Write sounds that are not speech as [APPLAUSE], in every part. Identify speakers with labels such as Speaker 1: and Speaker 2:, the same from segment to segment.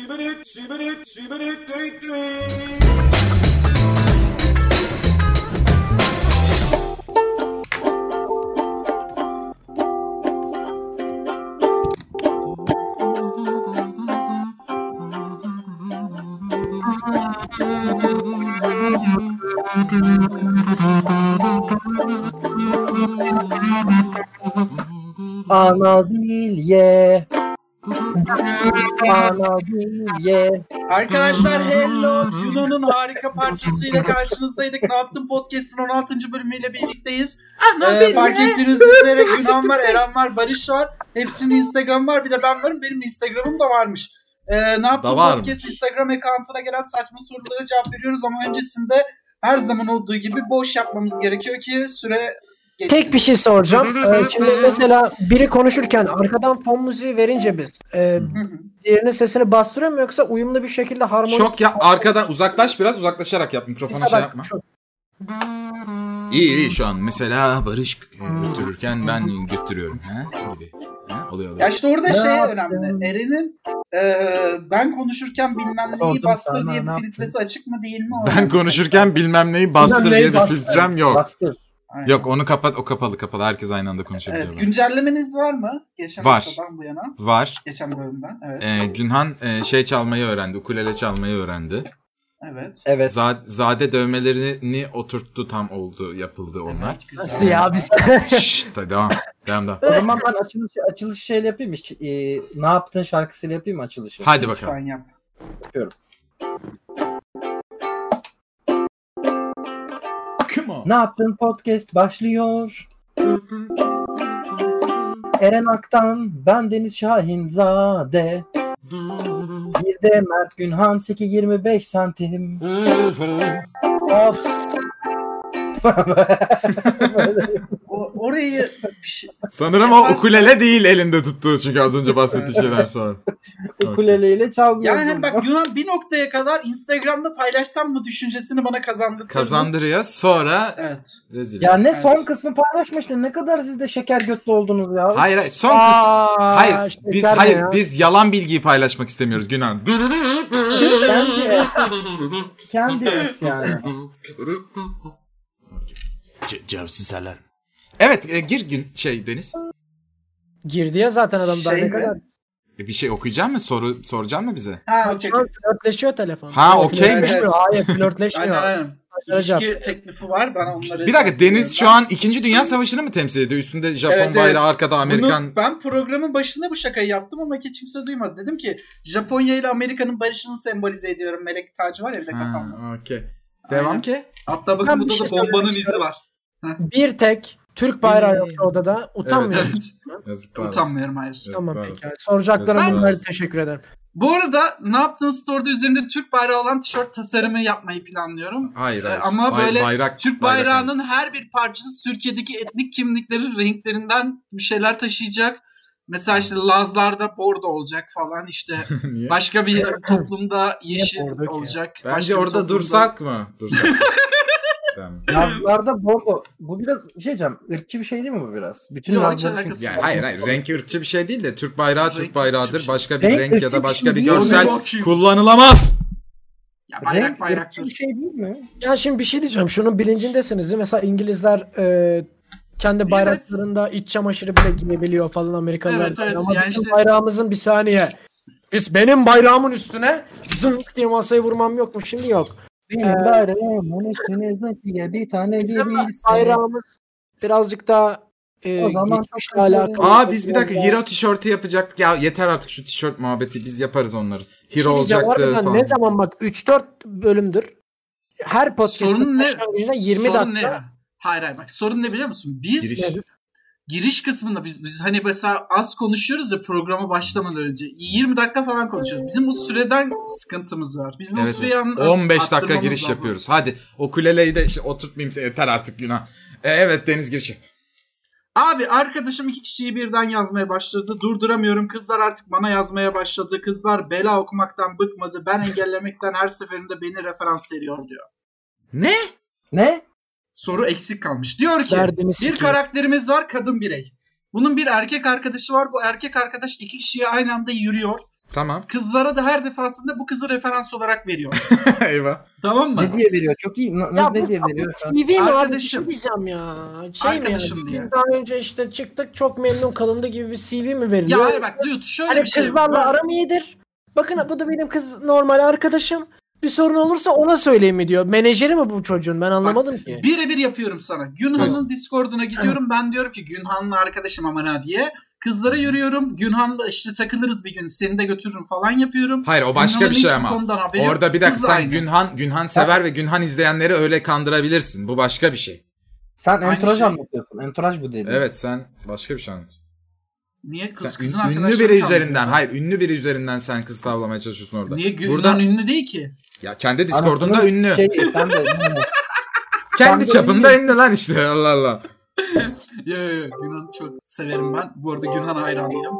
Speaker 1: Sibirit, sibirit, sibirit, düt düt.
Speaker 2: Anadilye. Anadilye. [LAUGHS]
Speaker 3: Arkadaşlar Hello Juno'nun harika parçasıyla karşınızdaydık. Ne yaptın podcast'in 16. bölümüyle birlikteyiz.
Speaker 2: Ah,
Speaker 3: Ee,
Speaker 2: [LAUGHS]
Speaker 3: fark ettiğiniz üzere Yunan var, Eren var, Barış var. Hepsinin Instagram var. Bir de ben varım. Benim Instagram'ım da varmış. Ee, ne yaptın
Speaker 4: Da varmış.
Speaker 3: podcast Instagram account'una gelen saçma sorulara cevap veriyoruz ama öncesinde her zaman olduğu gibi boş yapmamız gerekiyor ki süre geçsin.
Speaker 2: Tek bir şey soracağım. Ee, şimdi mesela biri konuşurken arkadan fon müziği verince biz e,
Speaker 3: Hı hı.
Speaker 2: diğerinin sesini bastırıyor mu yoksa uyumlu bir şekilde harmonik
Speaker 4: Çok ya arkadan uzaklaş biraz uzaklaşarak yap mikrofona şey
Speaker 2: Bak,
Speaker 4: yapma.
Speaker 2: şu-
Speaker 4: İyi iyi şu an mesela Barış e, götürürken ben götürüyorum. Ha? Gibi. Ha? Oluyor
Speaker 3: Ya
Speaker 4: oluyor.
Speaker 3: işte orada
Speaker 2: Ne
Speaker 3: şey
Speaker 2: yaptın?
Speaker 3: önemli. Eren'in e, ben konuşurken bilmem neyi
Speaker 2: Sordum
Speaker 3: bastır
Speaker 2: sana,
Speaker 3: diye
Speaker 2: ne
Speaker 3: bir
Speaker 2: yaptın?
Speaker 3: filtresi açık mı değil mi? o
Speaker 4: Ben
Speaker 3: önemli.
Speaker 4: konuşurken bilmem neyi bastır
Speaker 2: Bilmem
Speaker 4: diye
Speaker 2: neyi
Speaker 4: bir
Speaker 2: bastır.
Speaker 4: filtrem yok.
Speaker 2: Bastır.
Speaker 3: Aynen.
Speaker 4: Yok onu kapat o kapalı kapalı herkes aynı anda konuşabiliyor.
Speaker 3: Evet,
Speaker 4: bak.
Speaker 3: güncellemeniz var mı? Geçen
Speaker 4: Var.
Speaker 3: haftadan bu yana.
Speaker 4: Var.
Speaker 3: Geçen bölümden. Evet.
Speaker 4: Ee, Günhan e, şey çalmayı öğrendi. Ukulele çalmayı öğrendi.
Speaker 3: Evet.
Speaker 5: Evet.
Speaker 4: Za- zade dövmelerini oturttu tam oldu yapıldı onlar.
Speaker 3: Evet, güzel.
Speaker 2: Nasıl ya biz?
Speaker 4: Şşt hadi devam. Devam devam.
Speaker 5: O zaman ben açılış açılış şeyle yapayım mı? Ş- e, ne yaptın şarkısıyla yapayım mı açılışı?
Speaker 4: Hadi
Speaker 3: Lütfen
Speaker 4: bakalım.
Speaker 3: yap.
Speaker 4: Come on.
Speaker 5: Ne yaptın podcast başlıyor. Eren Aktan, ben Deniz Şahin Zade. Bir de Mert Günhan 825 santim. of.
Speaker 3: O, orayı bir
Speaker 2: [LAUGHS]
Speaker 3: şey-
Speaker 4: Sanırım o ukulele değil elinde tuttuğu çünkü az önce bahsettiği şeyden sonra.
Speaker 5: Ukuleleyle çalmıyordum.
Speaker 3: yani bak Yunan bir noktaya kadar Instagram'da paylaşsam mı düşüncesini bana kazandırdı.
Speaker 4: Kazandırıyor sonra
Speaker 3: Evet.
Speaker 4: rezil.
Speaker 5: Ya ne son kısmı paylaşmıştın. Ne kadar siz de şeker götlü oldunuz ya.
Speaker 4: Hayır hayır son kız.
Speaker 2: Aa,
Speaker 4: Hayır
Speaker 2: şeker
Speaker 4: biz
Speaker 2: mi
Speaker 4: hayır
Speaker 2: ya?
Speaker 4: biz yalan bilgiyi paylaşmak istemiyoruz Günan.
Speaker 5: Kendi, kendimiz yani.
Speaker 4: Cevsiz alarm. Evet e, gir gün şey Deniz.
Speaker 2: Girdi ya zaten adam daha
Speaker 3: Şey
Speaker 2: ne
Speaker 3: mi?
Speaker 2: kadar.
Speaker 4: E, bir şey okuyacak mı? Soru soracak mı bize?
Speaker 3: Ha okey.
Speaker 2: Şu an flörtleşiyor telefon.
Speaker 4: Ha, okeymiş.
Speaker 2: Flörtleşmiyor, Hayır
Speaker 3: Aynen
Speaker 2: flörtleşmiyor.
Speaker 3: aynen.
Speaker 2: Acayip.
Speaker 3: İlişki teklifi var bana onları.
Speaker 4: Bir dakika Deniz şu an 2. Dünya Savaşı'nı mı temsil ediyor? Üstünde Japon
Speaker 3: Evet, evet.
Speaker 4: bayrağı, arkada Amerikan.
Speaker 3: Bunu ben programın başında bu şakayı yaptım ama hiç kimse duymadı. Dedim ki Japonya ile Amerika'nın barışını sembolize ediyorum. Melek tacı var evde kafamda.
Speaker 4: Ha, okey. Devam
Speaker 3: Aynen.
Speaker 4: ki.
Speaker 3: Hatta bakın
Speaker 2: Ben
Speaker 3: burada
Speaker 2: bir
Speaker 3: da
Speaker 2: şey
Speaker 3: bombanın
Speaker 2: söylemek
Speaker 3: izi var.
Speaker 2: Bir tek Türk bayrağı yoktu odada. Utanmıyor.
Speaker 4: Evet. Yazıklar olsun.
Speaker 3: Utanmıyorum hayır.
Speaker 4: Yazıklar
Speaker 2: Tamam
Speaker 4: olsun.
Speaker 2: peki. Soracaklarım
Speaker 4: Sen-
Speaker 2: bunları teşekkür ederim.
Speaker 3: Bu arada ne yaptığın store'da üzerinde Türk bayrağı olan tişört tasarımı yapmayı planlıyorum.
Speaker 4: Hayır
Speaker 3: Ee,
Speaker 4: hayır.
Speaker 3: ama
Speaker 4: Bay-
Speaker 3: böyle
Speaker 4: bayrak,
Speaker 3: Türk
Speaker 4: bayrak-
Speaker 3: bayrağının her bir parçası Türkiye'deki etnik kimliklerin renklerinden bir şeyler taşıyacak. Mesela işte Lazlarda bordo olacak falan işte
Speaker 4: [LAUGHS] Niye?
Speaker 3: başka bir toplumda yeşil
Speaker 2: bordo ki?
Speaker 3: olacak. Başka
Speaker 4: Bence
Speaker 3: bir
Speaker 4: orada
Speaker 3: toplumda-
Speaker 4: dursak mı? Dursak. [LAUGHS] Tamam.
Speaker 5: Nazlarda bombo. Bu biraz bir şey diyeceğim. ırkçı bir şey değil mi bu biraz? Bütün
Speaker 3: Yok, hiç
Speaker 5: Nazlar çünkü-
Speaker 3: alakası
Speaker 4: Yani hayır hayır renk ırkçı bir şey değil de Türk bayrağı
Speaker 3: Renk
Speaker 4: Türk
Speaker 3: ırkçı bir
Speaker 4: bayrağıdır.
Speaker 3: şey.
Speaker 4: Başka bir
Speaker 5: Renk
Speaker 4: renk ya
Speaker 5: ırkçı
Speaker 4: da
Speaker 5: bir şey
Speaker 4: başka bir
Speaker 5: değil.
Speaker 4: görsel
Speaker 3: Yok, yok.
Speaker 4: kullanılamaz.
Speaker 3: Ya
Speaker 5: Renk
Speaker 3: bayrak bayrak
Speaker 5: ırkçı bir şey değil mi?
Speaker 2: Ya şimdi bir şey diyeceğim. Şunun bilincindesiniz değil mi? Mesela İngilizler e, kendi bayraklarında iç çamaşırı bile giyebiliyor falan Amerikalılar.
Speaker 3: Evet, evet.
Speaker 2: Ama
Speaker 3: Yani
Speaker 2: bizim
Speaker 3: işte-
Speaker 2: bayrağımızın bir saniye. Biz benim bayrağımın üstüne zınk diye masayı vurmam yok mu? Şimdi yok.
Speaker 5: Benim
Speaker 2: Ee,
Speaker 5: bayrağımın üstüne zıkıya bir tane
Speaker 2: Bizim
Speaker 5: bir
Speaker 2: bayrağımız birazcık daha e,
Speaker 5: O zaman çok
Speaker 2: geçmişle
Speaker 5: güzel.
Speaker 2: alakalı. şey
Speaker 4: Aa biz bir dakika hero tişörtü yapacaktık. Ya yeter artık şu tişört muhabbeti biz yaparız onları.
Speaker 2: Bir
Speaker 4: Hero
Speaker 2: şey diyeceğim,
Speaker 4: olacaktı
Speaker 2: harbiden
Speaker 4: falan.
Speaker 2: Ne zaman bak 3-4 bölümdür. Her
Speaker 3: Sorun
Speaker 2: podcast'ın
Speaker 3: ne?
Speaker 2: başlangıcında 20
Speaker 3: sorun
Speaker 2: dakika.
Speaker 3: ne? Hayır hayır bak sorun ne biliyor musun? Biz
Speaker 4: Giriş.
Speaker 3: giriş, kısmında biz, biz hani mesela az konuşuyoruz ya programa başlamadan önce. 20 dakika falan konuşuyoruz. Bizim bu süreden sıkıntımız var. Bizim bu
Speaker 4: Evet,
Speaker 3: süreyi an-
Speaker 4: 15 dakika
Speaker 3: arttırmamız
Speaker 4: giriş
Speaker 3: lazım.
Speaker 4: yapıyoruz. Hadi okuleleyi de işte, oturtmayayım seni. yeter artık günah. E, evet Deniz girişi.
Speaker 3: Abi arkadaşım iki kişiyi birden yazmaya başladı. Durduramıyorum. Kızlar artık bana yazmaya başladı. Kızlar bela okumaktan bıkmadı. Ben engellemekten her seferinde beni referans veriyor diyor.
Speaker 4: Ne?
Speaker 5: Ne?
Speaker 3: Soru eksik kalmış. Diyor ki
Speaker 2: Derdini
Speaker 3: Bir
Speaker 2: sikeyim.
Speaker 3: karakterimiz var kadın birey. Bunun bir erkek arkadaşı var. Bu erkek arkadaş iki kişiye aynı anda yürüyor. [LAUGHS]
Speaker 4: Tamam.
Speaker 3: Kızlara da her defasında bu kızı referans olarak
Speaker 4: [LAUGHS]
Speaker 3: veriyor.
Speaker 4: Eyvah.
Speaker 3: tamam mı?
Speaker 5: Ne diye veriyor? Çok iyi. Na-
Speaker 2: Ya
Speaker 5: ne
Speaker 2: bu-
Speaker 5: diye veriyor? şu an?
Speaker 2: TV mi abi bir
Speaker 3: Arkadaşım.
Speaker 2: şey diyeceğim ya. Şey
Speaker 3: Arkadaşım
Speaker 2: mi yani?
Speaker 3: diye.
Speaker 2: Biz daha önce işte çıktık çok memnun kalındı gibi bir CV mi
Speaker 3: Ya
Speaker 2: veriliyor?
Speaker 3: hayır bak Duyut şöyle
Speaker 2: hani
Speaker 3: bir şey.
Speaker 2: kızlarla
Speaker 3: var.
Speaker 2: aram iyidir. Bakın bu da benim kız normal arkadaşım. Bir sorun olursa ona söyleyeyim mi diyor. Menajeri mi bu çocuğun ben anlamadım ki.
Speaker 3: Birebir yapıyorum sana. Günhan'ın Discord'una gidiyorum. Ben diyorum ki Günhan'la arkadaşım amana diye. Kızlara yürüyorum. Günhan'la işte takılırız bir gün. Seni de götürürüm falan yapıyorum.
Speaker 4: Hayır o başka
Speaker 3: Günhan'ın
Speaker 4: bir şey
Speaker 3: hiçbir
Speaker 4: ama.
Speaker 3: konudan haberi yok.
Speaker 4: Orada bir dakika
Speaker 3: Kızla
Speaker 4: sen
Speaker 3: aynı.
Speaker 4: Günhan Günhan sever ve Günhan izleyenleri öyle kandırabilirsin. Bu başka bir şey.
Speaker 5: Sen entouraj
Speaker 3: şey.
Speaker 5: anlatıyorsun. Entouraj bu dedi.
Speaker 4: Evet sen başka bir şey anlat.
Speaker 3: Niye kız
Speaker 4: Sen
Speaker 3: kızın
Speaker 4: ün- ünlü
Speaker 3: arkadaşları
Speaker 4: biri
Speaker 3: kalmıyor?
Speaker 4: üzerinden, hayır ünlü biri üzerinden sen kız tavlamaya çalışıyorsun orada.
Speaker 3: Niye Günhan
Speaker 4: Burada
Speaker 3: ünlü değil ki?
Speaker 4: ya kendi Discord'unda
Speaker 5: Anasının
Speaker 4: ünlü.
Speaker 2: şey-
Speaker 5: Şeyi, Şey, sen de ünlü.
Speaker 4: kendi
Speaker 5: Ben de
Speaker 4: çapında ünlü lan işte. Allah Allah.
Speaker 3: Ya ya ya, Günhan'ı çok severim ben. Bu arada Günhan'a hayranıyım.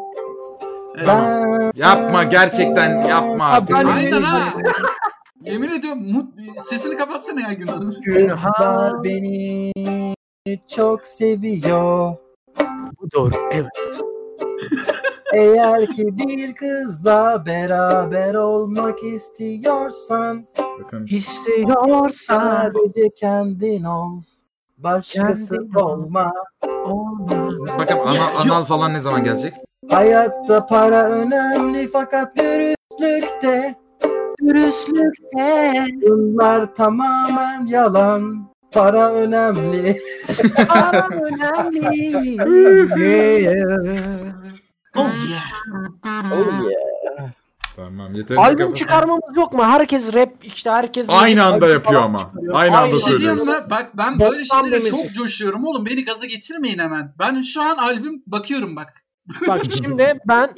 Speaker 3: Evet.
Speaker 5: Ben-
Speaker 4: Yapma gerçekten yapma artık.
Speaker 2: ben-
Speaker 3: Aynen ha. Yemin ediyorum mut... sesini kapatsana ya Günhan'ın.
Speaker 5: Günhan beni çok seviyor.
Speaker 2: Bu doğru evet.
Speaker 5: Eğer ki bir kızla beraber olmak istiyorsan
Speaker 4: Bakın.
Speaker 2: İstiyorsan
Speaker 5: sadece kendin ol. Başkası
Speaker 2: Kendin ol.
Speaker 5: olma.
Speaker 2: olma.
Speaker 4: şey. Bakın ana, anal falan ne zaman gelecek?
Speaker 5: Hayatta para önemli fakat dürüstlükte
Speaker 2: Dürüstlükte
Speaker 5: bunlar tamamen yalan. Para [LAUGHS] önemli.
Speaker 2: aram önemli.
Speaker 3: Oh yeah.
Speaker 4: Tamam yeter.
Speaker 2: Albüm çıkarmamız yok mu? Herkes rap işte herkes
Speaker 4: Aynı
Speaker 2: Albüm
Speaker 4: anda yapıyor
Speaker 2: falan
Speaker 4: ama.
Speaker 2: çıkarıyor.
Speaker 4: Aynı anda
Speaker 3: Bir şey
Speaker 4: söylüyoruz.
Speaker 3: diyeyim mi? Bak ben böyle
Speaker 2: Boktan
Speaker 3: şeylere
Speaker 2: demesi.
Speaker 3: çok coşuyorum oğlum. Beni gaza getirmeyin hemen. Ben şu an albüm bakıyorum bak.
Speaker 2: Bak şimdi ben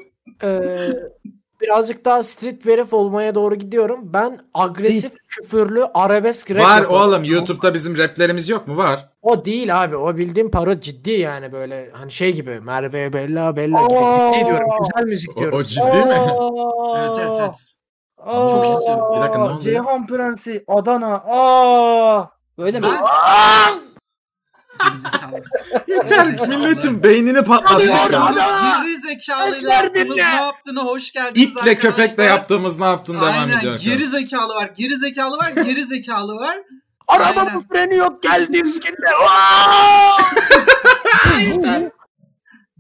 Speaker 2: e, birazcık daha street bir herif olmaya doğru gidiyorum. Ben agresif, küfürlü, arabesk rap
Speaker 4: Var
Speaker 2: yapıyorum.
Speaker 4: oğlum YouTube'da bizim raplerimiz yok mu? Var.
Speaker 2: O değil abi. O bildiğim paro ciddi yani böyle hani şey gibi Merve Bella Bella gibi ciddi diyorum. Güzel müzik
Speaker 4: O, o
Speaker 2: diyorum.
Speaker 4: ciddi mi?
Speaker 3: Evet evet evet.
Speaker 5: Çok
Speaker 3: istiyorum.
Speaker 4: Bir dakika, ne oldu?
Speaker 5: Ceyhan Prensi, Adana. Aa! Böyle mi?
Speaker 3: Ben...
Speaker 4: Yeter milletin beynini patlattı.
Speaker 3: Geri zekalıyla yaptığımız ne yaptığını hoş geldiniz
Speaker 4: İtle köpekle
Speaker 3: arkadaşlar.
Speaker 4: yaptığımız ne yaptın devam ediyor
Speaker 3: Aynen
Speaker 4: arkadaşlar.
Speaker 3: geri zekalı var, geri zekalı var, geri zekalı var.
Speaker 2: Arabamın
Speaker 3: Aynen.
Speaker 2: freni yok geldiğimiz günde.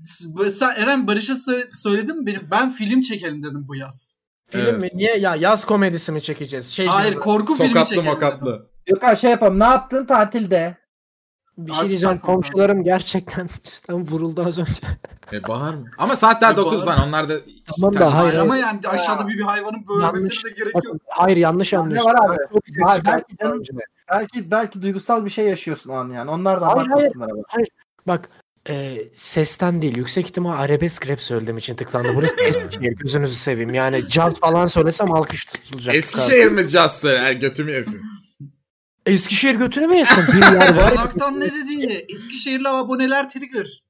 Speaker 3: S- Sen Eren Barış'a sö- söyledim mi benim? Ben film çekelim dedim bu yaz.
Speaker 2: Film
Speaker 4: Evet.
Speaker 2: mi? Niye? Ya yaz komedisi mi çekeceğiz? Şey
Speaker 3: Hayır
Speaker 2: gibi.
Speaker 3: korku filmi
Speaker 4: Tokatlı
Speaker 3: çekelim. dedim.
Speaker 4: mokatlı.
Speaker 5: Gökhan şey yapalım. Ne yaptın tatilde?
Speaker 2: Bir
Speaker 3: Artık
Speaker 2: şey diyeceğim
Speaker 3: farkındayım.
Speaker 2: komşularım gerçekten [LAUGHS] üstten vuruldu az önce.
Speaker 4: E bahar mı? Ama saat daha
Speaker 3: E,
Speaker 4: 9
Speaker 3: bahar.
Speaker 4: lan onlar da...
Speaker 2: Tamam da, hayır.
Speaker 3: Hayır ama yani aşağıda bir, bir hayvanın
Speaker 2: Yanlış.
Speaker 3: bölmesine de gerek yok.
Speaker 2: Bakın, hayır yanlış
Speaker 5: Ne
Speaker 2: anlıyorsun.
Speaker 5: var abi?
Speaker 2: Çok ses
Speaker 5: Var,
Speaker 2: çıkardı
Speaker 5: belki canım-
Speaker 2: önce.
Speaker 5: Belki belki duygusal bir şey yaşıyorsun o an yani. Onlar da
Speaker 2: Hayır,
Speaker 5: haklısınlar ama.
Speaker 2: Bak e, sesten değil yüksek ihtimal arabesk rap söylediğim için tıklandı. Burası Eskişehir gözünüzü seveyim. Yani caz falan söylesem alkış tutulacak.
Speaker 4: Eskişehir mi caz söyler götümü yesin.
Speaker 2: Eskişehir götünü mü yesin? Bir yer var.
Speaker 3: [LAUGHS]
Speaker 2: ya,
Speaker 3: Yanaktan ne dediği? Eskişehirli aboneler trigger.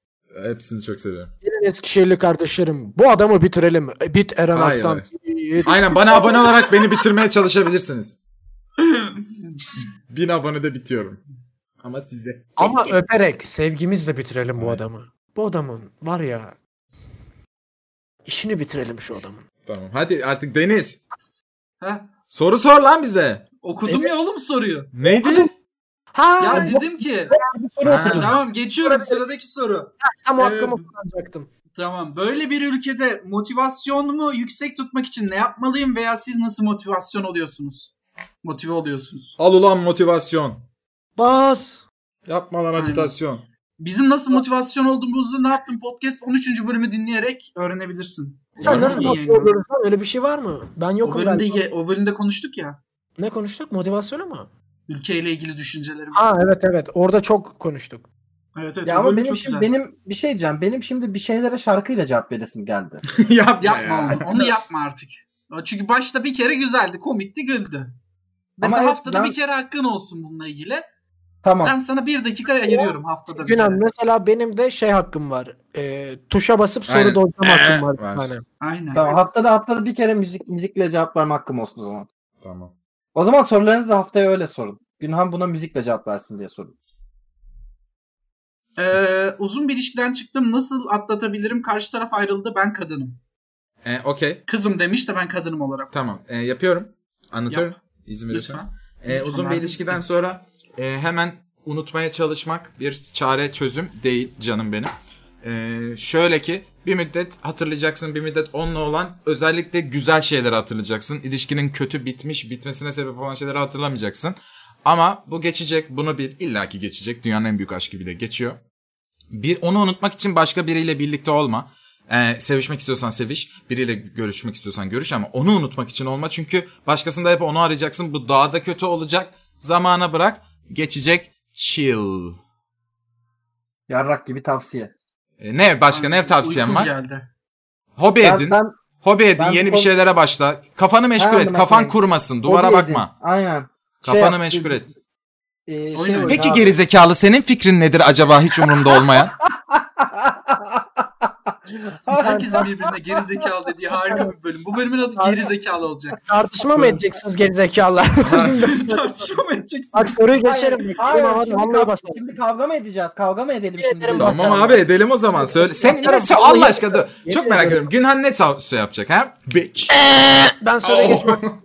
Speaker 4: Hepsini çok seviyorum.
Speaker 2: benim Eskişehirli kardeşlerim. Bu adamı bitirelim. E, Bit Eren
Speaker 4: Hayır,
Speaker 2: Aktan.
Speaker 4: Aynen bana abone olarak beni bitirmeye çalışabilirsiniz. Bin abonede bitiyorum. Ama size.
Speaker 2: Ama öperek sevgimizle bitirelim bu adamı. Bu adamın var ya işini bitirelim şu adamın.
Speaker 4: Tamam hadi artık Deniz.
Speaker 3: Ha?
Speaker 4: Soru sor lan bize.
Speaker 3: Okudum ya oğlum soruyu.
Speaker 4: Neydi?
Speaker 2: Ha,
Speaker 3: Ya
Speaker 2: ya,
Speaker 3: dedim ki
Speaker 4: Ha,
Speaker 3: tamam geçiyorum sıradaki soru.
Speaker 2: tam
Speaker 3: e,
Speaker 2: hakkımı kullanacaktım.
Speaker 3: Tamam böyle bir ülkede motivasyonumu yüksek tutmak için ne yapmalıyım veya siz nasıl motivasyon oluyorsunuz? Motive oluyorsunuz.
Speaker 4: Al ulan motivasyon.
Speaker 2: Bas.
Speaker 4: Yapma lan
Speaker 3: [LAUGHS]
Speaker 4: acitasyon.
Speaker 3: Bizim nasıl motivasyon olduğumuzu ne yaptım podcast 13. bölümü dinleyerek öğrenebilirsin.
Speaker 2: Sen
Speaker 4: Var
Speaker 2: nasıl
Speaker 4: mı?
Speaker 2: motive oluyoruz lan? Öyle bir şey var mı? Ben
Speaker 3: O
Speaker 2: yokum
Speaker 3: bölümde,
Speaker 2: galiba.
Speaker 3: ye- o bölümde konuştuk ya
Speaker 2: Ne konuştuk? Motivasyonu mu?
Speaker 3: ülkeyle ilgili düşüncelerimi.
Speaker 2: Ha evet evet. Orada çok konuştuk.
Speaker 3: Evet evet.
Speaker 5: Ya
Speaker 3: o
Speaker 5: ama
Speaker 3: bölüm
Speaker 5: benim
Speaker 3: çok
Speaker 5: şimdi
Speaker 3: güzel.
Speaker 5: benim bir şey diyeceğim. Benim şimdi bir şeylere şarkıyla cevap veresim geldi.
Speaker 4: Yapma,
Speaker 3: Yapma
Speaker 4: ya.
Speaker 3: onu. Onu yapma artık. Çünkü başta bir kere güzeldi, komikti, güldü. Mesela
Speaker 5: evet,
Speaker 3: haftada
Speaker 5: ben-
Speaker 3: bir kere hakkın olsun bununla ilgili.
Speaker 5: Tamam.
Speaker 3: Ben sana bir dakika ayırıyorum haftada bir
Speaker 2: Günan
Speaker 3: kere.
Speaker 2: mesela benim de şey hakkım var. E, tuşa basıp
Speaker 4: Aynen.
Speaker 2: soru dozlama hakkım var.
Speaker 4: Var.
Speaker 2: bir tane.
Speaker 3: Aynen.
Speaker 5: Tamam. Haftada haftada bir kere müzik müzikle cevap verme hakkım olsun o zaman.
Speaker 4: Tamam.
Speaker 5: O zaman sorularınızı haftaya öyle sorun. Günhan buna müzikle cevap versin diye sorun.
Speaker 3: Ee, uzun bir ilişkiden çıktım. Nasıl atlatabilirim? Karşı taraf ayrıldı. Ben kadınım.
Speaker 4: E, Okey.
Speaker 3: Kızım demiş de ben kadınım olarak.
Speaker 4: Tamam. E, yapıyorum. Anlatıyorum. İzin verirseniz.
Speaker 3: Lütfen.
Speaker 4: E,
Speaker 3: Lütfen,
Speaker 4: uzun bir
Speaker 3: ben-
Speaker 4: ilişkiden sonra e, hemen unutmaya çalışmak bir çare çözüm değil canım benim. E, şöyle ki bir müddet hatırlayacaksın bir müddet onunla olan özellikle güzel şeyleri hatırlayacaksın. İlişkinin kötü bitmiş bitmesine sebep olan şeyleri hatırlamayacaksın. Ama bu geçecek bunu bil illaki geçecek dünyanın en büyük aşkı bile geçiyor. Bir onu unutmak için başka biriyle birlikte olma. Ee, sevişmek istiyorsan seviş, biriyle görüşmek istiyorsan görüş ama onu unutmak için olma. Çünkü başkasında hep onu arayacaksın. Bu daha da kötü olacak. Zamana bırak, geçecek. Chill.
Speaker 5: Yarrak gibi tavsiye.
Speaker 4: Ee, ne başka ne tavsiyem
Speaker 3: Uykum
Speaker 4: var?
Speaker 3: geldi.
Speaker 4: Hobi
Speaker 5: Ben-
Speaker 4: edin.
Speaker 5: ben-
Speaker 4: hobi edin.
Speaker 5: ben
Speaker 4: Yeni
Speaker 5: bu
Speaker 4: bir şeylere başla. Kafanı meşgul
Speaker 5: Ha,
Speaker 4: et.
Speaker 5: ben-
Speaker 4: Kafan kurmasın. Duvara
Speaker 5: hobi
Speaker 4: bakma.
Speaker 5: edin. Aynen. Şey
Speaker 4: Kafanı
Speaker 5: yap-
Speaker 4: meşgul et.
Speaker 5: e, şey
Speaker 3: Oyun oyna.
Speaker 5: oyna
Speaker 4: Peki
Speaker 5: abi.
Speaker 4: gerizekalı senin fikrin nedir acaba hiç umurumda olmayan?
Speaker 3: Biz herkesin birbirine geri zekalı dediği harika bir bölüm. Bu bölümün adı geri zekalı
Speaker 5: [LAUGHS]
Speaker 3: olacak.
Speaker 2: Tartışma mı edeceksiniz gerizekalılar? [LAUGHS]
Speaker 3: Tartışma mı edeceksin?
Speaker 2: Bak soruyu
Speaker 5: Hayır,
Speaker 2: geçerim.
Speaker 5: hayır,
Speaker 2: Ulan,
Speaker 5: şimdi,
Speaker 2: vallahi
Speaker 5: kav-
Speaker 2: basarım.
Speaker 5: şimdi kavga mı edeceğiz? Kavga mı edelim
Speaker 2: Yemin
Speaker 5: şimdi?
Speaker 2: ederim
Speaker 5: [LAUGHS] Tamam.
Speaker 4: Tamam abi edelim o zaman. Söyle. Sen ne sö- Allah aşkına dur. Çok merak ediyorum. Günhan ne sa- şey yapacak ha? Bitch.
Speaker 2: Ben soruya
Speaker 4: Oo.
Speaker 2: geçmem.
Speaker 4: [LAUGHS]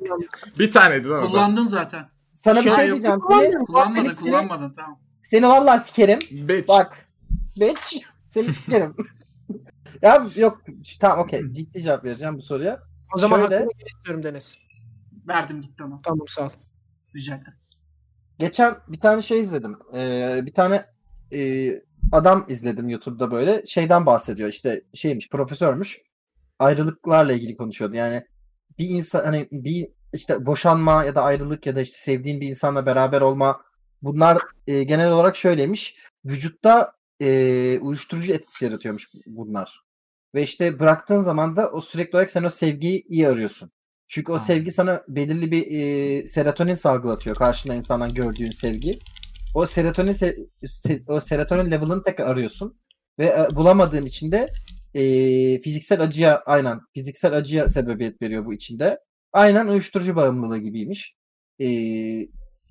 Speaker 4: bir taneydi lan o da.
Speaker 3: Kullandın zaten.
Speaker 5: Sana bir
Speaker 2: Şey
Speaker 5: şey
Speaker 3: yok,
Speaker 5: diyeceğim. Seni,
Speaker 2: kullanmıyorum.
Speaker 3: Kullanmadın
Speaker 5: Seni-
Speaker 3: kullanmadın tamam.
Speaker 5: seni vallahi sikerim.
Speaker 4: Bitch.
Speaker 5: Bak. Bitch. Seni [LAUGHS] sikerim. ya yok. Tamam okey. Ciddi cevap vereceğim bu soruya.
Speaker 2: O zaman
Speaker 5: Şöyle.
Speaker 2: hakkını geri istiyorum Deniz.
Speaker 3: Verdim gitti ama.
Speaker 2: Tamam sağ ol.
Speaker 3: Rica ederim.
Speaker 5: Geçen bir tane şey izledim. Ee, bir tane e, adam izledim YouTube'da böyle. Şeyden bahsediyor işte şeymiş profesörmüş. Ayrılıklarla ilgili konuşuyordu. Yani bir insan hani bir işte boşanma ya da ayrılık ya da işte sevdiğin bir insanla beraber olma bunlar e, genel olarak şöyleymiş. Vücutta e, uyuşturucu etkisi yaratıyormuş bunlar. Ve işte bıraktığın zaman da o sürekli olarak sen o sevgiyi iyi arıyorsun. Çünkü o
Speaker 3: Ha.
Speaker 5: sevgi sana belirli bir e, serotonin salgılatıyor karşında insandan gördüğün sevgi. O serotonin se- se- o serotonin level'ını tekrar arıyorsun ve e, bulamadığın için de e, fiziksel acıya aynen fiziksel acıya sebebiyet veriyor bu içinde. Aynen uyuşturucu bağımlılığı gibiymiş. E,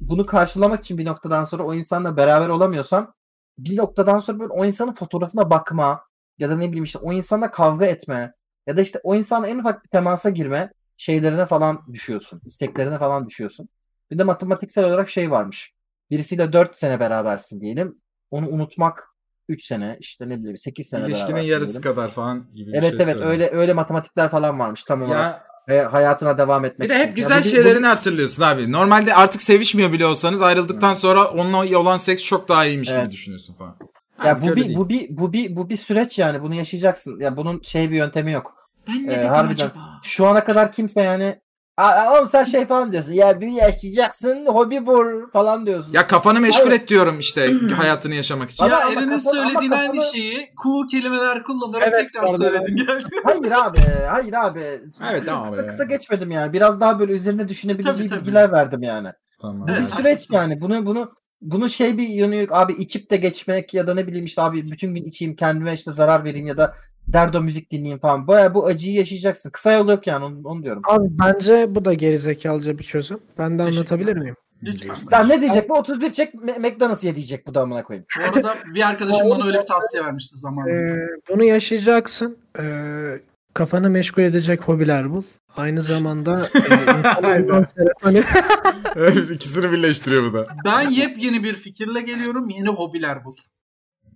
Speaker 5: bunu karşılamak için bir noktadan sonra o insanla beraber olamıyorsan bir noktadan sonra böyle o insanın fotoğrafına bakma ya da ne bileyim işte o insanla kavga etme ya da işte o insanla en ufak bir temasa girme şeylerine falan düşüyorsun. isteklerine falan düşüyorsun. Bir de matematiksel olarak şey varmış. Birisiyle 4 sene berabersin diyelim. Onu unutmak 3 sene işte ne bileyim 8 sene
Speaker 4: İlişkinin
Speaker 5: berabersin
Speaker 4: yarısı
Speaker 5: diyelim.
Speaker 4: kadar falan gibi bir
Speaker 5: Evet
Speaker 4: şey
Speaker 5: evet
Speaker 4: söylüyor.
Speaker 5: öyle öyle matematikler falan varmış tam olarak.
Speaker 4: Ya
Speaker 5: Ve hayatına devam etmek
Speaker 4: bir de hep
Speaker 5: için. Ya
Speaker 4: güzel
Speaker 5: bu- bu-
Speaker 4: şeylerini hatırlıyorsun abi. Normalde artık sevişmiyor bile olsanız ayrıldıktan sonra onunla olan seks çok daha iyiymiş gibi
Speaker 5: Evet.
Speaker 4: düşünüyorsun falan.
Speaker 5: Ya
Speaker 4: Halbuki
Speaker 5: bu
Speaker 4: öyle
Speaker 5: bir,
Speaker 4: Ah, değil.
Speaker 5: bu bir bu bir bu bir süreç yani bunu yaşayacaksın. Ya bunun şey bir yöntemi yok.
Speaker 4: Ben
Speaker 5: Ee, harbiden. Şu ana kadar kimse yani "Aa, Aa, oğlum sen şey falan diyorsun. Ya bir yaşayacaksın hobi bul falan diyorsun.
Speaker 4: Ya kafanı meşgul
Speaker 5: Abi-
Speaker 4: et diyorum
Speaker 5: [CLEARS THROAT]
Speaker 4: işte hayatını yaşamak için.
Speaker 5: Ama-
Speaker 3: Ya
Speaker 5: ama
Speaker 3: Eren'in
Speaker 5: kafa- ama
Speaker 3: söylediğin aynı
Speaker 5: kafanı-
Speaker 3: şeyi cool kelimeler kullanarak
Speaker 2: Evet,
Speaker 3: tekrar
Speaker 2: pardon.
Speaker 3: söyledin
Speaker 5: [LAUGHS]
Speaker 3: geldi.
Speaker 5: Hayır abi. Hayır abi.
Speaker 4: Evet,
Speaker 5: kısa,
Speaker 4: tamam E,
Speaker 5: kısa,
Speaker 4: be.
Speaker 5: kısa geçmedim yani. Biraz daha böyle üzerine
Speaker 3: Tabii,
Speaker 5: düşünebileceği
Speaker 3: tabii.
Speaker 5: bilgiler verdim yani.
Speaker 4: Tamam.
Speaker 5: Bu bir
Speaker 3: Evet.
Speaker 5: süreç yani. Bunu bunu bunu şey bir yönü yok abi içip de geçmek ya da ne bileyim işte abi bütün gün içeyim kendime işte zarar vereyim ya da derdo müzik dinleyeyim falan. Baya bu acıyı yaşayacaksın. Kısa yol yok yani onu, onu diyorum.
Speaker 2: Abi bence bu da gerizekalıca bir çözüm. Ben de
Speaker 3: Teşekkürler.
Speaker 2: anlatabilir miyim?
Speaker 3: Lütfen.
Speaker 5: Sen ne diyecek bu? 31 çek Me- McDonald's ye diyecek bu da amına koyayım.
Speaker 3: Bu arada bir arkadaşım bana öyle bir tavsiye vermişti zamanında.
Speaker 2: Ee, bunu yaşayacaksın. Ee, kafanı meşgul edecek hobiler bul. Aynı zamanda e, insanın olan serotonin-
Speaker 4: Biz ikisini birleştiriyor bu da.
Speaker 3: Ben yepyeni bir fikirle geliyorum. Yeni hobiler bul.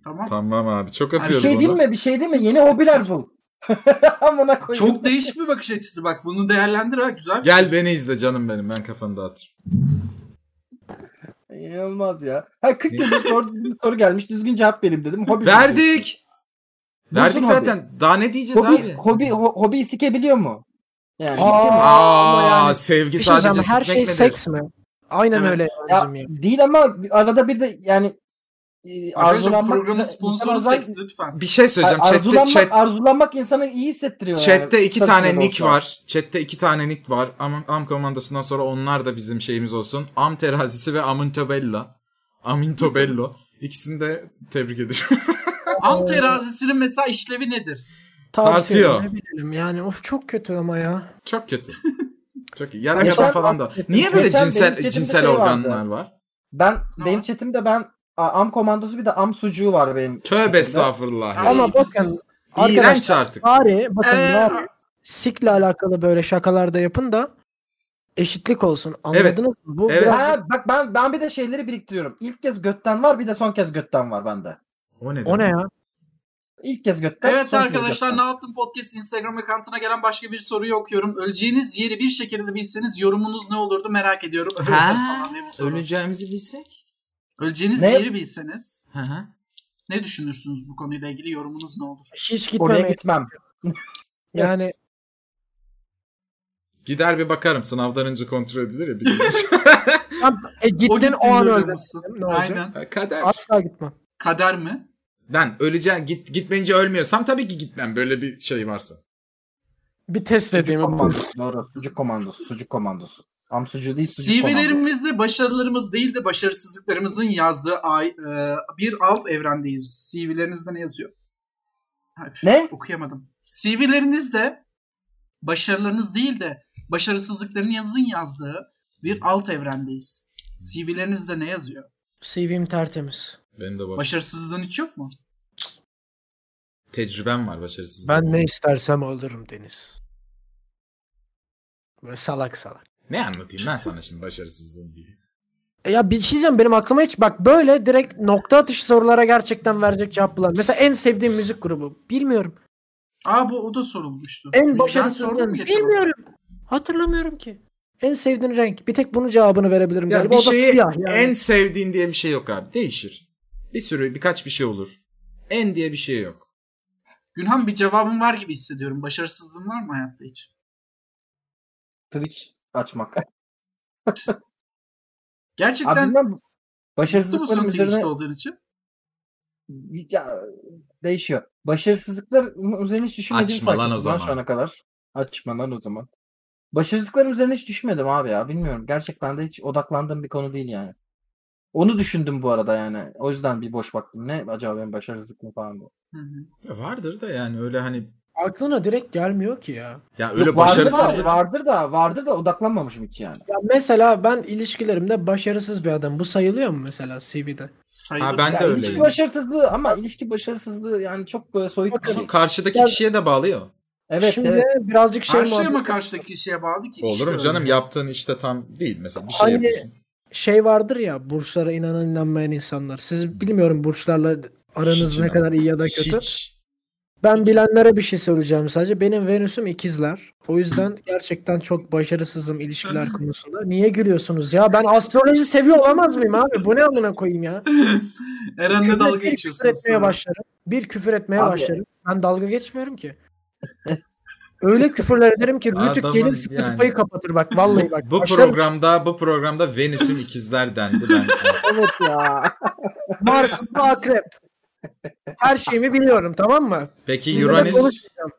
Speaker 3: Tamam.
Speaker 4: Tamam abi çok
Speaker 3: Abi
Speaker 5: Bir
Speaker 4: öpüyoruz
Speaker 5: şey
Speaker 4: onu.
Speaker 5: değil mi? Bir şey değil mi? Yeni hobiler bul. [LAUGHS] amına koyayım.
Speaker 3: Çok değişik bir bakış açısı bak. Bunu değerlendir ha güzel.
Speaker 4: Gel beni izle canım benim ben kafanı dağıtırım.
Speaker 5: İnanılmaz ya. Ha 40 yıldır
Speaker 4: [LAUGHS]
Speaker 5: soru, soru gelmiş. Düzgün cevap vereyim dedim. Hobi
Speaker 4: Verdik.
Speaker 5: Nasıl
Speaker 4: Verdik
Speaker 5: hobi?
Speaker 4: zaten. Daha ne diyeceğiz
Speaker 5: Hobi,
Speaker 4: abi?
Speaker 5: hobi, ho- hobiyi sikebiliyor mu? Yani
Speaker 4: Aa,
Speaker 5: yani-
Speaker 4: sevgi
Speaker 2: Bir şey
Speaker 4: sadece
Speaker 2: söyleyeceğim. Her şey
Speaker 4: sikmek midir?
Speaker 2: seks mi? Aynen
Speaker 3: Evet.
Speaker 2: öyle.
Speaker 5: Ya,
Speaker 2: Ercim ya.
Speaker 5: değil ama bir- arada bir de yani e,
Speaker 3: Arkadaşlar
Speaker 5: arzulanmak
Speaker 3: programın
Speaker 5: insan-
Speaker 3: sponsoru
Speaker 5: insan-
Speaker 3: seks lütfen.
Speaker 4: Bir şey söyleyeceğim.
Speaker 5: Ar-
Speaker 4: Chatte,
Speaker 5: arzulanmak,
Speaker 4: chat,
Speaker 5: arzulanmak insanı iyi hissettiriyor.
Speaker 4: chatte
Speaker 5: yani.
Speaker 4: iki
Speaker 5: Tabii
Speaker 4: tane
Speaker 5: öyle
Speaker 4: nick
Speaker 5: olsa.
Speaker 4: var. Chatte iki tane nick var. Am, am komandosundan sonra onlar da bizim şeyimiz olsun. Am terazisi ve amintobella. Amintobello. İkisini de tebrik ediyorum. [LAUGHS]
Speaker 2: Ee,
Speaker 3: Am terazisinin mesela işlevi nedir?
Speaker 4: Tartıyor.
Speaker 2: Ne bileyim yani of çok kötü ama ya.
Speaker 4: Çok kötü. Çok iyi. Yara
Speaker 5: Geçen-
Speaker 4: yapan falan da. Niye böyle
Speaker 5: geçen benim
Speaker 4: cinsel
Speaker 5: chatimde
Speaker 4: cinsel
Speaker 5: şey
Speaker 4: organlar
Speaker 5: vardı.
Speaker 4: var?
Speaker 5: Ben
Speaker 3: Ne
Speaker 5: benim
Speaker 3: var?
Speaker 5: chatimde ben a- am komandosu bir de am sucuğu var benim.
Speaker 4: Tövbe
Speaker 5: chatimde.
Speaker 4: estağfurullah. ya.
Speaker 2: Ama bakın
Speaker 4: İğrenç
Speaker 2: arkadaşlar
Speaker 4: artık.
Speaker 2: bari bakın
Speaker 3: Ee,
Speaker 2: bari sikle alakalı böyle şakalar da yapın da eşitlik olsun. Anladınız mı? Bu
Speaker 4: Evet.
Speaker 2: biraz-
Speaker 5: Ha, bak ben ben bir de şeyleri biriktiriyorum. İlk kez götten var bir de son kez götten var bende.
Speaker 4: O ne?
Speaker 2: o ne
Speaker 4: demek?
Speaker 2: ya?
Speaker 5: İlk kez götten.
Speaker 3: Evet
Speaker 5: son kez
Speaker 3: arkadaşlar
Speaker 5: götten.
Speaker 3: ne yaptım podcast Instagram account'ına gelen başka bir soruyu okuyorum. Öleceğiniz yeri bir şekilde bilseniz yorumunuz ne olurdu merak ediyorum.
Speaker 4: [LAUGHS] Ha,
Speaker 3: Falan diye bir soru.
Speaker 4: öleceğimizi bilsek.
Speaker 3: Öleceğiniz
Speaker 5: Ne?
Speaker 3: yeri bilseniz
Speaker 4: Hı hı.
Speaker 3: ne düşünürsünüz bu konuyla ilgili yorumunuz ne olur?
Speaker 2: Hiç
Speaker 5: Oraya
Speaker 2: gitmemek.
Speaker 5: gitmem.
Speaker 2: Yani
Speaker 4: Gider bir bakarım sınavdan önce kontrol edilir ya.
Speaker 5: [LAUGHS]
Speaker 4: bilmiyormuş.
Speaker 2: tam- e, gittin o,
Speaker 3: gün
Speaker 2: an
Speaker 3: görüyor
Speaker 2: öldün.
Speaker 3: musun?
Speaker 2: Ne olacak?
Speaker 3: Aynen.
Speaker 4: Kader.
Speaker 2: Asla gitmem.
Speaker 3: Kader mi?
Speaker 4: Ben öleceğim git, gitmeyince ölmüyorsam tabii ki gitmem böyle bir şey varsa.
Speaker 2: Bir test
Speaker 5: Sucuk
Speaker 2: edeyim.
Speaker 5: komandosu. Doğru. Sucuk komandosu. Sucuk komandosu. Am sucuğu değil sucuk komandosu.
Speaker 3: CV'lerimizde başarılarımız değil de başarısızlıklarımızın yazdığı ay, e, bir alt evrendeyiz. CV'lerinizde ne yazıyor? Ay,
Speaker 5: Ne?
Speaker 3: Okuyamadım. CV'lerinizde başarılarınız değil de başarısızlıkların yazın yazdığı bir alt evrendeyiz. CV'lerinizde ne yazıyor?
Speaker 2: CV'm tertemiz.
Speaker 4: Benim de var.
Speaker 3: Başarısızlığın hiç yok mu?
Speaker 4: Tecrübem var başarısız.
Speaker 2: Ben ne istersem alırım Deniz. Böyle salak salak.
Speaker 4: Ne anlatayım ben sana şimdi başarısızlığım diye.
Speaker 2: E Ya bir şey diyeceğim benim aklıma hiç bak böyle direkt nokta atışı sorulara gerçekten verecek cevap bulan. Mesela en sevdiğim müzik grubu. Bilmiyorum.
Speaker 3: Aa bu o da sorulmuştu.
Speaker 2: En
Speaker 3: sordum
Speaker 2: başarısızlığım.
Speaker 3: geçen hafta.
Speaker 2: Bilmiyorum. Hatırlamıyorum ki. En sevdiğin renk. Bir tek bunun cevabını verebilirim
Speaker 4: Ya
Speaker 2: galiba.
Speaker 4: bir
Speaker 2: O da
Speaker 4: şeyi
Speaker 2: siyah yani.
Speaker 4: en sevdiğin diye bir şey yok abi. Değişir. Bir sürü birkaç bir şey olur. En diye bir şey yok.
Speaker 3: Günhan bir cevabım var gibi hissediyorum. Başarısızlığın var mı hayatta hiç?
Speaker 5: Twitch açmak. Abi
Speaker 3: Gerçekten
Speaker 5: bilmem
Speaker 3: mutlu musun
Speaker 5: başarısızlıkların üzerine
Speaker 3: Twitch'te olduğun için?
Speaker 5: ya, değişiyor. Başarısızlıklar üzerine hiç düşünmediğim
Speaker 4: Açma lan o
Speaker 5: fark ettim lan
Speaker 4: zaman.
Speaker 5: Şu ana kadar. Açma lan o zaman. Başarısızlıkların üzerine hiç düşmedim abi ya. Bilmiyorum. Gerçekten de hiç odaklandığım bir konu değil yani. Onu düşündüm bu arada yani. O yüzden bir boş baktım. Ne acaba benim başarısızlıkım falan bu.
Speaker 3: Hı hı.
Speaker 4: Ya vardır da yani öyle hani
Speaker 2: Aklına direkt gelmiyor ki ya.
Speaker 4: ya öyle
Speaker 5: Yok, vardır, da,
Speaker 4: başarısızlık.
Speaker 5: vardır da vardır da odaklanmamışım hiç yani.
Speaker 2: Ya mesela ben ilişkilerimde başarısız bir adam. Bu sayılıyor mu mesela CV'de?
Speaker 3: Sayılır.
Speaker 4: Ha, ben de
Speaker 5: Ya,
Speaker 4: öyleyim.
Speaker 5: ilişki başarısızlığı ama ilişki başarısızlığı yani çok böyle soyut bir
Speaker 2: Bakın,
Speaker 5: şey.
Speaker 4: Karşıdaki kişiye de bağlıyor.
Speaker 5: Evet
Speaker 2: Şimdi
Speaker 5: evet.
Speaker 2: birazcık şey
Speaker 3: Karşıya mı
Speaker 2: muhabbet-
Speaker 3: karşıdaki kişiye bağlı ki?
Speaker 4: Olur
Speaker 3: İşte
Speaker 4: mu
Speaker 3: öyle.
Speaker 4: canım yaptığın işte tam değil mesela bir şey
Speaker 2: Hani-
Speaker 4: yapıyorsun.
Speaker 2: şey vardır ya burçlara inanan inanmayan insanlar. Siz bilmiyorum burçlarla aranız
Speaker 4: Hiç
Speaker 2: ne
Speaker 4: inan-
Speaker 2: kadar iyi ya da kötü.
Speaker 4: Hiç.
Speaker 2: Ben bilenlere bir şey söyleyeceğim sadece. Benim Venüs'üm ikizler. O
Speaker 3: [CLEARS THROAT]
Speaker 2: yüzden gerçekten çok başarısızım ilişkiler konusunda. Niye gülüyorsunuz ya? Ben astroloji seviyor olamaz mıyım abi? Bu ne amına koyayım ya?
Speaker 3: Eren'le
Speaker 2: Küfür-
Speaker 3: dalga
Speaker 2: bir
Speaker 3: geçiyorsun.
Speaker 2: Küfür etmeye
Speaker 3: sonra.
Speaker 2: başlarım. Bir küfür etmeye
Speaker 5: Abi-
Speaker 2: başlarım. Ben dalga geçmiyorum ki. Öyle küfürler ederim ki Rütük
Speaker 4: Adamın
Speaker 2: gelir
Speaker 4: yani-
Speaker 2: Spotify'ı kapatır bak vallahi bak.
Speaker 4: Bu
Speaker 2: Başlarım ki,
Speaker 4: programda bu programda Venüs'ün ikizler dendi
Speaker 2: [LAUGHS]
Speaker 4: ben.
Speaker 2: Evet ya. Mars'ın da akrep. Her şeyimi biliyorum tamam mı?
Speaker 4: Peki
Speaker 2: Sizinle ben
Speaker 4: Uranüs
Speaker 2: konuşmayacağım.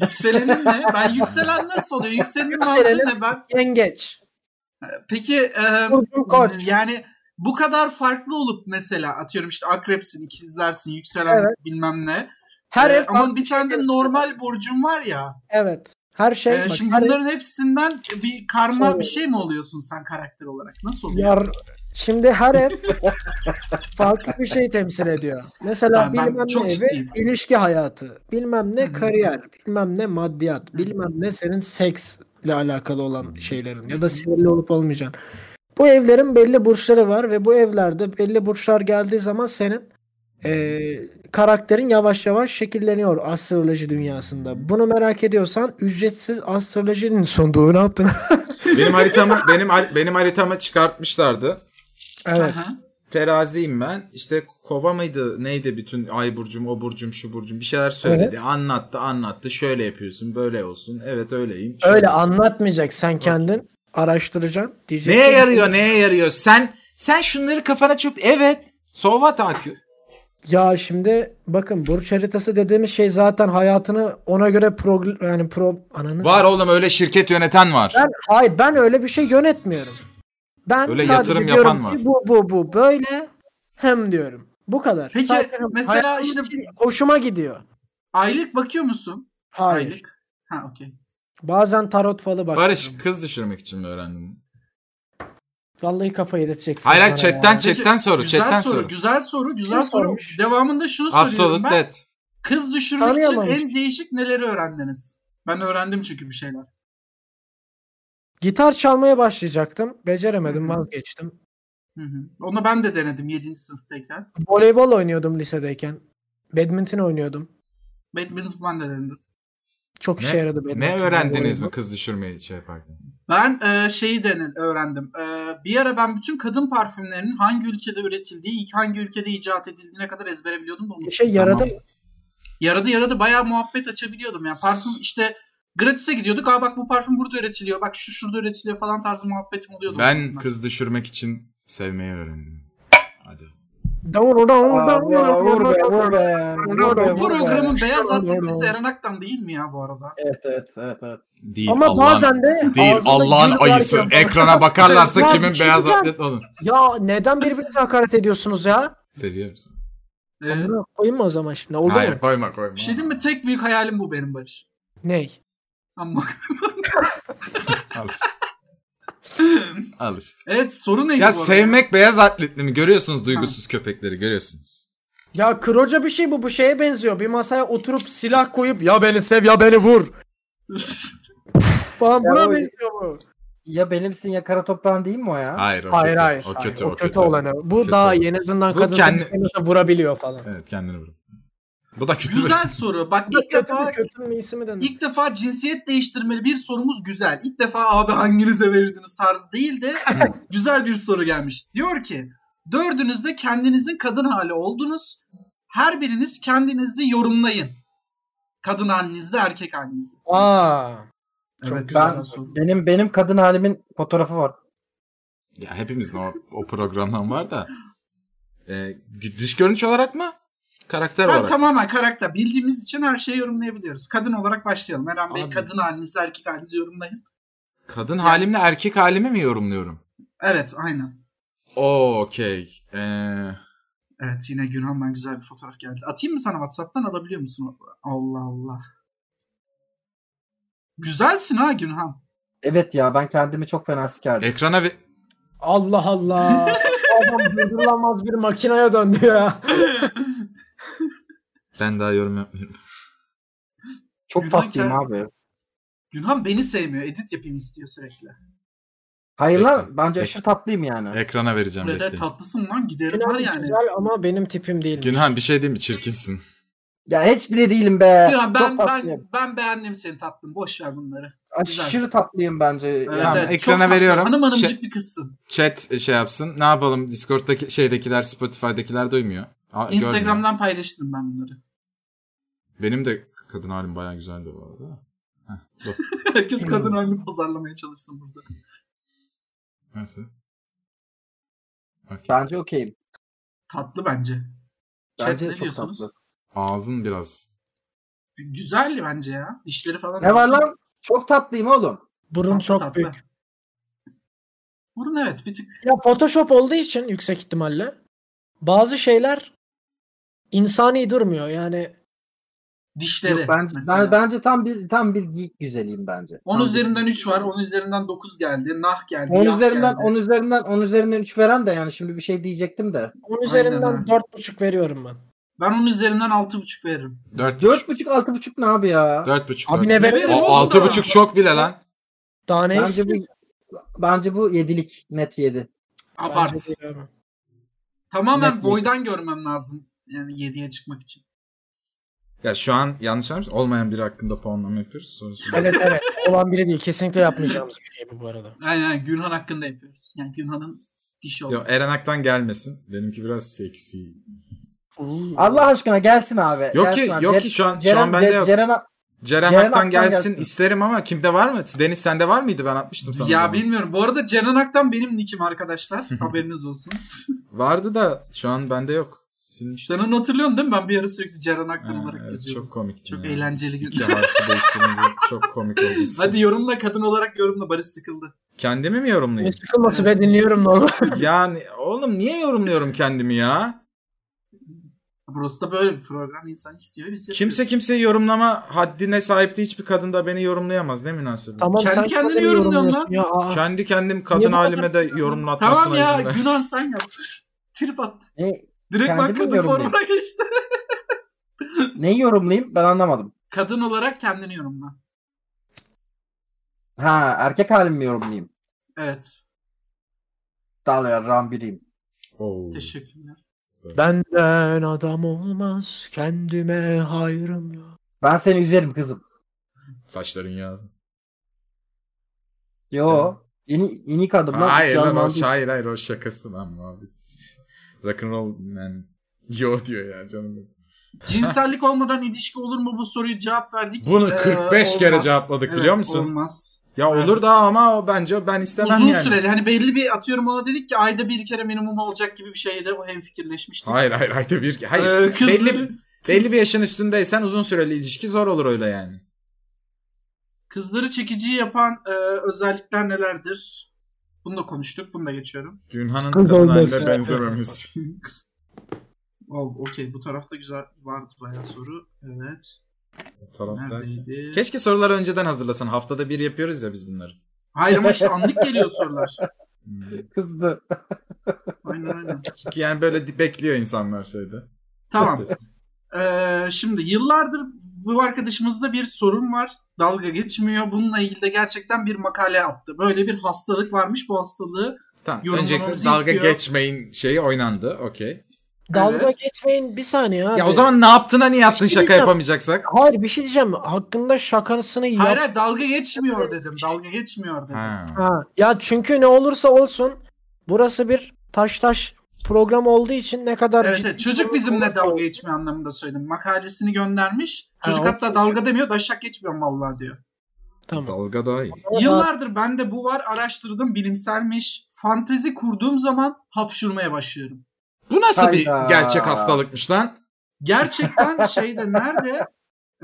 Speaker 3: Yükselenin ne? Ben yükselen nasıl oluyor? Yükselenin harfi
Speaker 2: Yükselenin-
Speaker 3: ne ben?
Speaker 2: Yengeç.
Speaker 3: Peki e,
Speaker 2: Burcum koç.
Speaker 3: yani bu kadar farklı olup mesela atıyorum işte akrepsin, ikizlersin, yükselensin bilmem ne.
Speaker 2: Her
Speaker 3: E,
Speaker 2: ev
Speaker 3: ama bir tane de
Speaker 2: gösteriyor.
Speaker 3: normal burcun var ya.
Speaker 2: Evet. Her şey.
Speaker 3: E,
Speaker 2: bak,
Speaker 3: şimdi
Speaker 2: her-
Speaker 3: bunların hepsinden bir karma
Speaker 2: Şey-
Speaker 3: bir şey mi oluyorsun sen karakter olarak? Nasıl oluyor?
Speaker 2: Yar, şimdi her ev farklı bir şey temsil ediyor. Mesela
Speaker 3: Ben- ben
Speaker 2: bilmem
Speaker 3: çok
Speaker 2: ne evi,
Speaker 3: ciddiyim.
Speaker 2: ilişki hayatı, bilmem
Speaker 3: Hı
Speaker 2: ne
Speaker 3: hı.
Speaker 2: kariyer, bilmem ne maddiyat,
Speaker 3: Hı.
Speaker 2: bilmem ne senin seksle alakalı olan şeylerin ya da sinirli olup olmayacağın. Bu evlerin belli burçları var ve bu evlerde belli burçlar geldiği zaman senin eee, karakterin yavaş yavaş şekilleniyor astroloji dünyasında. Bunu merak ediyorsan ücretsiz astrolojinin sunduğu ne yaptın? [LAUGHS]
Speaker 4: benim haritamı benim har- benim haritamı çıkartmışlardı.
Speaker 2: evet.
Speaker 3: Aha.
Speaker 4: Teraziyim ben. İşte kova mıydı neydi bütün ay burcum o burcum şu burcum bir şeyler söyledi. Anlattı anlattı şöyle yapıyorsun böyle olsun. Evet öyleyim. şöyle
Speaker 2: Öyle
Speaker 4: olsun.
Speaker 2: anlatmayacak sen kendin araştıracaksın diyeceksin.
Speaker 4: Neye yarıyor neye yarıyor sen sen şunları kafana çok evet. Sova takip.
Speaker 2: Ya şimdi bakın burç haritası dediğimiz şey zaten hayatını ona göre pro yani pro ananı.
Speaker 4: Var oğlum öyle şirket yöneten var.
Speaker 2: Ben hayır ben öyle bir şey yönetmiyorum. Ben
Speaker 4: Öyle
Speaker 2: sadece
Speaker 4: yatırım
Speaker 2: diyorum
Speaker 4: yapan
Speaker 2: ki bu bu bu böyle hem diyorum. Bu kadar.
Speaker 3: Peki,
Speaker 2: Sadece hem.
Speaker 3: mesela
Speaker 2: Hayatım
Speaker 3: işte-
Speaker 2: için hoşuma gidiyor.
Speaker 3: Aylık bakıyor musun?
Speaker 2: Hayır.
Speaker 3: Aylık. Ha okey.
Speaker 2: Bazen tarot falı bak.
Speaker 4: Barış kız düşürmek için mi öğrendin?
Speaker 2: Vallahi kafayı yedirteceksin.
Speaker 4: Hayır hayır
Speaker 2: bana
Speaker 4: chatten
Speaker 2: ya.
Speaker 3: Peki,
Speaker 4: chatten soru
Speaker 3: güzel
Speaker 4: chatten
Speaker 3: soru,
Speaker 4: soru.
Speaker 3: Güzel soru, güzel
Speaker 2: Kim
Speaker 3: soru.
Speaker 2: sormuş?
Speaker 3: Devamında şunu soruyorum
Speaker 4: Absolute
Speaker 3: ben.
Speaker 4: death.
Speaker 3: Kız düşürmek için
Speaker 2: Tanıyamamış.
Speaker 3: en değişik neleri öğrendiniz? Ben öğrendim çünkü bir şeyler.
Speaker 2: Gitar çalmaya başlayacaktım. Beceremedim
Speaker 3: Hı hı.
Speaker 2: vazgeçtim.
Speaker 3: Hı hı. Onu ben de denedim 7. sınıftayken.
Speaker 2: Voleybol oynuyordum lisedeyken. Badminton oynuyordum.
Speaker 3: Badminton ben de denedim.
Speaker 2: Çok
Speaker 4: Ne-
Speaker 2: işe yaradı badminton.
Speaker 4: Ne öğrendiniz mi
Speaker 2: voleybol.
Speaker 4: kız düşürmeyi şey yaparken?
Speaker 3: Ben e, şeyi denen öğrendim. E, bir ara ben bütün kadın parfümlerinin hangi ülkede üretildiği, ilk hangi ülkede icat edildiğine kadar ezbere biliyordum da onu.
Speaker 2: Bir şey yaradı
Speaker 4: Tamam.
Speaker 2: mı?
Speaker 3: Yaradı yaradı bayağı muhabbet açabiliyordum ya. Parfüm işte gratis'e gidiyorduk. Aa bak bu parfüm burada üretiliyor. Bak şu şurada üretiliyor falan tarzı muhabbetim oluyordu.
Speaker 4: Ben kız düşürmek için sevmeyi öğrendim. Hadi.
Speaker 2: Doğru, doğru,
Speaker 5: Aa,
Speaker 2: doğru,
Speaker 5: ya, vur be
Speaker 2: doğru,
Speaker 5: vur be. Vur be,
Speaker 2: Bu
Speaker 5: vur be.
Speaker 3: Bu programın beyaz
Speaker 2: Doğru,
Speaker 3: atlı
Speaker 2: doğru.
Speaker 3: dizisi Eren Aktan değil mi ya bu arada?
Speaker 5: Evet evet evet evet.
Speaker 4: Değil
Speaker 2: Ama
Speaker 4: Allah'ın-
Speaker 2: bazen de
Speaker 4: Değil
Speaker 2: ağzında
Speaker 4: Allah'ın
Speaker 2: gül
Speaker 4: ayısı.
Speaker 2: varken- [LAUGHS]
Speaker 4: Ekrana bakarlarsa
Speaker 2: Ya,
Speaker 4: kimin
Speaker 2: bir şey
Speaker 4: beyaz
Speaker 2: diyeceğim.
Speaker 4: atlet olur.
Speaker 2: Ya neden birbirinize hakaret ediyorsunuz ya?
Speaker 4: Seviyor musun?
Speaker 3: Ee,
Speaker 2: Bunu koyayım mı o zaman şimdi? Oldu
Speaker 4: Hayır
Speaker 2: mu?
Speaker 4: koyma koyma.
Speaker 3: bir şey diyeyim mi? Tek büyük hayalim bu benim Barış.
Speaker 2: Ney?
Speaker 3: Ama [LAUGHS]
Speaker 4: Al işte.
Speaker 2: [LAUGHS]
Speaker 4: Al işte.
Speaker 3: evet soru neydi
Speaker 4: Ya
Speaker 3: bu arada?
Speaker 4: sevmek beyaz atletli mi? Görüyorsunuz duygusuz köpekleri görüyorsunuz.
Speaker 2: Ya kıroca bir şey bu. Bu şeye benziyor. Bir masaya oturup silah koyup ya beni sev ya beni vur falan
Speaker 5: Ya
Speaker 2: buna
Speaker 5: o-
Speaker 2: benziyor bu.
Speaker 5: Ya benimsin ya kara toprağın değil mi o ya?
Speaker 4: Hayır o
Speaker 2: Hayır
Speaker 4: kötü.
Speaker 2: hayır.
Speaker 4: O
Speaker 2: hayır.
Speaker 4: kötü
Speaker 2: o kötü, olanı. Bu
Speaker 4: Kötü
Speaker 2: daha
Speaker 4: olanı.
Speaker 2: iyi. En azından
Speaker 4: Bu
Speaker 2: kadın
Speaker 4: kendi-
Speaker 2: kendi... vurabiliyor falan.
Speaker 4: Evet kendini vurun. Bu da kötü.
Speaker 3: [LAUGHS] Güzel soru. Bak ilk
Speaker 2: kötü mü
Speaker 3: defa
Speaker 2: kötü mü iyisi mi denir?
Speaker 3: İlk defa cinsiyet değiştirmeli bir sorumuz güzel. İlk defa abi hanginize verirdiniz tarzı değil de güzel bir soru gelmiş. Diyor ki dördünüz de kendinizin kadın hali oldunuz. Her biriniz kendinizi yorumlayın. Kadın halinizde erkek halinizde.
Speaker 2: Aa.
Speaker 3: Çok
Speaker 2: Evet,
Speaker 3: güzel
Speaker 5: ben-
Speaker 3: soru.
Speaker 5: Benim benim kadın halimin fotoğrafı var.
Speaker 4: [LAUGHS] Ya hepimizin o, o programdan var da. Ee, dış görünüş olarak mı? Karakter
Speaker 3: Ben
Speaker 4: olarak.
Speaker 3: tamamen karakter bildiğimiz için her şeyi yorumlayabiliyoruz. Kadın olarak başlayalım. Eren Bey
Speaker 4: Abi.
Speaker 3: kadın halinizde erkek halinizi yorumlayın.
Speaker 4: Kadın halimle erkek halimi mi yorumluyorum?
Speaker 3: Evet aynen.
Speaker 4: Okey. Ee,
Speaker 3: Evet yine Günhan'dan güzel bir fotoğraf geldi. Atayım mı sana Whatsapp'tan alabiliyor musun? Allah Allah. Güzelsin ha Günhan.
Speaker 5: Evet ya ben kendimi çok fena sikerdim.
Speaker 4: ekrana ve...
Speaker 2: Allah [LAUGHS] Allah. Bu Adam durdurulamaz bir makinaya döndü ya.
Speaker 4: Ben daha yorum yapmıyorum.
Speaker 5: Çok
Speaker 3: Günaydın
Speaker 5: tatlıyım abi.
Speaker 3: Günhan beni sevmiyor. Edit yapayım istiyor sürekli.
Speaker 5: Hayır
Speaker 4: Peki.
Speaker 5: lan bence
Speaker 4: Peki.
Speaker 5: aşırı tatlıyım yani.
Speaker 4: Ekrana vereceğim
Speaker 3: Evet evet,
Speaker 4: bekleyin.
Speaker 3: tatlısın lan giderim var
Speaker 2: Günhan
Speaker 3: yani.
Speaker 2: güzel ama benim tipim değil.
Speaker 4: Günhan bir şey değil mi? Çirkinsin.
Speaker 5: Ya hiçbiri değilim be.
Speaker 3: Günhan ben,
Speaker 5: çok
Speaker 3: ben,
Speaker 5: tatlıyım.
Speaker 3: ben beğendim seni tatlım. Boş ver bunları. güzelsin.
Speaker 5: Aşırı tatlıyım bence.
Speaker 3: Evet,
Speaker 4: Tamam,
Speaker 5: Yani.
Speaker 3: evet, çok
Speaker 4: ekrana
Speaker 3: tatlı.
Speaker 4: veriyorum.
Speaker 3: Hanım hanımcık
Speaker 4: Şey-
Speaker 3: bir kızsın.
Speaker 4: Chat şey yapsın. Ne yapalım? Discord'daki şeydekiler, Spotify'dakiler duymuyor. Aa, görmüyor.
Speaker 3: Instagram'dan paylaştım ben bunları. [LAUGHS]
Speaker 4: Benim de kadın halim bayağı güzeldi bu arada. Heh, dur.
Speaker 3: Herkes
Speaker 4: Hmm.
Speaker 3: kadın halini pazarlamaya çalışsın burada.
Speaker 4: Neyse. Okey.
Speaker 5: Bence okeyim.
Speaker 3: Tatlı bence. Chat
Speaker 5: Bence
Speaker 3: ne
Speaker 5: çok
Speaker 3: diyorsunuz?
Speaker 5: tatlı.
Speaker 4: Ağzın biraz.
Speaker 3: Güzel bence ya. Dişleri falan.
Speaker 5: Ne var lan? Çok tatlıyım oğlum.
Speaker 2: Burun
Speaker 3: Tatlı
Speaker 2: çok
Speaker 3: tatlı.
Speaker 2: büyük.
Speaker 3: Burun evet bir tık
Speaker 2: Ya Photoshop olduğu için yüksek ihtimalle bazı şeyler insani durmuyor. Yani
Speaker 3: dişleri.
Speaker 5: Yok, ben,
Speaker 3: mesela.
Speaker 5: ben, bence tam bir tam bir geek güzeliyim bence.
Speaker 3: 10
Speaker 5: Tam
Speaker 3: üzerinden
Speaker 5: bir-
Speaker 3: 3 var. 10 üzerinden 9 geldi. Nah geldi.
Speaker 5: 10
Speaker 3: yah
Speaker 5: üzerinden
Speaker 3: geldi.
Speaker 5: 10 üzerinden 10 üzerinden 3 veren de yani şimdi bir şey diyecektim de.
Speaker 2: 10 üzerinden
Speaker 3: öyle.
Speaker 2: dört buçuk veriyorum ben.
Speaker 3: Ben 10 üzerinden 6.5 veririm.
Speaker 4: 4 4
Speaker 5: 4.5 6.5 ne abi ya?
Speaker 4: 4,5.
Speaker 2: Abi
Speaker 4: Abi
Speaker 2: ne
Speaker 3: Ne
Speaker 2: be?
Speaker 3: veriyor oğlum
Speaker 4: altı
Speaker 3: ya?
Speaker 4: buçuk çok bile lan.
Speaker 2: Daha ne
Speaker 5: Bence
Speaker 2: istiyorsun?
Speaker 5: bu bence bu 7'lik net 7.
Speaker 3: Abart.
Speaker 2: Bence biliyorum.
Speaker 3: Tamamen
Speaker 5: Net
Speaker 3: boydan görmem lazım. Yani 7'ye çıkmak için.
Speaker 4: Ya şu an yanlış anlamışsın. Olmayan biri hakkında puanlama yapıyoruz. Sonra sonra-
Speaker 2: Evet evet. Olan biri değil. Kesinlikle yapmayacağımız bir şey bu bu arada.
Speaker 3: Aynen aynen. Günhan hakkında yapıyoruz. Yani Günhan'ın dişi oldu.
Speaker 4: Yok, Eren Ak'tan gelmesin. Benimki biraz seksi.
Speaker 5: Allah aşkına gelsin abi.
Speaker 4: Yok
Speaker 5: gelsin
Speaker 4: ki
Speaker 5: abi.
Speaker 4: yok
Speaker 5: Ce-
Speaker 4: ki şu an şu
Speaker 5: Ceren,
Speaker 4: an bende
Speaker 5: Ce-
Speaker 4: yok.
Speaker 5: Ceren, a-
Speaker 4: Ceren,
Speaker 5: Ceren
Speaker 4: Ak'tan
Speaker 5: Ak'tan
Speaker 4: gelsin
Speaker 5: gelsin.
Speaker 4: isterim ama kimde var mı? Deniz sende var mıydı? Ben atmıştım sana. o
Speaker 3: ya
Speaker 4: zaman.
Speaker 3: bilmiyorum. Bu arada Ceren Ak'tan benim nikim
Speaker 4: [LAUGHS]
Speaker 3: arkadaşlar. Haberiniz olsun.
Speaker 4: Vardı da şu an bende yok. Silmiştim.
Speaker 3: Sen onu hatırlıyorsun değil mi? Ben bir ara sürekli Ceren Ak'tan
Speaker 4: Ha,
Speaker 3: olarak
Speaker 4: evet,
Speaker 3: yazıyordum.
Speaker 4: çok
Speaker 3: Çok,
Speaker 4: komik.
Speaker 3: eğlenceli gün.
Speaker 4: İki harfi değiştirince çok komik oldu.
Speaker 3: [LAUGHS] Hadi yorumla kadın olarak yorumla. Barış sıkıldı.
Speaker 4: Kendimi mi
Speaker 2: Ne
Speaker 3: [LAUGHS]
Speaker 4: yorumlayayım?
Speaker 2: sıkılması be dinliyorum ne olur.
Speaker 4: yani oğlum niye yorumluyorum kendimi ya?
Speaker 3: Burası da böyle bir program. insan istiyor. şey Biz yapıyoruz.
Speaker 4: Kimse kimseyi yorumlama haddine sahipti. Hiçbir kadın da beni yorumlayamaz. Ne münasebet.
Speaker 2: Tamam
Speaker 3: Kendi
Speaker 2: sen
Speaker 3: kendini
Speaker 2: kendini
Speaker 3: yorumluyorsun
Speaker 2: yorumluyorsun ya. Aa,
Speaker 4: Kendi kendim
Speaker 2: Niye
Speaker 4: kadın
Speaker 2: bu
Speaker 4: halime
Speaker 2: kadar-
Speaker 4: de yorumlatmasına
Speaker 3: Tamam ya.
Speaker 4: izin ver.
Speaker 3: Günhan sen yap. [LAUGHS] Trip attı.
Speaker 5: ne,
Speaker 3: Direkt ben
Speaker 5: Kendimi
Speaker 3: kadın
Speaker 5: yorumlayayım.
Speaker 3: formuna geçti.
Speaker 5: neyi yorumlayayım ben anlamadım.
Speaker 3: Kadın olarak kendini yorumla.
Speaker 5: Ha erkek halimi mi yorumlayayım?
Speaker 3: Evet.
Speaker 5: Dalya ram biriyim.
Speaker 4: Oo.
Speaker 3: Teşekkürler.
Speaker 2: Benden adam olmaz kendime hayrım yok.
Speaker 5: Ben seni üzerim kızım.
Speaker 4: Saçların ya.
Speaker 5: Yo. İni, inik adım lan.
Speaker 4: Hayır
Speaker 5: Hiç
Speaker 4: lan o
Speaker 5: yalan
Speaker 4: şa-
Speaker 5: değil.
Speaker 4: hayır hayır o şakası lan muhabbet. Rock'n'roll yani. Yo diyor ya canım. benim.
Speaker 3: Cinsellik olmadan ilişki olur mu bu soruyu cevap verdik. Ee,
Speaker 4: Bunu 45 kere
Speaker 3: olmaz.
Speaker 4: cevapladık, biliyor musun?
Speaker 3: Olmaz.
Speaker 4: Ya
Speaker 3: Evet.
Speaker 4: olur da ama o bence ben istemem
Speaker 3: Uzun
Speaker 4: yani.
Speaker 3: süreli hani belli bir atıyorum ona dedik ki ayda bir kere minimum olacak gibi bir şeyde o hemfikirleşmiştik.
Speaker 4: Hayır hayır hayır bir hayır.
Speaker 3: Ee, kızları-
Speaker 4: belli, belli bir yaşın üstündeysen uzun süreli ilişki zor olur öyle yani.
Speaker 3: Kızları çekici yapan e, özellikler nelerdir? Bunu da konuştuk. Bunu da geçiyorum.
Speaker 4: Günhan'ın
Speaker 2: Kız
Speaker 4: kadınlarıyla
Speaker 2: olması.
Speaker 4: benzememiz.
Speaker 3: Kız- Ol, okey. Bu tarafta güzel vardı bayağı soru. Evet.
Speaker 4: O tarafta-
Speaker 3: Neredeydi?
Speaker 4: Keşke soruları önceden hazırlasan. Haftada bir yapıyoruz ya biz bunları.
Speaker 3: Hayır ama işte anlık geliyor sorular.
Speaker 4: Hmm.
Speaker 5: Kızdı.
Speaker 3: Aynen aynen.
Speaker 4: Çünkü yani böyle di- bekliyor insanlar şeyde.
Speaker 3: Tamam. Ee, şimdi yıllardır bu arkadaşımızda bir sorun var. Dalga geçmiyor. Bununla ilgili de gerçekten bir makale attı. Böyle bir hastalık varmış. Bu hastalığı
Speaker 4: Tamam.
Speaker 3: Yorumlamamızı
Speaker 4: Öncelikle dalga
Speaker 3: istiyor.
Speaker 4: geçmeyin şeyi oynandı. Okey.
Speaker 2: Dalga
Speaker 3: Evet.
Speaker 2: geçmeyin bir saniye abi.
Speaker 4: Ya o zaman ne yaptın hani yaptın
Speaker 2: şey
Speaker 4: şaka
Speaker 2: diyeceğim.
Speaker 4: yapamayacaksak?
Speaker 2: Hayır bir şey diyeceğim. Hakkında şakasını yap.
Speaker 3: Hayır hayır dalga geçmiyor dedim. Dalga geçmiyor dedim.
Speaker 4: Ha.
Speaker 2: Ha, ya çünkü ne olursa olsun burası bir taş taş program olduğu için ne kadar
Speaker 3: Evet,
Speaker 2: ciddi
Speaker 3: evet. çocuk
Speaker 2: olursa
Speaker 3: bizimle
Speaker 2: olsun.
Speaker 3: dalga geçmiyor anlamında söyledim. Makalesini göndermiş.
Speaker 2: Ha,
Speaker 3: Çocuk
Speaker 2: o
Speaker 3: hatta dalga demiyor, daşak geçmiyorum vallahi diyor.
Speaker 2: Tamam.
Speaker 4: Dalga daha iyi.
Speaker 3: Yıllardır bende bu var, araştırdım, bilimselmiş. Fantezi kurduğum zaman hapşurmaya başlıyorum.
Speaker 4: Bu nasıl
Speaker 5: Hayda.
Speaker 4: bir gerçek hastalıkmış lan? [LAUGHS]
Speaker 3: Gerçekten şeyde nerede?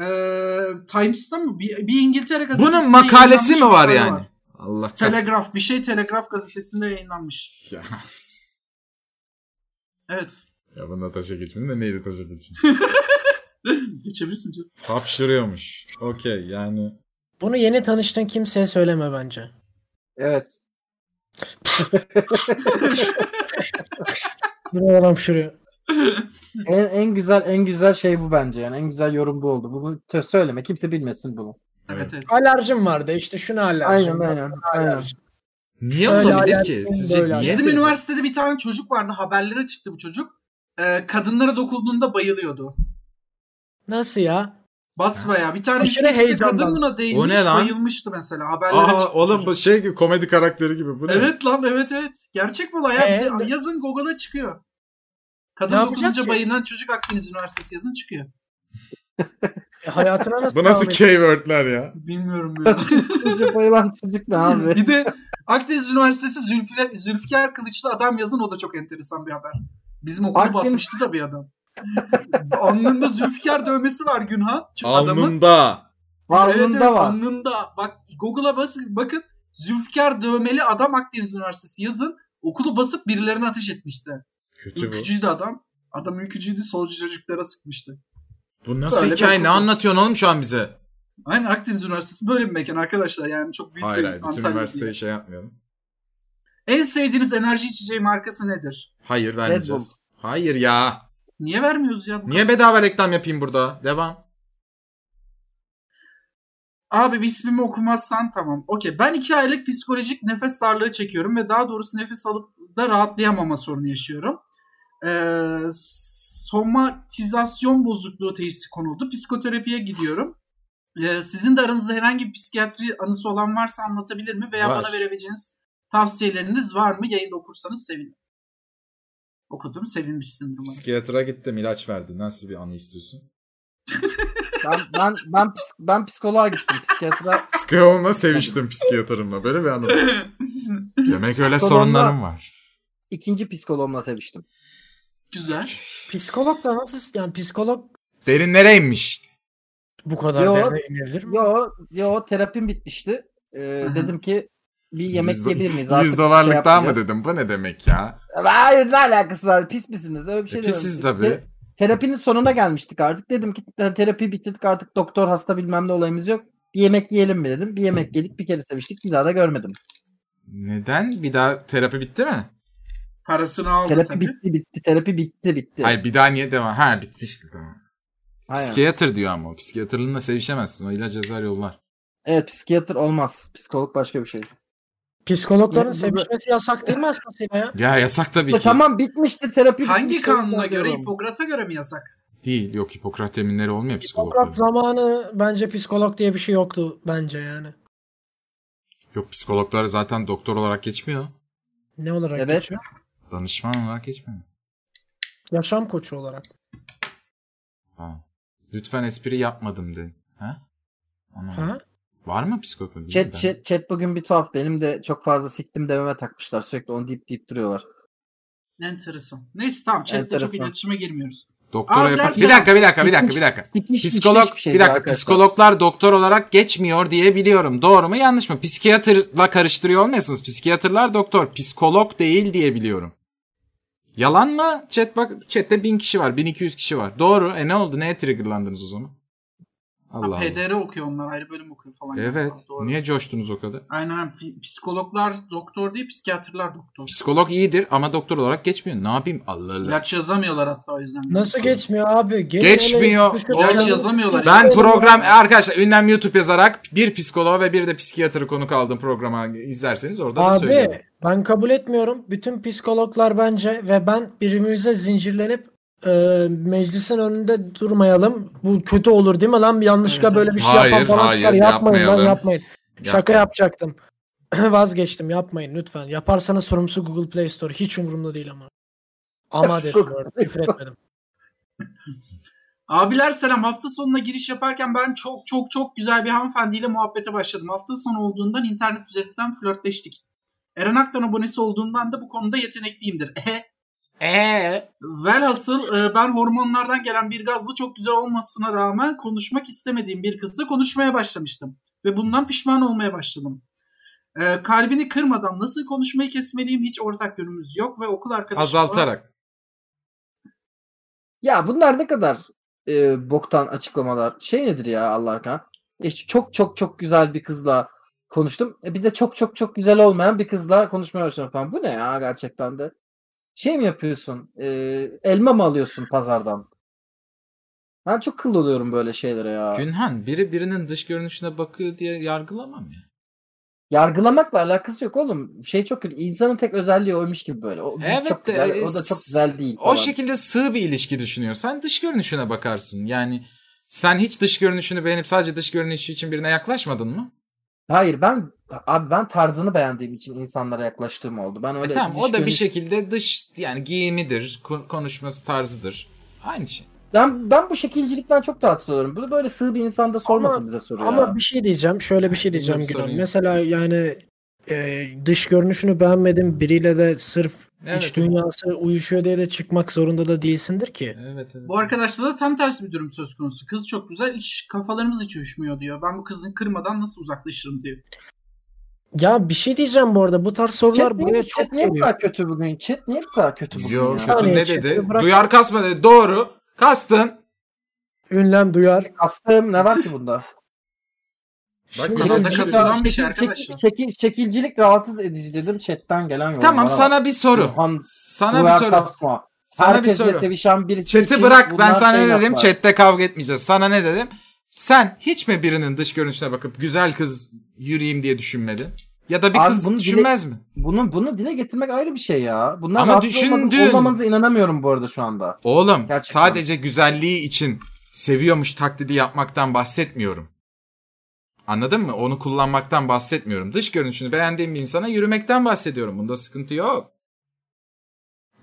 Speaker 3: Ee, Times'ta mı? Bir, bir İngiltere gazetesinde
Speaker 4: Bunun makalesi mi
Speaker 3: yayınlanmış
Speaker 4: var
Speaker 3: makale
Speaker 4: yani? Allah kahretsin.
Speaker 3: Telegraf, bir şey Telegraf gazetesinde yayınlanmış.
Speaker 4: Ya.
Speaker 3: Evet. [LAUGHS]
Speaker 4: Ya bunda taşa geçmedim de neydi taşa geçeyim?
Speaker 3: Geçebilirsin canım.
Speaker 4: Hapşırıyormuş. Okey yani.
Speaker 2: Bunu yeni tanıştığın kimseye söyleme bence.
Speaker 5: Evet.
Speaker 2: Buralar hapşırıyor.
Speaker 5: En, en güzel en güzel şey bu bence yani. En güzel yorum bu oldu. Bunu t- söyleme. Kimse bilmesin bunu.
Speaker 3: Evet evet.
Speaker 2: Alerjim vardı işte şuna alerjim.
Speaker 5: Aynen
Speaker 2: var,
Speaker 5: aynen.
Speaker 2: buna
Speaker 5: aynen.
Speaker 2: alerjim.
Speaker 4: Niye
Speaker 2: Öyle
Speaker 4: olabilir
Speaker 2: alakası
Speaker 4: ki?
Speaker 2: yok,
Speaker 4: Sizce
Speaker 2: böyle
Speaker 4: niye?
Speaker 3: Bizim üniversitede bir tane çocuk vardı. Haberlere çıktı bu çocuk. Ee, kadınlara dokunduğunda bayılıyordu.
Speaker 2: Nasıl ya?
Speaker 3: Basbayağı. Bir tane
Speaker 2: Aşırı
Speaker 3: işte kadın
Speaker 2: heyecandan.
Speaker 3: buna değmiş.
Speaker 4: O ne lan?
Speaker 3: Bayılmıştı mesela. Haberlere
Speaker 4: Aa
Speaker 3: çıktı
Speaker 4: oğlum
Speaker 3: çocuk.
Speaker 4: bu şey gibi komedi karakteri gibi. Bu ne?
Speaker 3: Evet lan evet evet. Gerçek bu olay. ya.
Speaker 2: Ee,
Speaker 3: Bir de
Speaker 2: ne-
Speaker 3: yazın Google'a çıkıyor.
Speaker 2: Ne
Speaker 3: Kadın
Speaker 2: yapacak
Speaker 3: dokununca
Speaker 2: ki?
Speaker 3: bayılan çocuk Akdeniz Üniversitesi yazın çıkıyor.
Speaker 2: E,
Speaker 4: [LAUGHS]
Speaker 2: hayatına nasıl
Speaker 4: Bu nasıl
Speaker 2: devam
Speaker 4: keywordler ya?
Speaker 3: Bilmiyorum
Speaker 2: [LAUGHS]
Speaker 3: ya.
Speaker 5: [LAUGHS] Çocuk bayılan çocuk
Speaker 4: [LAUGHS]
Speaker 5: ne abi?
Speaker 3: bir de Akdeniz Üniversitesi Zülfü, Zülfikar Kılıçlı adam yazın o da çok enteresan bir haber. Bizim okulu
Speaker 5: Akdeniz-
Speaker 3: basmıştı da bir adam. [LAUGHS] Alnında Zülfikar dövmesi var Günhan. Çünkü adamın
Speaker 4: Alnında.
Speaker 3: Evet,
Speaker 5: Varlığında
Speaker 3: evet,
Speaker 5: var.
Speaker 3: Alnında. Bak Google'a basın bakın. Zülfikar dövmeli adam Akdeniz Üniversitesi yazın. Okulu basıp birilerine ateş etmişti.
Speaker 4: Kötü bu.
Speaker 3: Ülkücüydü adam. Adam ülkücüydü solcu çocuklara sıkmıştı.
Speaker 4: Bu nasıl
Speaker 3: Böyle bir
Speaker 4: hikaye? Ne
Speaker 3: okul.
Speaker 4: anlatıyorsun oğlum şu an bize?
Speaker 3: Aynen Akdeniz Üniversitesi böyle bir mekan arkadaşlar. Yani çok büyük
Speaker 4: Hayır
Speaker 3: bir
Speaker 4: hayır. Bütün
Speaker 3: Antalya
Speaker 4: üniversiteyi
Speaker 3: değil.
Speaker 4: şey yapmayalım.
Speaker 3: En sevdiğiniz enerji içeceği markası nedir?
Speaker 4: Hayır vermeyeceğiz. Hayır ya.
Speaker 3: Niye vermiyoruz ya? Bu
Speaker 4: Niye bedava reklam yapayım burada? Devam.
Speaker 3: Abi bir ismimi okumazsan tamam. Okey ben iki aylık psikolojik nefes darlığı çekiyorum ve daha doğrusu nefes alıp da rahatlayamama sorunu yaşıyorum. Ee, somatizasyon bozukluğu teşhisi konuldu. Psikoterapiye gidiyorum. Ee, sizin de aranızda herhangi bir psikiyatri anısı olan varsa anlatabilir mi? Veya
Speaker 4: Var.
Speaker 3: bana verebileceğiniz tavsiyeleriniz var mı? Yayında okursanız sevinirim. Okudum sevinmişsindir umarım.
Speaker 4: Psikiyatra gittim ilaç verdi. Nasıl bir anı istiyorsun?
Speaker 5: Ben ben ben, psik- ben psikoloğa gittim. Psikiyatra
Speaker 4: Psikoloğumla seviştim psikiyatrımla. Böyle bir anı var. Demek öyle sorunlarım var.
Speaker 5: ikinci psikoloğumla seviştim.
Speaker 3: Güzel.
Speaker 2: ediyor? Psikolog da nasıl yani psikolog
Speaker 4: Derinlere inmiş işte.
Speaker 2: bu kadar
Speaker 5: Yo.
Speaker 2: derine inilir mi?
Speaker 5: Yo yo terapim bitmişti. Ee,
Speaker 3: Hı hı.
Speaker 5: dedim ki bir yemek
Speaker 4: Yüz do-
Speaker 5: yiyebilir miyiz? Artık
Speaker 4: 100
Speaker 5: şey
Speaker 4: dolarlık daha mı
Speaker 5: yapmayacağız. Ee,
Speaker 4: dedim? Bu ne demek ya?
Speaker 5: Hayır ne alakası var? Pis misiniz? Öyle bir şey
Speaker 4: E,
Speaker 5: demiyorum.
Speaker 4: pisiz
Speaker 5: Te-
Speaker 4: tabii.
Speaker 5: terapinin sonuna gelmiştik artık. Dedim ki "Te- terapi bitirdik artık doktor hasta bilmem ne olayımız yok. Bir yemek yiyelim mi dedim. Bir yemek yedik bir kere seviştik bir daha da görmedim.
Speaker 4: Neden? Bir daha terapi bitti mi?
Speaker 3: Parasını aldı
Speaker 5: terapi
Speaker 3: tabii.
Speaker 5: bitti bitti. Terapi bitti bitti.
Speaker 4: Hayır bir daha niye devam? Ha bitti işte tamam.
Speaker 5: Aynen.
Speaker 4: Psikiyatr diyor ama. Psikiyatrlığınla sevişemezsin. O ilaç yazar yollar.
Speaker 5: Evet psikiyatr olmaz. Psikolog başka bir şey.
Speaker 2: Psikologların
Speaker 5: Ya, bu-
Speaker 2: sevişmesi yasak değil mi aslında ya?
Speaker 4: Ya yasak tabii ki.
Speaker 5: Tamam bitmişti terapi.
Speaker 3: Hangi
Speaker 5: bitmişti, o
Speaker 3: kanuna
Speaker 5: yüzden
Speaker 3: göre?
Speaker 5: diyorum.
Speaker 3: Hipokrat'a göre mi yasak?
Speaker 4: Değil. Yok Hipokrat yeminleri olmuyor
Speaker 2: Hipokrat
Speaker 4: psikologların.
Speaker 2: zamanı bence psikolog diye bir şey yoktu bence yani.
Speaker 4: Yok psikologlar zaten doktor olarak geçmiyor.
Speaker 2: Ne olarak
Speaker 5: Evet.
Speaker 2: geçiyor?
Speaker 4: Danışman olarak geçmiyor.
Speaker 2: Yaşam koçu olarak.
Speaker 4: Ha. Lütfen espri yapmadım de. Ha? Anlamadım.
Speaker 2: Ha?
Speaker 4: Var mı psikolog?
Speaker 5: Chat,
Speaker 4: Bilmiyorum ben.
Speaker 5: chat, chat bugün bir tuhaf. Benim de çok fazla siktim dememe takmışlar. Sürekli onu deyip deyip duruyorlar.
Speaker 3: Enteresan. Neyse tamam chatle çok
Speaker 5: Enteresan.
Speaker 3: iletişime girmiyoruz.
Speaker 4: Doktora
Speaker 3: Abi,
Speaker 4: yapar.
Speaker 3: biraz
Speaker 4: Bir dakika bir dakika bir dakika
Speaker 5: Sikmiş-
Speaker 4: bir dakika.
Speaker 5: sikmiş dişli
Speaker 4: Psikolog
Speaker 5: hiçbir şey
Speaker 4: bir
Speaker 5: değil
Speaker 4: dakika
Speaker 5: arkadaşlar.
Speaker 4: psikologlar doktor olarak geçmiyor diye biliyorum. Doğru mu yanlış mı? Psikiyatrla karıştırıyor olmayasınız. Psikiyatrlar doktor, psikolog değil diye biliyorum. Yalan mı? Chat bak chatte 1000 kişi var, 1200 kişi var. Doğru. E ne oldu? Neye triggerlandınız o zaman? Allah
Speaker 3: Ha,
Speaker 4: Allah.
Speaker 3: PDR okuyor onlar ayrı bölüm okuyor falan.
Speaker 4: Evet.
Speaker 3: Doğru.
Speaker 4: Niye coştunuz o kadar?
Speaker 3: Aynen pi- psikologlar doktor değil psikiyatrlar doktor.
Speaker 4: Psikolog iyidir ama doktor olarak geçmiyor. Ne yapayım? Allah Allah.
Speaker 3: İlaç yazamıyorlar hatta o yüzden.
Speaker 2: Nasıl geçmiyor abi? Gelin
Speaker 4: Geçmiyor.
Speaker 2: hele-
Speaker 4: Oğlum,
Speaker 3: İlaç yazamıyorlar.
Speaker 4: Ben program arkadaşlar ünlem YouTube yazarak bir psikoloğa ve bir de psikiyatırı konuk aldığım programa izlerseniz orada da söylüyorum.
Speaker 2: Abi ben kabul etmiyorum. Bütün psikologlar bence ve ben birbirimize zincirlenip e, meclisin önünde durmayalım. Bu kötü olur değil mi lan? Bir Yanlışlıkla
Speaker 3: Evet,
Speaker 2: böyle
Speaker 3: evet.
Speaker 2: bir şey yapan
Speaker 4: Hayır,
Speaker 2: falan
Speaker 4: hayır,
Speaker 2: çıkar. yapmayın lan
Speaker 4: yapmayalım.
Speaker 2: yapmayın. Şaka
Speaker 4: Yapmayın.
Speaker 2: yapacaktım. [CLEARS THROAT] Vazgeçtim yapmayın lütfen. Yaparsanız sorumlusu Google Play Store. Hiç umurumda değil ama. Ama dedim bu arada, küfür etmedim.
Speaker 3: Abiler selam. Hafta sonuna giriş yaparken ben çok çok çok güzel bir hanımefendiyle muhabbete başladım. Hafta sonu olduğundan internet üzerinden flörtleştik. Eren Aktan abonesi olduğundan da bu konuda yetenekliyimdir. Ehe.
Speaker 4: Ee,
Speaker 3: Velhasıl e, ben hormonlardan gelen bir gazla çok güzel olmasına rağmen konuşmak istemediğim bir kızla konuşmaya başlamıştım. Ve bundan pişman olmaya başladım. E, kalbini kırmadan nasıl konuşmayı kesmeliyim hiç ortak yönümüz yok ve okul arkadaşım
Speaker 4: azaltarak.
Speaker 5: Ya bunlar ne kadar e, boktan açıklamalar. Şey nedir ya Allah aşkına? E, şu çok çok çok güzel bir kızla konuştum. E, bir de çok çok çok güzel olmayan bir kızla konuşmaya başladım falan. Bu ne ya gerçekten de? Şey mi yapıyorsun? E, elma mı alıyorsun pazardan? Ben çok kıl oluyorum böyle şeylere ya.
Speaker 4: Günhan biri birinin dış görünüşüne bakıyor diye yargılamam ya.
Speaker 5: Yargılamakla alakası yok oğlum. Şey çok kötü. İnsanın tek özelliği oymuş gibi böyle. O, biz
Speaker 4: Evet
Speaker 5: çok
Speaker 4: de
Speaker 5: güzel,
Speaker 4: e,
Speaker 5: o da çok
Speaker 4: s-
Speaker 5: güzel değil.
Speaker 4: O
Speaker 5: falan.
Speaker 4: şekilde sığ bir ilişki düşünüyorsan dış görünüşüne bakarsın. Yani sen hiç dış görünüşünü beğenip sadece dış görünüşü için birine yaklaşmadın mı?
Speaker 5: Hayır ben abi ben tarzını beğendiğim için insanlara yaklaştığım oldu. Ben öyle
Speaker 4: e tamam
Speaker 5: dış
Speaker 4: o da bir
Speaker 5: görünüş-
Speaker 4: şekilde dış yani giyimidir, ko- konuşması tarzıdır. Aynı şey.
Speaker 5: Ben ben bu şekilcilikten çok rahatsız oluyorum. Bunu böyle sığ bir insanda sormasın
Speaker 2: Ama-
Speaker 5: bize soruyor.
Speaker 2: Ama
Speaker 5: ya.
Speaker 2: bir şey diyeceğim. Şöyle bir şey
Speaker 4: Bilmiyorum
Speaker 2: diyeceğim Güran.
Speaker 4: sorayım.
Speaker 2: Mesela yani e, dış görünüşünü beğenmedim biriyle de sırf
Speaker 4: Evet.
Speaker 2: iç dünyası uyuşuyor diye de çıkmak zorunda da değilsindir ki.
Speaker 4: Evet evet.
Speaker 3: Bu arkadaşla da tam tersi bir durum söz konusu. Kız çok güzel, hiç kafalarımız hiç uyuşmuyor diyor. Ben bu kızın kırmadan nasıl uzaklaşırım diyor.
Speaker 2: Ya bir şey diyeceğim bu arada. Bu tarz sorular
Speaker 5: Chat niye-
Speaker 2: buraya
Speaker 5: chat
Speaker 2: çok
Speaker 5: niye bu
Speaker 2: geliyor.
Speaker 5: kadar kötü bugün? Chat niye bu kadar kötü bugün?
Speaker 4: Yo,
Speaker 5: ya? Hani
Speaker 4: kötü
Speaker 2: Saniye,
Speaker 4: ne
Speaker 2: şimdi
Speaker 4: dedi?
Speaker 2: bırak-
Speaker 4: Duyar kasma dedi. Doğru. Kastın.
Speaker 2: Ünlem duyar.
Speaker 5: Kastığım ne var ki
Speaker 4: [LAUGHS]
Speaker 5: bunda?
Speaker 4: Bak,
Speaker 2: Şimdi-
Speaker 3: Masada
Speaker 5: Şekil-
Speaker 3: kasılan bir şey
Speaker 5: şekil- şekil-
Speaker 3: arkadaşlar.
Speaker 5: şekil- şekilcilik rahatsız edici dedim chatten gelen yorumlara
Speaker 4: Tamam
Speaker 5: bak.
Speaker 4: sana bir soru.
Speaker 5: Burhan-
Speaker 4: Sana bir
Speaker 5: Burhan
Speaker 4: soru.
Speaker 5: Kasma.
Speaker 4: Sana bir
Speaker 5: Herkesle
Speaker 4: soru.
Speaker 5: sevişen birisi
Speaker 4: Chat'i
Speaker 5: için
Speaker 4: bırak. Ben
Speaker 5: bunlar
Speaker 4: sana
Speaker 5: şey
Speaker 4: ne dedim?
Speaker 5: yapar.
Speaker 4: Chat'te kavga etmeyeceğiz. Sana ne dedim? Sen hiç mi birinin dış görünüşüne bakıp güzel kız yürüyeyim diye düşünmedin? Ya da bir
Speaker 5: Abi
Speaker 4: kız
Speaker 5: bunu dile-
Speaker 4: düşünmez mi?
Speaker 5: Bunu bunu dile getirmek ayrı bir şey ya. Bundan
Speaker 4: Ama
Speaker 5: Ama düşündün.
Speaker 4: düşündün.
Speaker 5: olmamanıza inanamıyorum bu arada şu anda.
Speaker 4: Oğlum
Speaker 5: Gerçekten.
Speaker 4: sadece güzelliği için seviyormuş taklidi yapmaktan bahsetmiyorum. Anladın mı? Onu kullanmaktan bahsetmiyorum. Dış görünüşünü beğendiğim bir insana yürümekten bahsediyorum. Bunda sıkıntı yok.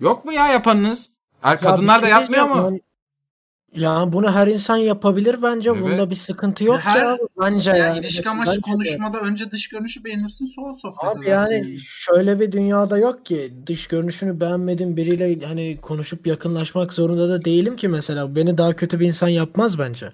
Speaker 4: Yok mu ya yapanınız? Er,
Speaker 2: Ya
Speaker 4: kadınlar
Speaker 2: bir
Speaker 4: da
Speaker 2: şey
Speaker 4: yapmıyor mu?
Speaker 2: diyeceğim lan. Ya bunu her insan yapabilir bence.
Speaker 4: Evet.
Speaker 2: Bunda bir sıkıntı yok
Speaker 3: Her-
Speaker 2: ya. Bence
Speaker 3: Yani,
Speaker 2: yani.
Speaker 3: ilişki
Speaker 2: Bence
Speaker 3: amaçlı
Speaker 2: de.
Speaker 3: konuşmada önce dış görünüşü beğenirsin sonra sohbet
Speaker 2: Abi
Speaker 3: edersin.
Speaker 2: yani şöyle bir dünyada yok ki dış görünüşünü beğenmedim biriyle hani konuşup yakınlaşmak zorunda da değilim ki mesela. Beni daha kötü bir insan yapmaz bence.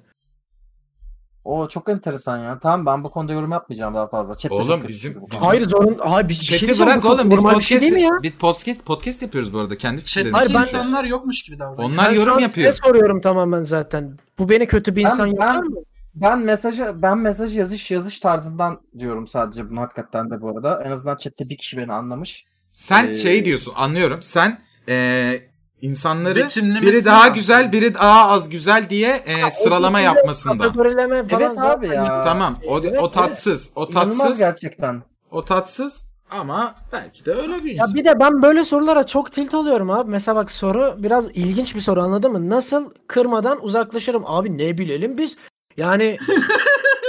Speaker 5: O çok enteresan ya. Tamam ben bu konuda yorum yapmayacağım daha fazla. Chat'te
Speaker 4: Oğlum,
Speaker 5: çok kötü
Speaker 4: bizim-
Speaker 5: bu
Speaker 4: bizim-
Speaker 5: konuda.
Speaker 2: Hayır zorun Hayır bir şey
Speaker 4: Chat'i
Speaker 2: diyeceğim,
Speaker 4: bırak
Speaker 2: bu çok
Speaker 4: oğlum. Biz
Speaker 2: normal bir şey
Speaker 4: podcast,
Speaker 2: değil mi ya?
Speaker 4: biz podcast, podcast yapıyoruz bu arada. Kendi
Speaker 3: Chat'teki
Speaker 4: fikirlerimizi
Speaker 2: Hayır, ben-
Speaker 4: konuşuyoruz.
Speaker 3: insanlar yokmuş gibi davranıyor.
Speaker 4: Onlar
Speaker 2: Ben şu
Speaker 4: yorum
Speaker 2: an
Speaker 4: yapıyor.
Speaker 2: size soruyorum tamamen zaten. Bu beni kötü bir
Speaker 5: Ben-
Speaker 2: insan yapar
Speaker 5: ben-
Speaker 2: mı?
Speaker 5: Ben mesajı ben mesaj yazış yazış tarzından diyorum sadece bunu hakikaten de bu arada. En azından chat'te bir kişi beni anlamış.
Speaker 4: Sen
Speaker 5: Ee,
Speaker 4: şey diyorsun anlıyorum. Sen eee, insanları
Speaker 3: Biçimlemesi
Speaker 4: biri daha
Speaker 3: var.
Speaker 4: güzel, biri daha az güzel diye e, sıralama yapmasında.
Speaker 2: Kategorileme falan
Speaker 5: Evet
Speaker 2: zaten
Speaker 5: abi ya.
Speaker 4: Tamam. O
Speaker 5: Evet,
Speaker 4: o tatsız. O
Speaker 5: İnanılmaz
Speaker 4: tatsız.
Speaker 5: gerçekten.
Speaker 4: O tatsız ama belki de öyle bir
Speaker 2: Ya
Speaker 4: insan.
Speaker 2: bir de ben böyle sorulara çok tilt oluyorum abi. Mesela bak soru biraz ilginç bir soru anladın mı? Nasıl kırmadan uzaklaşırım? Abi ne bilelim biz?
Speaker 5: [LAUGHS]
Speaker 2: Yani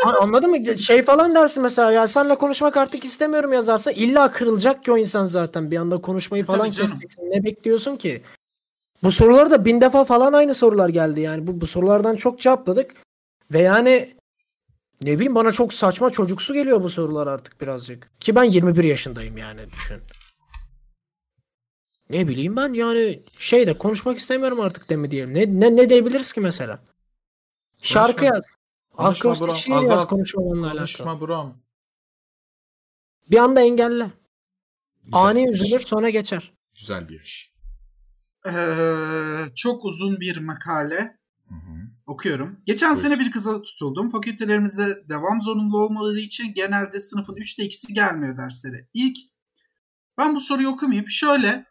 Speaker 2: A- anladın mı? Şey falan dersin mesela ya senle konuşmak artık istemiyorum yazarsa illa kırılacak ki o insan zaten bir anda
Speaker 5: E,
Speaker 2: konuşmayı
Speaker 3: Tabii
Speaker 2: falan
Speaker 3: canım.
Speaker 2: keseceksin. Ne bekliyorsun ki? Bu soruları da bin defa falan aynı sorular geldi yani. Bu, bu sorulardan çok cevapladık. Ve yani ne bileyim bana çok saçma çocuksu geliyor bu sorular artık birazcık. Ki ben 21 yaşındayım yani düşün. Ne bileyim ben yani şey de konuşmak istemiyorum artık de mi diyelim. Ne, ne, ne diyebiliriz ki mesela? Şarkı
Speaker 4: Konuşma.
Speaker 2: yaz.
Speaker 4: Konuşma
Speaker 2: Akrostiş
Speaker 4: bro,
Speaker 2: şiir yaz
Speaker 4: azalt.
Speaker 2: konuşmamanla alakalı.
Speaker 4: Konuşma bro.
Speaker 2: Bir anda engelle.
Speaker 4: Güzel
Speaker 2: Ani
Speaker 4: bir iş.
Speaker 2: üzülür sonra geçer.
Speaker 4: Güzel bir iş.
Speaker 3: Ee, çok uzun bir makale
Speaker 4: Hı hı.
Speaker 3: okuyorum. Geçen
Speaker 4: Buyur.
Speaker 3: sene bir kıza tutuldum. Fakültelerimizde devam zorunlu olmadığı için genelde sınıfın üçte ikisi gelmiyor derslere. İlk ben bu soruyu okumayıp
Speaker 4: [LAUGHS]
Speaker 3: şöyle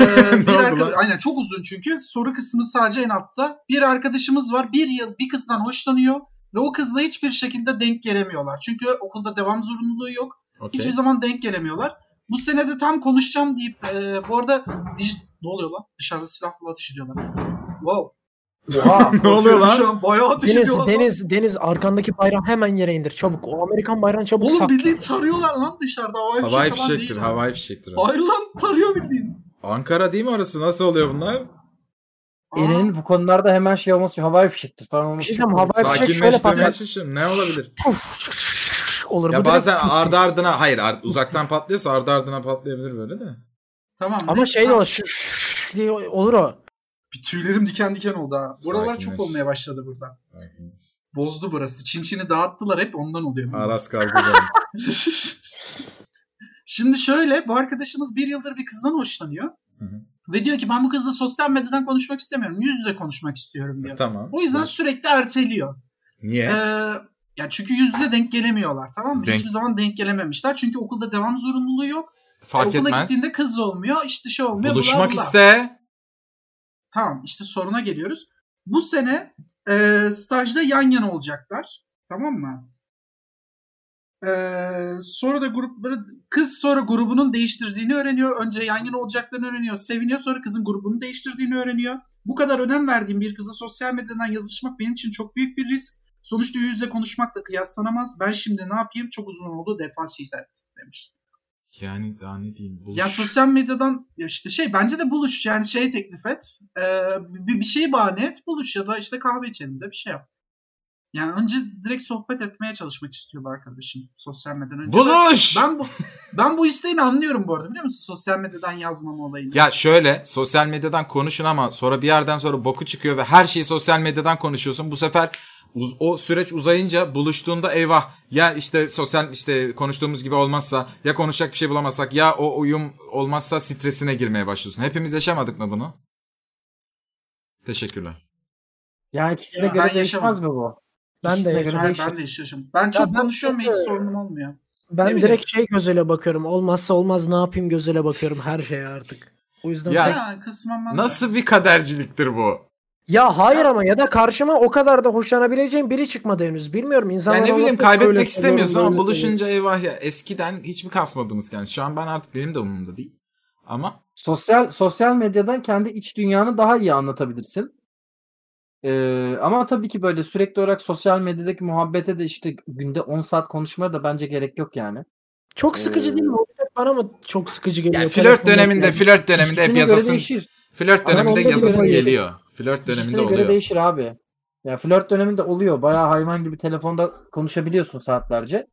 Speaker 3: e, bir
Speaker 4: Ne oldu
Speaker 3: arka-
Speaker 4: lan?
Speaker 3: aynen çok uzun çünkü soru kısmı sadece en altta. Bir arkadaşımız var. Bir yıl bir kızdan hoşlanıyor ve o kızla hiçbir şekilde denk gelemiyorlar. Çünkü okulda devam zorunluluğu yok.
Speaker 4: Okey.
Speaker 3: Hiçbir zaman denk gelemiyorlar. Bu sene de tam konuşacağım deyip e, bu arada dij- ne oluyor lan? Dışarıda silahla ateş ediyorlar. Wow.
Speaker 4: [LAUGHS]
Speaker 5: Oha.
Speaker 4: ne oluyor
Speaker 3: Şu
Speaker 4: lan?
Speaker 3: an bayağı ateş
Speaker 2: Deniz,
Speaker 3: ediyorlar. lan.
Speaker 2: Deniz, Deniz arkandaki bayrağı hemen yere indir çabuk. O Amerikan bayrağını çabuk
Speaker 3: Oğlum
Speaker 2: sak.
Speaker 3: bildiğin tarıyorlar lan dışarıda. Havai,
Speaker 2: şey
Speaker 4: Havai
Speaker 3: fişek falan
Speaker 4: fişektir,
Speaker 3: değil.
Speaker 4: havai fişektir.
Speaker 3: Hayır lan tarıyor bildiğin.
Speaker 4: Ankara değil mi orası? Nasıl oluyor bunlar?
Speaker 3: Aa,
Speaker 5: Eren'in bu konularda hemen şey olması havai fişektir falan
Speaker 2: Bir
Speaker 5: olması.
Speaker 2: şey diyeceğim, havai fişek şöyle
Speaker 4: Sakinleştirmeye
Speaker 2: patlar.
Speaker 4: çalışıyorum. Ne olabilir?
Speaker 2: Olur bu
Speaker 4: Ya
Speaker 2: direkt-
Speaker 4: bazen ardı ardına hayır ar- uzaktan patlıyorsa ardı ardına patlayabilir böyle de.
Speaker 3: Tamam.
Speaker 2: Ama
Speaker 3: neyse,
Speaker 2: şey de
Speaker 3: tamam.
Speaker 2: olur. şş- şş diye olur o.
Speaker 3: Bir tüylerim diken diken oldu ha. Buralar çok
Speaker 4: Sakinleş.
Speaker 3: olmaya başladı burada. Bozdu burası. Çinçini dağıttılar hep ondan oluyor.
Speaker 4: Aras kavgaları.
Speaker 3: [LAUGHS] Şimdi şöyle bu arkadaşımız bir yıldır bir kızdan hoşlanıyor.
Speaker 4: Hı hı.
Speaker 3: Ve diyor ki ben bu kızla sosyal medyadan konuşmak istemiyorum. Yüz yüze konuşmak istiyorum diyor.
Speaker 4: tamam.
Speaker 3: O yüzden sürekli erteliyor.
Speaker 4: niye?
Speaker 3: Ee, ya çünkü yüz yüze denk gelemiyorlar tamam mı?
Speaker 4: Denk-
Speaker 3: Hiçbir zaman denk gelememişler. Çünkü okulda devam zorunluluğu yok.
Speaker 4: Fark
Speaker 3: Okula
Speaker 4: etmez.
Speaker 3: gittiğinde kız olmuyor. işte şey olmuyor. bla
Speaker 4: Buluşmak
Speaker 3: bla.
Speaker 4: iste.
Speaker 3: Tamam işte soruna geliyoruz. Bu sene e, stajda yan yana olacaklar. Tamam mı? E, sonra da grupları kız sonra grubunun değiştirdiğini öğreniyor. Önce yan yana olacaklarını öğreniyor. Seviniyor sonra kızın grubunu değiştirdiğini öğreniyor. Bu kadar önem verdiğim bir kıza sosyal medyadan yazışmak benim için çok büyük bir risk. Sonuçta yüz yüze konuşmakla kıyaslanamaz. Ben şimdi ne yapayım? Çok uzun oldu. Defans işaret demiş.
Speaker 4: Yani daha ne diyeyim? Buluş.
Speaker 3: Ya sosyal medyadan ya işte şey bence de buluş yani şey teklif et. Ee, bir, bir şeyi bahane et buluş ya da işte kahve içelim de bir şey yap. Yani önce direkt sohbet etmeye çalışmak istiyor bu arkadaşım sosyal medyadan önce.
Speaker 4: Buluş.
Speaker 3: Ben, ben bu ben bu isteğini anlıyorum bu arada biliyor musun? Sosyal medyadan yazmama olayını.
Speaker 4: Ya şöyle sosyal medyadan konuşun ama sonra bir yerden sonra boku çıkıyor ve her şeyi sosyal medyadan konuşuyorsun. Bu sefer uz- o süreç uzayınca buluştuğunda eyvah ya işte sosyal işte konuştuğumuz gibi olmazsa ya konuşacak bir şey bulamazsak ya o uyum olmazsa stresine girmeye başlıyorsun. Hepimiz yaşamadık mı bunu? Teşekkürler.
Speaker 5: Yani ikisine
Speaker 3: Ya ben
Speaker 5: göre değişmez
Speaker 3: yaşamadım.
Speaker 5: mi bu?
Speaker 2: Ben de
Speaker 5: İkisine
Speaker 2: yaşamadım.
Speaker 5: göre
Speaker 3: Ben,
Speaker 5: değişir.
Speaker 3: ben de yaşamışım. Ben çok
Speaker 2: ben-
Speaker 3: konuşuyorum ve hiç sorunum olmuyor. Ne
Speaker 2: Ben
Speaker 3: bileyim.
Speaker 2: direkt şey gözüyle bakıyorum. Olmazsa olmaz ne yapayım gözüyle bakıyorum her şeye artık. O yüzden
Speaker 4: Ya-
Speaker 2: pek-
Speaker 3: Ya kısmen ben de-
Speaker 4: Nasıl bir kaderciliktir bu?
Speaker 2: ya hayır ama ya da karşıma o kadar da hoşlanabileceğim biri çıkmadı henüz. Bilmiyorum
Speaker 4: Ya
Speaker 2: insanlar
Speaker 4: ne
Speaker 2: anlatıyor,
Speaker 4: bileyim
Speaker 2: şöyle
Speaker 4: kaybetmek
Speaker 2: seviyorum,
Speaker 4: istemiyorsun
Speaker 2: böyle
Speaker 4: ama
Speaker 2: seviyorum.
Speaker 4: buluşunca eyvah ya eskiden hiç mi kasmadınız yani? Şu an ben artık benim de umurumda değil. Ama
Speaker 5: Sosyal sosyal medyadan kendi iç dünyanı daha iyi anlatabilirsin. Ee, ama tabii ki böyle sürekli olarak sosyal medyadaki muhabbete de işte günde 10 saat konuşmaya da bence gerek yok yani.
Speaker 2: Çok sıkıcı değil mi? O bir tek bana mı çok sıkıcı geliyor?
Speaker 4: yani Ee, flört
Speaker 2: Telefonda-
Speaker 4: döneminde flört döneminde
Speaker 5: İkisine
Speaker 4: hep
Speaker 5: göre
Speaker 4: yazasın
Speaker 5: değişir.
Speaker 4: Flört
Speaker 5: Ama
Speaker 4: döneminde
Speaker 5: onda
Speaker 4: yazasın
Speaker 5: bile-
Speaker 4: geliyor. Flört döneminde
Speaker 5: İkisine göre
Speaker 4: oluyor.
Speaker 5: değişir abi. Ya flört döneminde oluyor. Bayağı hayvan gibi telefonda konuşabiliyorsun saatlerce.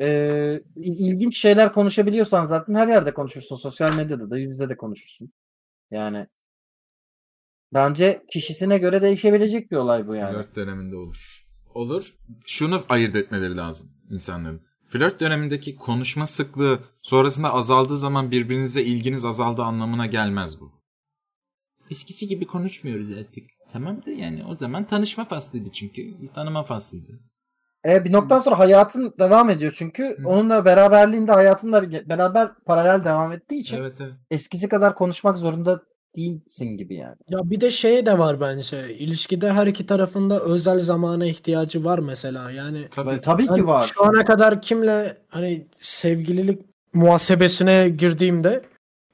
Speaker 5: Ee, il- ilginç şeyler konuşabiliyorsan zaten her yerde konuşursun. Sosyal medyada da yüz yüze de konuşursun. Yani bence kişisine göre değişebilecek bir olay bu yani.
Speaker 4: Flört döneminde olur. Olur. Şunu ayırt etmeleri lazım insanların. Flört dönemindeki konuşma sıklığı sonrasında azaldığı zaman birbirinize ilginiz azaldığı anlamına gelmez bu. Eskisi gibi konuşmuyoruz artık. Tamam da yani o zaman tanışma faslıydı çünkü. Tanıma faslıydı.
Speaker 5: E bir noktadan sonra hayatın devam ediyor çünkü
Speaker 4: Hı.
Speaker 5: onunla beraberliğinde hayatınla beraber paralel devam ettiği için
Speaker 4: Evet evet.
Speaker 5: eskisi kadar konuşmak zorunda değilsin gibi yani.
Speaker 2: Ya bir de şey de var bence. İlişkide her iki tarafında özel zamana ihtiyacı var mesela. Yani
Speaker 5: Tabii,
Speaker 4: Tabii.
Speaker 5: tabii
Speaker 2: ben
Speaker 5: ki var.
Speaker 2: Hani şu ana kadar kimle hani sevgililik muhasebesine girdiğimde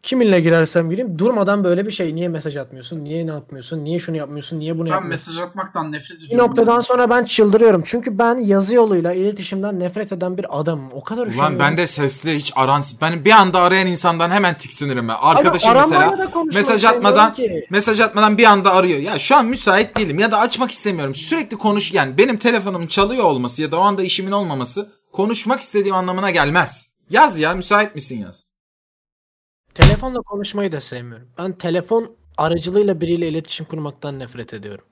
Speaker 2: kiminle girersem gireyim durmadan böyle bir şey niye mesaj atmıyorsun? Niye ne yapmıyorsun? Niye şunu yapmıyorsun? Niye bunu
Speaker 3: Ben
Speaker 2: yapmıyorsun?
Speaker 3: mesaj atmaktan nefret ediyorum.
Speaker 2: Bir noktadan sonra ben çıldırıyorum. Çünkü ben yazı yoluyla iletişimden nefret eden bir adamım. O kadar
Speaker 4: Ulan ben de sesli hiç arans ben bir anda arayan insandan hemen tiksinirim ben.
Speaker 2: Abi
Speaker 4: Arkadaşım
Speaker 2: aramayla
Speaker 4: mesela
Speaker 2: da konuşmak
Speaker 4: mesaj
Speaker 2: istemiyorum
Speaker 4: atmadan-
Speaker 2: ki.
Speaker 4: mesaj atmadan bir anda arıyor. Ya şu an müsait değilim ya da açmak istemiyorum. Sürekli konuş yani benim telefonum çalıyor olması ya da o anda işimin olmaması konuşmak istediğim anlamına gelmez. Yaz ya müsait misin yaz.
Speaker 2: Telefonla konuşmayı da sevmiyorum. Ben telefon aracılığıyla biriyle iletişim kurmaktan nefret ediyorum.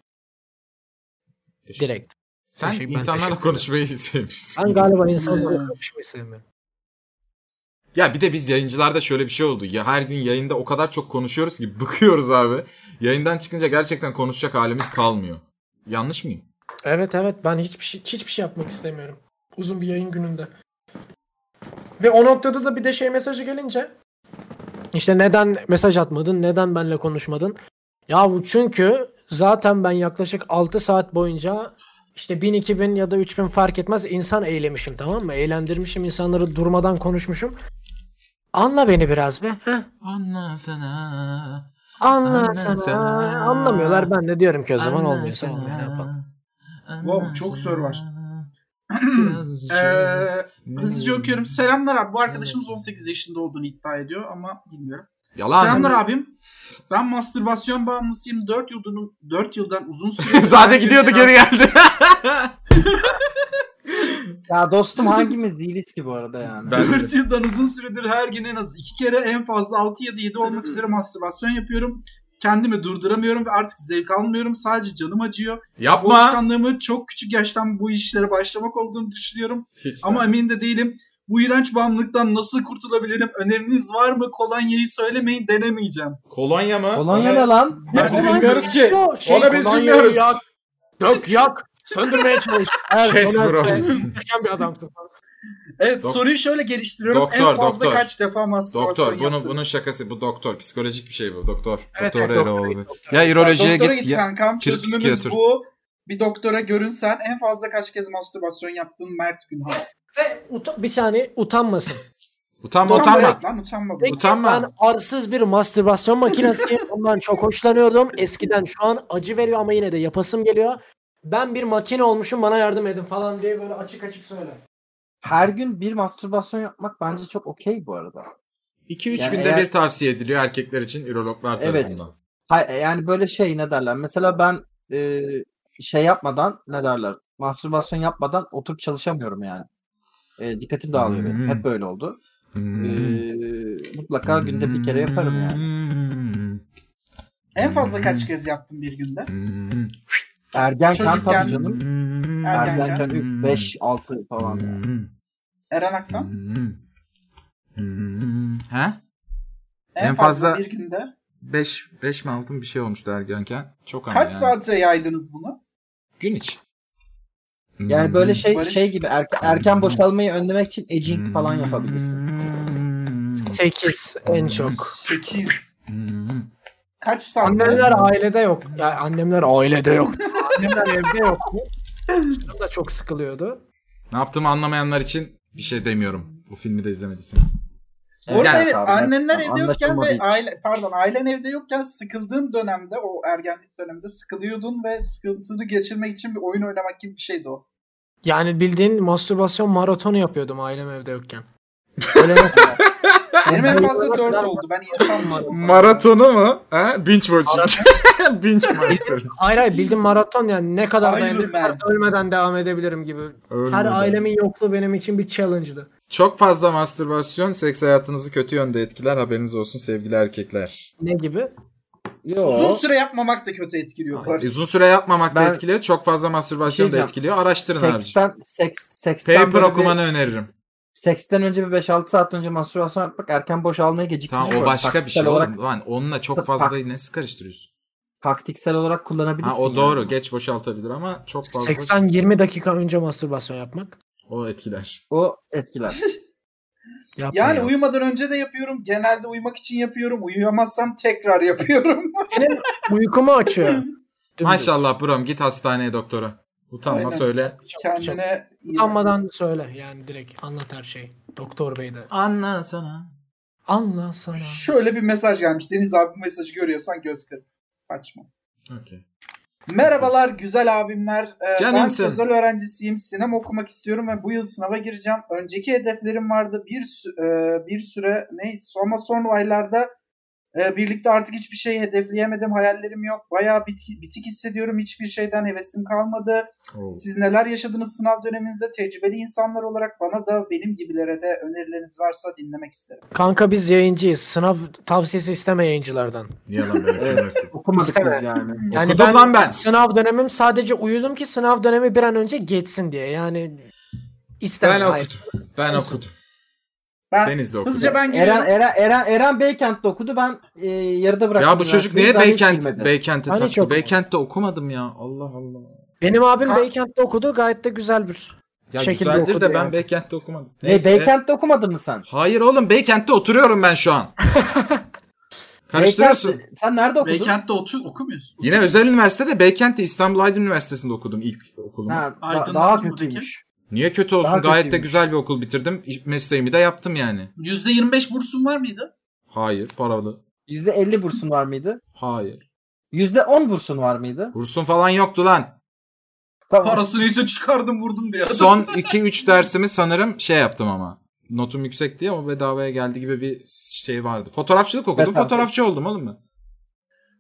Speaker 2: Direkt.
Speaker 4: Sen
Speaker 2: Teşekkür- ben teşekkür
Speaker 4: insanlarla
Speaker 2: ederim.
Speaker 4: konuşmayı [LAUGHS] sevmişsin.
Speaker 2: Ben galiba insanlarla konuşmayı sevmiyorum.
Speaker 4: Ya bir de biz yayıncılarda şöyle bir şey oldu. Ya her gün yayında o kadar çok konuşuyoruz ki [LAUGHS] bıkıyoruz abi. Yayından çıkınca gerçekten konuşacak halimiz kalmıyor. Yanlış mıyım?
Speaker 2: Evet evet ben hiçbir şey hiçbir şey yapmak istemiyorum. Uzun bir yayın gününde. Ve o noktada da bir de şey mesajı gelince işte neden mesaj atmadın? Neden benimle konuşmadın? Ya bu çünkü zaten ben yaklaşık 6 saat boyunca işte 1000 2000 ya da 3000 fark etmez insan eylemişim tamam mı? Eğlendirmişim insanları durmadan konuşmuşum. Anla beni biraz be. Heh.
Speaker 4: Anla sana.
Speaker 2: Anla,
Speaker 4: Anla
Speaker 2: sana.
Speaker 4: sana.
Speaker 2: Anlamıyorlar ben de diyorum ki o zaman
Speaker 4: anla
Speaker 2: olmuyorsa
Speaker 4: sana,
Speaker 2: olmuyor. Ne yapalım?
Speaker 4: anla
Speaker 3: Wow, çok soru var.
Speaker 4: sana.
Speaker 3: [CLEARS THROAT]
Speaker 4: [CLEARS THROAT] şey Birazcık.
Speaker 3: Ee, hızlıca
Speaker 4: Hmm.
Speaker 3: okuyorum. Selamlar abi. Bu arkadaşımız 18 yaşında olduğunu iddia ediyor ama bilmiyorum.
Speaker 4: Yalan.
Speaker 3: Selamlar abim. Ben mastürbasyon bağımlısıyım. 4 yıldan, 4 yıldan uzun [LAUGHS] süre.
Speaker 4: [LAUGHS] Zaten gidiyordu geri geldi. [LAUGHS]
Speaker 5: Ya dostum hangimiz değiliz ki bu arada yani.
Speaker 4: Ben-
Speaker 3: 4 yıldan uzun süredir her gün en az 2 kere en fazla 6 ya da 7 olmak üzere mastürbasyon yapıyorum. Kendimi durduramıyorum ve artık zevk almıyorum. Sadece canım acıyor. Bu
Speaker 4: Yapma.
Speaker 3: alışkanlığımı çok küçük yaştan bu işlere başlamak olduğunu düşünüyorum.
Speaker 4: Hiç
Speaker 3: Ama
Speaker 4: de.
Speaker 3: emin de değilim. Bu iğrenç bağımlılıktan nasıl kurtulabilirim? Öneriniz var mı? Kolonyayı söylemeyin denemeyeceğim.
Speaker 4: Kolonya mı? Hani
Speaker 5: Kolonya
Speaker 4: Ona-
Speaker 5: ne lan?
Speaker 4: Biz
Speaker 5: Ben-
Speaker 2: Kolonya-
Speaker 4: bilmiyoruz ki.
Speaker 2: Yo, şey,
Speaker 4: Ona biz
Speaker 2: kolonyayı
Speaker 4: bilmiyoruz.
Speaker 2: yak, Dök yak.
Speaker 4: [LAUGHS]
Speaker 2: Söndürmeye çalış. Evet,
Speaker 4: Kes
Speaker 2: Donald
Speaker 4: bro.
Speaker 2: Trump Muhteşem bir adamsın. falan.
Speaker 3: Evet
Speaker 4: Dok-
Speaker 3: soruyu şöyle geliştiriyorum. en
Speaker 4: Doktor,
Speaker 3: fazla
Speaker 4: doktor.
Speaker 3: kaç defa mastürbasyon
Speaker 4: Doktor bunun
Speaker 3: yaptınız?
Speaker 4: bunun şakası bu doktor psikolojik bir şey bu doktor.
Speaker 2: Evet,
Speaker 4: doktor
Speaker 2: evet, doktor,
Speaker 4: Eroğlu.
Speaker 2: doktor.
Speaker 4: Ya
Speaker 3: Doktora
Speaker 4: ürolojiye
Speaker 3: git,
Speaker 4: git. ya-
Speaker 3: kankam.
Speaker 4: Çirip
Speaker 3: Çözümümüz
Speaker 4: psikiyatr.
Speaker 3: bu. Bir doktora görünsen en fazla kaç kez mastürbasyon yaptın Mert Günhan?
Speaker 2: Ve uta- bir saniye utanmasın.
Speaker 4: Utanma utanma.
Speaker 3: evet Lan utanma.
Speaker 2: Peki,
Speaker 4: Utanma.
Speaker 2: Ben arsız bir mastürbasyon [LAUGHS] makinesiyim. Ondan çok hoşlanıyordum. Eskiden şu an acı veriyor ama yine de yapasım geliyor. Ben bir makine olmuşum bana yardım edin falan diye böyle açık açık söyle.
Speaker 5: Her gün bir mastürbasyon yapmak bence çok okey bu arada.
Speaker 4: 2-3
Speaker 5: Yani
Speaker 4: günde
Speaker 5: eğer-
Speaker 4: bir tavsiye ediliyor erkekler için ürologlar
Speaker 5: Evet.
Speaker 4: tarafından.
Speaker 5: Ha- yani böyle şey ne derler? Mesela ben e, şey yapmadan ne derler? Mastürbasyon yapmadan oturup çalışamıyorum yani. E, dikkatim dağılıyor benim.
Speaker 4: Hmm.
Speaker 5: Hep böyle oldu. E,
Speaker 4: Hmm.
Speaker 5: mutlaka günde bir kere yaparım yani.
Speaker 4: Hmm.
Speaker 3: En fazla kaç kez yaptın bir günde?
Speaker 4: Hmm.
Speaker 5: Ergenken
Speaker 3: Çocukken-
Speaker 5: tabii canım.
Speaker 4: Hmm.
Speaker 3: Ergenken.
Speaker 5: Ergenken 3, 5, 6 falan. yani.
Speaker 3: Eren Aktan.
Speaker 4: Hmm. Hmm. He?
Speaker 3: En,
Speaker 4: En
Speaker 3: fazla,
Speaker 4: fazla-
Speaker 3: bir günde.
Speaker 4: 5 5 mi altın bir şey olmuştu ergenken. Çok ama
Speaker 3: Kaç
Speaker 4: yani.
Speaker 3: saate yaydınız bunu?
Speaker 4: Gün içi.
Speaker 5: Yani böyle şey
Speaker 3: Barış-
Speaker 5: şey gibi erke- erken boşalmayı önlemek için edging falan yapabilirsin.
Speaker 4: Hmm.
Speaker 2: 8 en çok.
Speaker 3: 8.
Speaker 4: Hmm.
Speaker 3: Kaç saat?
Speaker 2: Annemler ailede yok. Ya annemler ailede [LAUGHS] yok. annemler evde yoktu. Canım da çok sıkılıyordu.
Speaker 4: Ne yaptığımı anlamayanlar için bir şey demiyorum. Bu filmi de izlemediyseniz.
Speaker 3: Orada
Speaker 4: Yani
Speaker 3: evet,
Speaker 5: abi,
Speaker 3: annenler
Speaker 5: evet,
Speaker 3: evde yokken
Speaker 5: anlaşılmadığı
Speaker 3: ve
Speaker 5: için.
Speaker 3: aile pardon ailen evde yokken sıkıldığın dönemde o ergenlik döneminde sıkılıyordun ve sıkıntını geçirmek için bir oyun oynamak gibi bir şeydi o.
Speaker 2: Yani bildiğin mastürbasyon maratonu yapıyordum ailem evde yokken. Öyle yok.
Speaker 3: Benim en fazla 4
Speaker 2: kadar-
Speaker 3: oldu. Ben insanım.
Speaker 4: Maratonu mu? Ha? Binge watching. [LAUGHS] Binge master.
Speaker 2: Hayır hayır bildiğim maraton yani ne kadar
Speaker 3: Iron Man.
Speaker 2: dayanabilirim ölmeden devam edebilirim gibi. Her ailemin yokluğu benim için bir challenge'dı.
Speaker 4: Çok fazla mastürbasyon seks hayatınızı kötü yönde etkiler. Haberiniz olsun sevgili erkekler.
Speaker 2: Ne gibi?
Speaker 5: Yo.
Speaker 3: Uzun süre yapmamak da kötü etkiliyor. bu arada.
Speaker 4: Uzun süre yapmamak da
Speaker 5: Ben-
Speaker 4: etkiliyor. Çok fazla mastürbasyon
Speaker 5: Bir şey
Speaker 4: da etkiliyor. Araştırın abi.
Speaker 5: Seksten, seks, seksten
Speaker 4: Paper
Speaker 5: böyle bir-
Speaker 4: okumanı öneririm.
Speaker 5: seksten önce bir 5-6 saat önce mastürbasyon yapmak erken boşalmayı geciktiriyor.
Speaker 4: Tamam o başka bir şey
Speaker 5: Taktiksel olarak,
Speaker 4: oğlum. Lan onunla çok
Speaker 5: Tak-
Speaker 4: fazla nasıl karıştırıyorsun?
Speaker 5: taktiksel olarak kullanabilirsin.
Speaker 4: Ha, o doğru.
Speaker 5: yani.
Speaker 4: Geç boşaltabilir ama çok fazla
Speaker 2: 80-20 dakika önce mastürbasyon yapmak.
Speaker 4: o etkiler.
Speaker 5: O etkiler.
Speaker 2: Yapmayın.
Speaker 3: Yani uyumadan önce de yapıyorum. Genelde uyumak için yapıyorum. Uyuyamazsam tekrar yapıyorum.
Speaker 2: uykumu açıyor. Dümdüz.
Speaker 4: Maşallah brom git hastaneye doktora. Utanma
Speaker 3: Aynen.
Speaker 4: söyle.
Speaker 3: Kendine
Speaker 2: Utanmadan söyle yani direkt anlat her şeyi. Doktor bey de.
Speaker 4: Anla sana.
Speaker 2: Anla sana.
Speaker 3: Şöyle bir mesaj gelmiş. Deniz abi bu mesajı görüyorsan göz kır. Saçma.
Speaker 4: Okey.
Speaker 3: Merhabalar güzel abimler. Ee, ben
Speaker 4: Canımsın.
Speaker 3: sözel öğrencisiyim. Sinem okumak istiyorum ve bu yıl sınava gireceğim. Önceki hedeflerim vardı. Bir sü- e, bir süre ne ama son aylarda e, birlikte artık hiçbir şey hedefleyemedim. Hayallerim yok. Bayağı bitki- bitik hissediyorum. Hiçbir şeyden hevesim kalmadı.
Speaker 4: Oo.
Speaker 3: Siz neler yaşadınız sınav döneminizde? Tecrübeli insanlar olarak bana da benim gibilere de önerileriniz varsa dinlemek isterim.
Speaker 2: Kanka biz yayıncıyız. Sınav tavsiyesi isteme yayıncılardan.
Speaker 4: Niye lan böyle bir şey
Speaker 5: Evet.
Speaker 4: üniversite?
Speaker 5: Okumadık
Speaker 2: İsteme.
Speaker 5: biz yani.
Speaker 2: Yani
Speaker 4: Okudum
Speaker 2: ben,
Speaker 4: lan ben.
Speaker 2: sınav dönemim sadece uyudum ki sınav dönemi bir an önce geçsin diye. Yani istemem.
Speaker 4: Ben
Speaker 2: hayır.
Speaker 4: okudum. Ben okudum.
Speaker 3: Ben
Speaker 4: Deniz de okudu.
Speaker 3: hızlıca ben geliyorum.
Speaker 5: Eren, Eren, Eren, Eren Beykent'te okudu. Ben e, yarıda bıraktım.
Speaker 4: Ya bu çocuk
Speaker 5: üniversiteyi.
Speaker 4: niye
Speaker 5: Daha hiç
Speaker 4: Beykent,
Speaker 5: girmedi.
Speaker 4: Beykent'e
Speaker 2: Ben hiç
Speaker 4: taktı?
Speaker 2: okumadım.
Speaker 4: Beykent'te okumadım ya. Allah Allah.
Speaker 2: Benim abim
Speaker 3: Ha.
Speaker 2: Beykent'te okudu. Gayet de güzel bir.
Speaker 4: Ya
Speaker 2: Şekilde
Speaker 4: güzeldir
Speaker 2: okudu
Speaker 4: de ben
Speaker 2: yani.
Speaker 4: Beykent'te okumadım.
Speaker 5: Ne, Beykent'te okumadın mı sen?
Speaker 4: Hayır oğlum Beykent'te oturuyorum ben şu
Speaker 5: [LAUGHS]
Speaker 4: an. Karıştırıyorsun.
Speaker 5: Beykent- sen nerede okudun?
Speaker 3: Beykent'te otu- okumuyorsun.
Speaker 4: Yine özel üniversitede Beykent'te İstanbul Aydın Üniversitesi'nde okudum ilk okulumu.
Speaker 5: Ha, da-
Speaker 3: Aydın'da
Speaker 5: daha
Speaker 3: okumadın
Speaker 5: kötüymüş.
Speaker 4: Niye kötü olsun?
Speaker 5: Daha
Speaker 4: Gayet de
Speaker 5: kötüymüş.
Speaker 4: güzel bir okul bitirdim. İş- Mesleğimi de yaptım yani.
Speaker 3: %25 bursun var mıydı?
Speaker 4: Hayır paralı.
Speaker 5: %50 bursun var mıydı?
Speaker 4: Hayır.
Speaker 5: %10 bursun var mıydı?
Speaker 4: Bursun falan yoktu lan.
Speaker 5: Tamam.
Speaker 3: Parasını ise çıkardım vurdum diye.
Speaker 4: Son 2-3 dersimi sanırım şey yaptım ama. Notum yüksek diye ama bedavaya geldi gibi bir şey vardı. Fotoğrafçılık okudum.
Speaker 5: Evet abi.
Speaker 4: Fotoğrafçı oldum oğlum ben.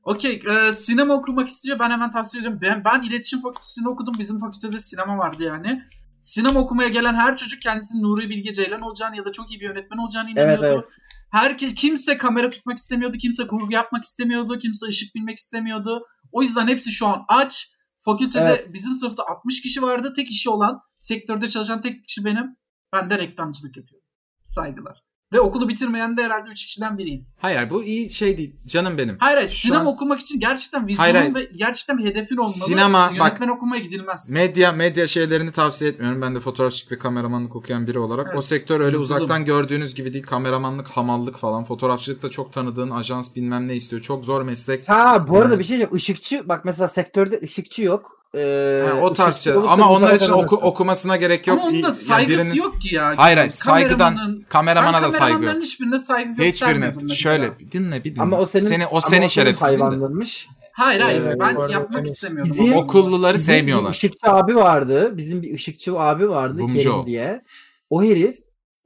Speaker 3: Okey. E, sinema okumak istiyor. Ben hemen tavsiye ediyorum. Ben, ben iletişim fakültesini okudum. Bizim fakültede sinema vardı yani. Sinema okumaya gelen her çocuk kendisinin Nuri Bilge Ceylan olacağını ya da çok iyi bir yönetmen olacağını
Speaker 5: Evet
Speaker 3: inanıyordu.
Speaker 5: evet.
Speaker 3: Herkes kimse kamera tutmak istemiyordu, kimse kurgu yapmak istemiyordu, kimse ışık bilmek istemiyordu. O yüzden hepsi şu an aç. Fakültede
Speaker 5: Evet.
Speaker 3: bizim sınıfta 60 kişi vardı. Tek işi olan, sektörde çalışan tek kişi benim. Ben de reklamcılık yapıyorum. Saygılar. Ve okulu bitirmeyen de herhalde 3 kişiden biriyim.
Speaker 4: Hayır bu iyi şey değil. Canım benim.
Speaker 3: Hayır hayır
Speaker 4: Şu
Speaker 3: sinema
Speaker 4: an-
Speaker 3: okumak için gerçekten
Speaker 4: Hayır, hayır.
Speaker 3: vizyonun ve gerçekten bir hedefin olmalı.
Speaker 4: Sinema,
Speaker 3: Yönetmen okumaya gidilmez.
Speaker 4: Medya medya şeylerini tavsiye etmiyorum. Ben de fotoğrafçılık ve kameramanlık okuyan biri olarak.
Speaker 3: Evet.
Speaker 4: O sektör öyle
Speaker 3: Yazılım.
Speaker 4: uzaktan gördüğünüz gibi değil. Kameramanlık, hamallık falan. Fotoğrafçılıkta çok tanıdığın ajans bilmem ne istiyor. Çok zor meslek.
Speaker 5: Ha bu arada
Speaker 4: Evet.
Speaker 5: bir şey diyeceğim. Işıkçı bak mesela sektörde ışıkçı yok. Ee,
Speaker 3: e,
Speaker 4: Ha, o tarz
Speaker 5: ışıkçı
Speaker 4: şey.
Speaker 5: olursa
Speaker 4: Ama
Speaker 5: bu
Speaker 4: onlar
Speaker 5: para
Speaker 4: için
Speaker 5: kazanırsın.
Speaker 4: oku- okumasına gerek yok.
Speaker 3: Ama onun
Speaker 4: İyi-
Speaker 3: da
Speaker 4: yani
Speaker 3: saygısı
Speaker 4: birinin-
Speaker 3: yok ki ya.
Speaker 4: Hayır hayır
Speaker 3: Kameramanın-
Speaker 4: saygıdan kameramana
Speaker 3: Ben
Speaker 4: da saygı yok.
Speaker 3: kameramanların hiçbirine saygı göstermiyordum
Speaker 4: Hiçbirine
Speaker 3: mesela.
Speaker 4: şöyle bir dinle bir dinle.
Speaker 5: Ama o senin,
Speaker 4: seni o
Speaker 5: ama
Speaker 4: senin şerefsizliğin. de.
Speaker 5: hayvanlanmış.
Speaker 3: Hayır hayır
Speaker 5: Ee,
Speaker 3: ben
Speaker 2: bu arada
Speaker 3: yapmak
Speaker 2: temiz.
Speaker 3: istemiyorum.
Speaker 5: Bizim-
Speaker 3: ama.
Speaker 4: Okulluları
Speaker 5: Bizim Bir
Speaker 4: sevmiyorlar.
Speaker 5: ışıkçı abi vardı. Bizim bir ışıkçı abi vardı
Speaker 4: Bumcu
Speaker 5: Kerim
Speaker 4: o.
Speaker 5: diye. O herif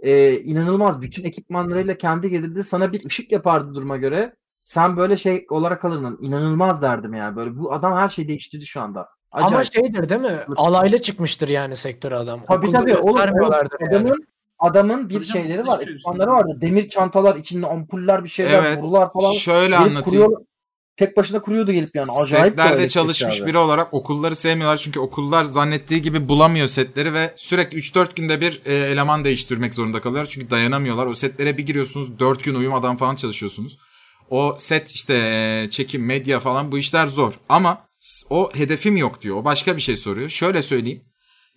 Speaker 5: e, inanılmaz bütün ekipmanlarıyla kendi gelirdi. Sana bir ışık yapardı duruma göre. Sen böyle şey olarak kalırdın. İnanılmaz derdim yani. Böyle bu adam her şeyi değiştirdi şu anda. Acayip.
Speaker 2: Ama şeydir değil mi? Alayla çıkmıştır yani sektöre adam.
Speaker 5: Tabii
Speaker 2: Okulda
Speaker 5: tabii oğlum,
Speaker 2: göstermiyorlardır yani.
Speaker 5: adamın adamın bir
Speaker 3: Tabii canım,
Speaker 5: şeyleri
Speaker 3: hiçbir
Speaker 5: var,
Speaker 3: şey
Speaker 5: ekipmanları vardı. Demir çantalar içinde ampuller bir şeyler,
Speaker 4: Evet.
Speaker 5: borular falan.
Speaker 4: Şöyle
Speaker 5: Gelip
Speaker 4: anlatayım.
Speaker 5: kuruyor- Tek başına kuruyordu gelip yani. Acayip
Speaker 4: Setlerde çalışmış biri olarak okulları sevmiyorlar çünkü okullar zannettiği gibi bulamıyor setleri ve sürekli 3-4 günde bir e, eleman değiştirmek zorunda kalıyorlar çünkü dayanamıyorlar. O setlere bir giriyorsunuz 4 gün uyumadan falan çalışıyorsunuz. O set işte e, çekim, medya falan bu işler zor ama s- o hedefim yok diyor. O başka bir şey soruyor. Şöyle söyleyeyim.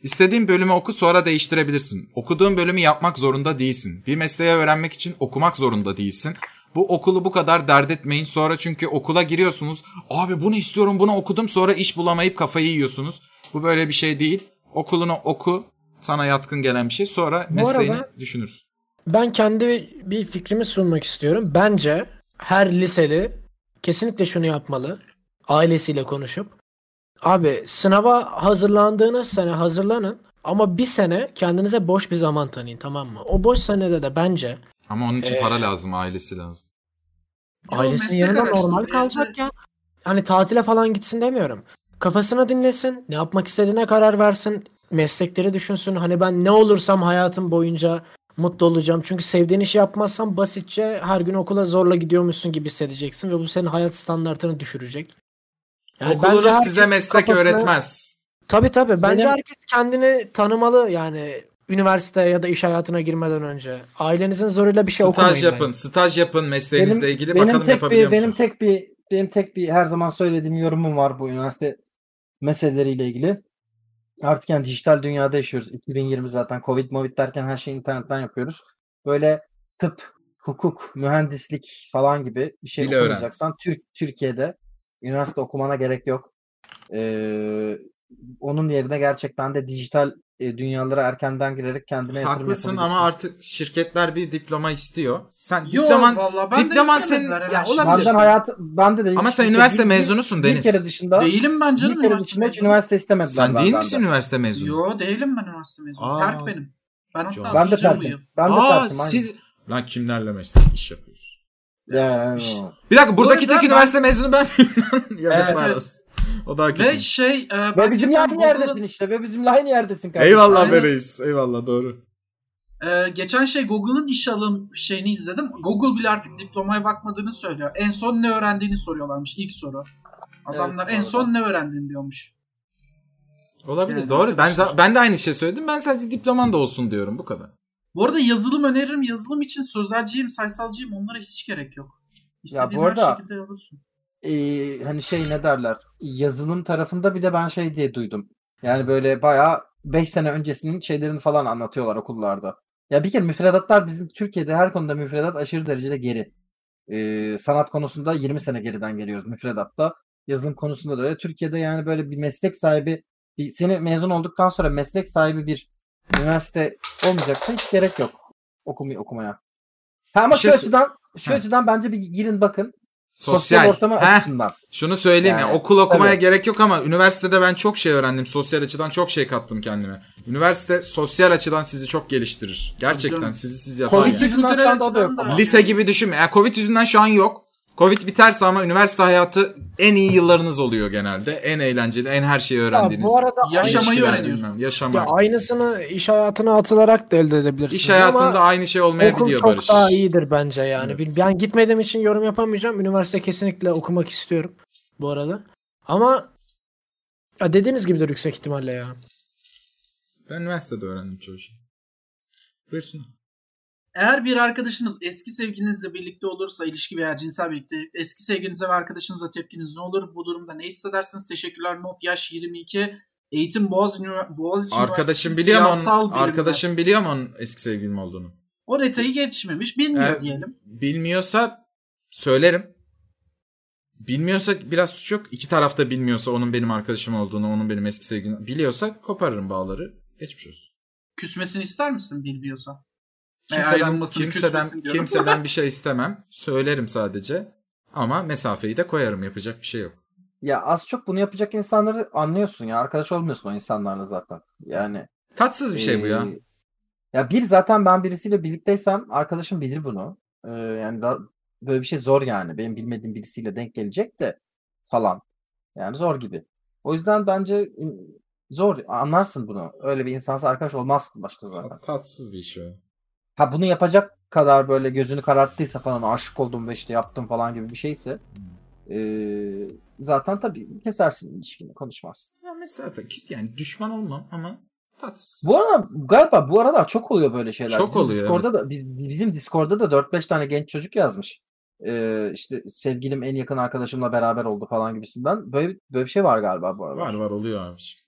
Speaker 4: İstediğin bölümü oku sonra değiştirebilirsin. Okuduğun bölümü yapmak zorunda değilsin. Bir mesleği öğrenmek için okumak zorunda değilsin. Bu okulu bu kadar dert etmeyin. Sonra çünkü okula giriyorsunuz. Abi bunu istiyorum bunu okudum sonra iş bulamayıp kafayı yiyorsunuz. Bu böyle bir şey değil. Okulunu oku sana yatkın gelen bir şey. Sonra
Speaker 2: Bu
Speaker 4: mesleğini
Speaker 2: arada-
Speaker 4: düşünürsün.
Speaker 2: Ben kendi bir fikrimi sunmak istiyorum. Bence her liseli kesinlikle şunu yapmalı. Ailesiyle konuşup. Abi sınava hazırlandığınız sene hazırlanın ama bir sene kendinize boş bir zaman tanıyın tamam mı? O boş senede de bence
Speaker 4: Ama onun için
Speaker 3: Eh.
Speaker 2: Ee,
Speaker 4: para lazım ailesi lazım.
Speaker 3: Ya o
Speaker 2: ailesinin
Speaker 3: meslek
Speaker 2: yanında
Speaker 3: araştırma,
Speaker 2: normal
Speaker 3: evet,
Speaker 2: kalacak
Speaker 3: evet.
Speaker 2: ya. Hani tatile falan gitsin demiyorum. Kafasına dinlesin, ne yapmak istediğine karar versin, meslekleri düşünsün. Hani ben ne olursam hayatım boyunca mutlu olacağım. Çünkü sevdiğin işi yapmazsan basitçe her gün okula zorla gidiyormuşsun gibi hissedeceksin ve bu senin hayat standartını düşürecek. bence
Speaker 4: Okulunuz
Speaker 2: herkes
Speaker 4: size meslek
Speaker 2: kafasına-
Speaker 4: öğretmez.
Speaker 2: Tabii tabii. Bence
Speaker 5: Benim-
Speaker 2: herkes kendini tanımalı yani üniversite ya da iş hayatına girmeden önce. Ailenizin zoruyla bir şey
Speaker 4: staj
Speaker 2: okumayın. bence.
Speaker 4: yapın. Staj yapın mesleğinizle
Speaker 5: Benim-
Speaker 4: ilgili
Speaker 5: benim
Speaker 4: bakalım
Speaker 5: tek
Speaker 4: yapabiliyor
Speaker 5: bir, benim
Speaker 4: musunuz?
Speaker 5: tek bir benim tek bir her zaman söylediğim yorumum var bu üniversite meseleleriyle ilgili. Artık yani dijital dünyada yaşıyoruz. 2020 zaten Covid Movid derken her şeyi internetten yapıyoruz. böyle tıp, hukuk, mühendislik falan gibi bir şey
Speaker 4: Dil öğren.
Speaker 5: okuyacaksan Türk Türkiye'de üniversite okumana gerek yok. Ee, onun yerine gerçekten de dijital e, dünyalara erkenden girerek kendine yatırım
Speaker 4: Haklısın ama
Speaker 5: yapabilirsin.
Speaker 4: artık şirketler bir diploma istiyor. Sen
Speaker 3: Yo,
Speaker 4: diploman
Speaker 3: vallahi ben de
Speaker 4: diploman
Speaker 3: istemediler
Speaker 4: senin-
Speaker 3: herhalde.
Speaker 4: ya olabilir.
Speaker 5: Benden hayat bende de
Speaker 4: ama sen
Speaker 5: hiç-
Speaker 4: üniversite
Speaker 5: bir- bir-
Speaker 4: mezunusun
Speaker 5: bir
Speaker 4: Deniz.
Speaker 5: kere dışında
Speaker 3: Değilim ben canım.
Speaker 5: bir kere
Speaker 3: üniversite
Speaker 5: dışında hiç
Speaker 3: mezunu.
Speaker 5: üniversite istemediler
Speaker 4: Sen değil
Speaker 5: benden
Speaker 4: misin
Speaker 5: de.
Speaker 4: üniversite mezunu?
Speaker 3: Yo değilim ben üniversite mezunu.
Speaker 4: Aa.
Speaker 3: Terk benim. Ben hatta
Speaker 4: Can.
Speaker 5: Ben de
Speaker 3: atılacağım bu yıl.
Speaker 5: terkim. Ben de
Speaker 4: Aa
Speaker 5: terkim, aynen.
Speaker 4: siz lan kimlerle meslek iş yapıyoruz?
Speaker 5: Ya,
Speaker 3: Şşş.
Speaker 4: Bir dakika buradaki
Speaker 3: arada
Speaker 4: tek
Speaker 3: ben-
Speaker 4: üniversite mezunu ben miyim? [LAUGHS] Yazıklar
Speaker 3: evet.
Speaker 4: olsun. O daha
Speaker 3: Ve
Speaker 4: kötü.
Speaker 3: şey e, ben
Speaker 5: Ve bizimle
Speaker 3: geçen
Speaker 5: aynı
Speaker 3: Google'da-
Speaker 5: yerdesin işte. Ve bizimle aynı yerdesin kardeşim.
Speaker 4: Eyvallah be
Speaker 3: Aynen.
Speaker 4: reis. Eyvallah doğru.
Speaker 3: Ee, geçen şey Google'ın iş alım şeyini izledim. Google bile artık diplomaya bakmadığını söylüyor. En son ne öğrendiğini soruyorlarmış ilk soru. Adamlar
Speaker 5: Evet,
Speaker 3: en
Speaker 5: doğru.
Speaker 3: son ne öğrendin diyormuş.
Speaker 4: Olabilir
Speaker 3: Yani
Speaker 4: doğru. Ben
Speaker 3: arkadaşlar-
Speaker 4: ben de aynı şey söyledim. Ben sadece diploman da olsun diyorum bu kadar.
Speaker 3: Bu arada yazılım öneririm. Yazılım için sözelciyim, sayısalcıyım. Onlara hiç gerek yok. İstediğin
Speaker 5: bu arada-
Speaker 3: her şekilde alırsın.
Speaker 5: Ee, hani şey ne derler? Yazılım tarafında bir de ben şey diye duydum. Yani böyle bayağı 5 sene öncesinin şeylerini falan anlatıyorlar okullarda. Ya bir kere müfredatlar bizim Türkiye'de her konuda müfredat aşırı derecede geri. Ee, sanat konusunda 20 sene geriden geliyoruz müfredatta. Yazılım konusunda da öyle. Türkiye'de yani böyle bir meslek sahibi bir- seni mezun olduktan sonra meslek sahibi bir üniversite olmayacaksa hiç gerek yok okumi okumaya. Ha ama
Speaker 4: Bir şey
Speaker 5: şu
Speaker 4: sor-
Speaker 5: açıdan şu
Speaker 4: Ha.
Speaker 5: açıdan bence bir girin bakın.
Speaker 4: Sosyal.
Speaker 5: ortama
Speaker 4: Heh,
Speaker 5: açısından.
Speaker 4: şunu söyleyeyim ya
Speaker 5: Yani,
Speaker 4: okul okumaya
Speaker 5: tabii.
Speaker 4: gerek yok ama üniversitede ben çok şey öğrendim. Sosyal açıdan çok şey kattım kendime. Üniversite sosyal açıdan sizi çok geliştirir. Gerçekten
Speaker 3: canım.
Speaker 4: sizi siz yapar.
Speaker 5: Covid
Speaker 4: yani.
Speaker 5: yüzünden
Speaker 3: Kültürel
Speaker 5: şu anda o da yok.
Speaker 3: açıdan da-
Speaker 5: ama.
Speaker 4: Lise gibi düşünme. Yani Covid yüzünden şu an yok. Covid biterse ama üniversite hayatı en iyi yıllarınız oluyor genelde. En eğlenceli, en her şeyi
Speaker 2: Ya
Speaker 4: öğrendiğiniz.
Speaker 2: bu arada
Speaker 3: Yaşam- Yaşamayı
Speaker 4: İlişkiler,
Speaker 3: öğreniyorsun.
Speaker 4: bilmem, Yaşamak.
Speaker 2: ya aynısını iş hayatına atılarak da elde edebilirsin.
Speaker 4: İş hayatında aynı şey
Speaker 2: okul
Speaker 4: olmayabiliyor
Speaker 2: çok
Speaker 4: Barış.
Speaker 2: daha iyidir bence yani.
Speaker 4: Evet.
Speaker 2: Bil- Ben gitmediğim için yorum yapamayacağım. Üniversite kesinlikle okumak istiyorum bu arada. Ama ya dediğiniz gibidir yüksek ihtimalle ya.
Speaker 4: Ben üniversitede öğrendim çoğu şeyi. Buyursun.
Speaker 3: Eğer bir arkadaşınız eski sevgilinizle birlikte olursa ilişki veya cinsel birliktelik eski sevgilinize ve arkadaşınıza tepkiniz ne olur? Bu durumda ne hissedersiniz? Teşekkürler. Not yaş 22. Eğitim Boğaz Ünivers- Boğaziçi
Speaker 4: Arkadaşım
Speaker 3: Üniversitesi
Speaker 4: biliyor mu
Speaker 3: Siyasal
Speaker 4: onun,
Speaker 3: Bilimler.
Speaker 4: arkadaşım biliyor mu onun eski sevgilim olduğunu?
Speaker 3: O detayı geçmemiş. Bilmiyor
Speaker 4: Evet.
Speaker 3: diyelim.
Speaker 4: Bilmiyorsa söylerim. Bilmiyorsa biraz suç yok. İki tarafta bilmiyorsa onun benim arkadaşım olduğunu, onun benim eski sevgilim biliyorsa koparırım bağları. Geçmiş olsun.
Speaker 3: Küsmesini ister misin bilmiyorsa? E,
Speaker 4: Kimseden,
Speaker 3: ayrılmasını,
Speaker 4: kimseden,
Speaker 3: küsmesini diyorum.
Speaker 4: kimseden bir şey istemem. Söylerim sadece. Ama mesafeyi de koyarım. Yapacak bir şey yok.
Speaker 5: Ya az çok bunu yapacak insanları anlıyorsun ya. Arkadaş olmuyorsun o insanlarla zaten. Yani
Speaker 4: Tatsız bir şey bu ya.
Speaker 5: eee, Ya bir zaten ben birisiyle birlikteysem arkadaşım bilir bunu. Eee, yani da böyle bir şey zor yani. Benim bilmediğim birisiyle denk gelecek de falan. Yani zor gibi. O yüzden bence ım, zor anlarsın bunu. Öyle bir insansa arkadaş olmazsın başta zaten.
Speaker 4: Tat- Tatsız bir şey. o.
Speaker 5: Ha bunu yapacak kadar böyle gözünü kararttıysa falan aşık oldum ve işte yaptım falan gibi bir şeyse
Speaker 4: Hmm.
Speaker 5: eee, zaten tabii kesersin ilişkini konuşmazsın.
Speaker 4: Ya mesafe. Yani düşman olmam ama tatsız.
Speaker 5: Bu arada galiba bu aralar çok oluyor böyle şeyler.
Speaker 4: Çok
Speaker 5: Bizim
Speaker 4: oluyor,
Speaker 5: Discord'da
Speaker 4: evet.
Speaker 5: da biz- bizim Discord'da da 4-5 tane genç çocuk yazmış. Ee, işte sevgilim en yakın arkadaşımla beraber oldu falan gibisinden. Böyle böyle bir şey var galiba bu aralar.
Speaker 4: Var var oluyor abiciğim.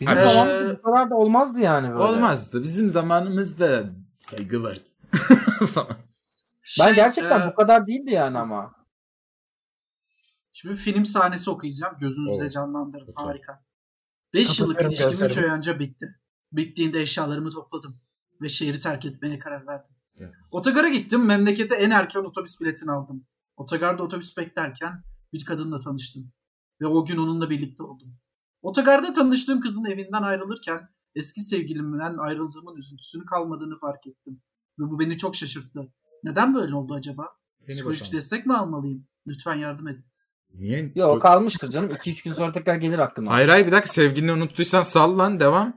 Speaker 5: Bizim
Speaker 4: Her-
Speaker 5: zamanımızda bu kadar da olmazdı yani böyle.
Speaker 4: Olmazdı. Bizim zamanımızda saygı var. [LAUGHS]
Speaker 5: Ben
Speaker 3: Şey,
Speaker 5: gerçekten
Speaker 3: e,
Speaker 5: bu kadar değildi yani ama.
Speaker 3: Şimdi film sahnesi okuyacağım. Gözünüzde
Speaker 4: Oo.
Speaker 3: canlandırın.
Speaker 4: Okey.
Speaker 3: Harika. 5 yıllık
Speaker 2: Kapatıyorum
Speaker 3: ilişkim 3 ay
Speaker 2: gözlerimi.
Speaker 3: önce bitti. Bittiğinde eşyalarımı topladım ve şehri terk etmeye karar verdim.
Speaker 4: Evet.
Speaker 3: Otogara gittim. Memlekete en erken otobüs biletini aldım. Otogarda otobüs beklerken bir kadınla tanıştım. Ve o gün onunla birlikte oldum. Otogarda tanıştığım kızın evinden ayrılırken eski sevgilimden ayrıldığımın üzüntüsünün kalmadığını fark ettim. Ve bu beni çok şaşırttı. Neden böyle oldu acaba? Psikolojik destek mi almalıyım? Lütfen yardım edin.
Speaker 4: Niye?
Speaker 5: Yok kalmıştır canım. 2-3 gün sonra tekrar gelir hakkında.
Speaker 4: Hayır hayır bir dakika sevgilini unuttuysan sal lan devam.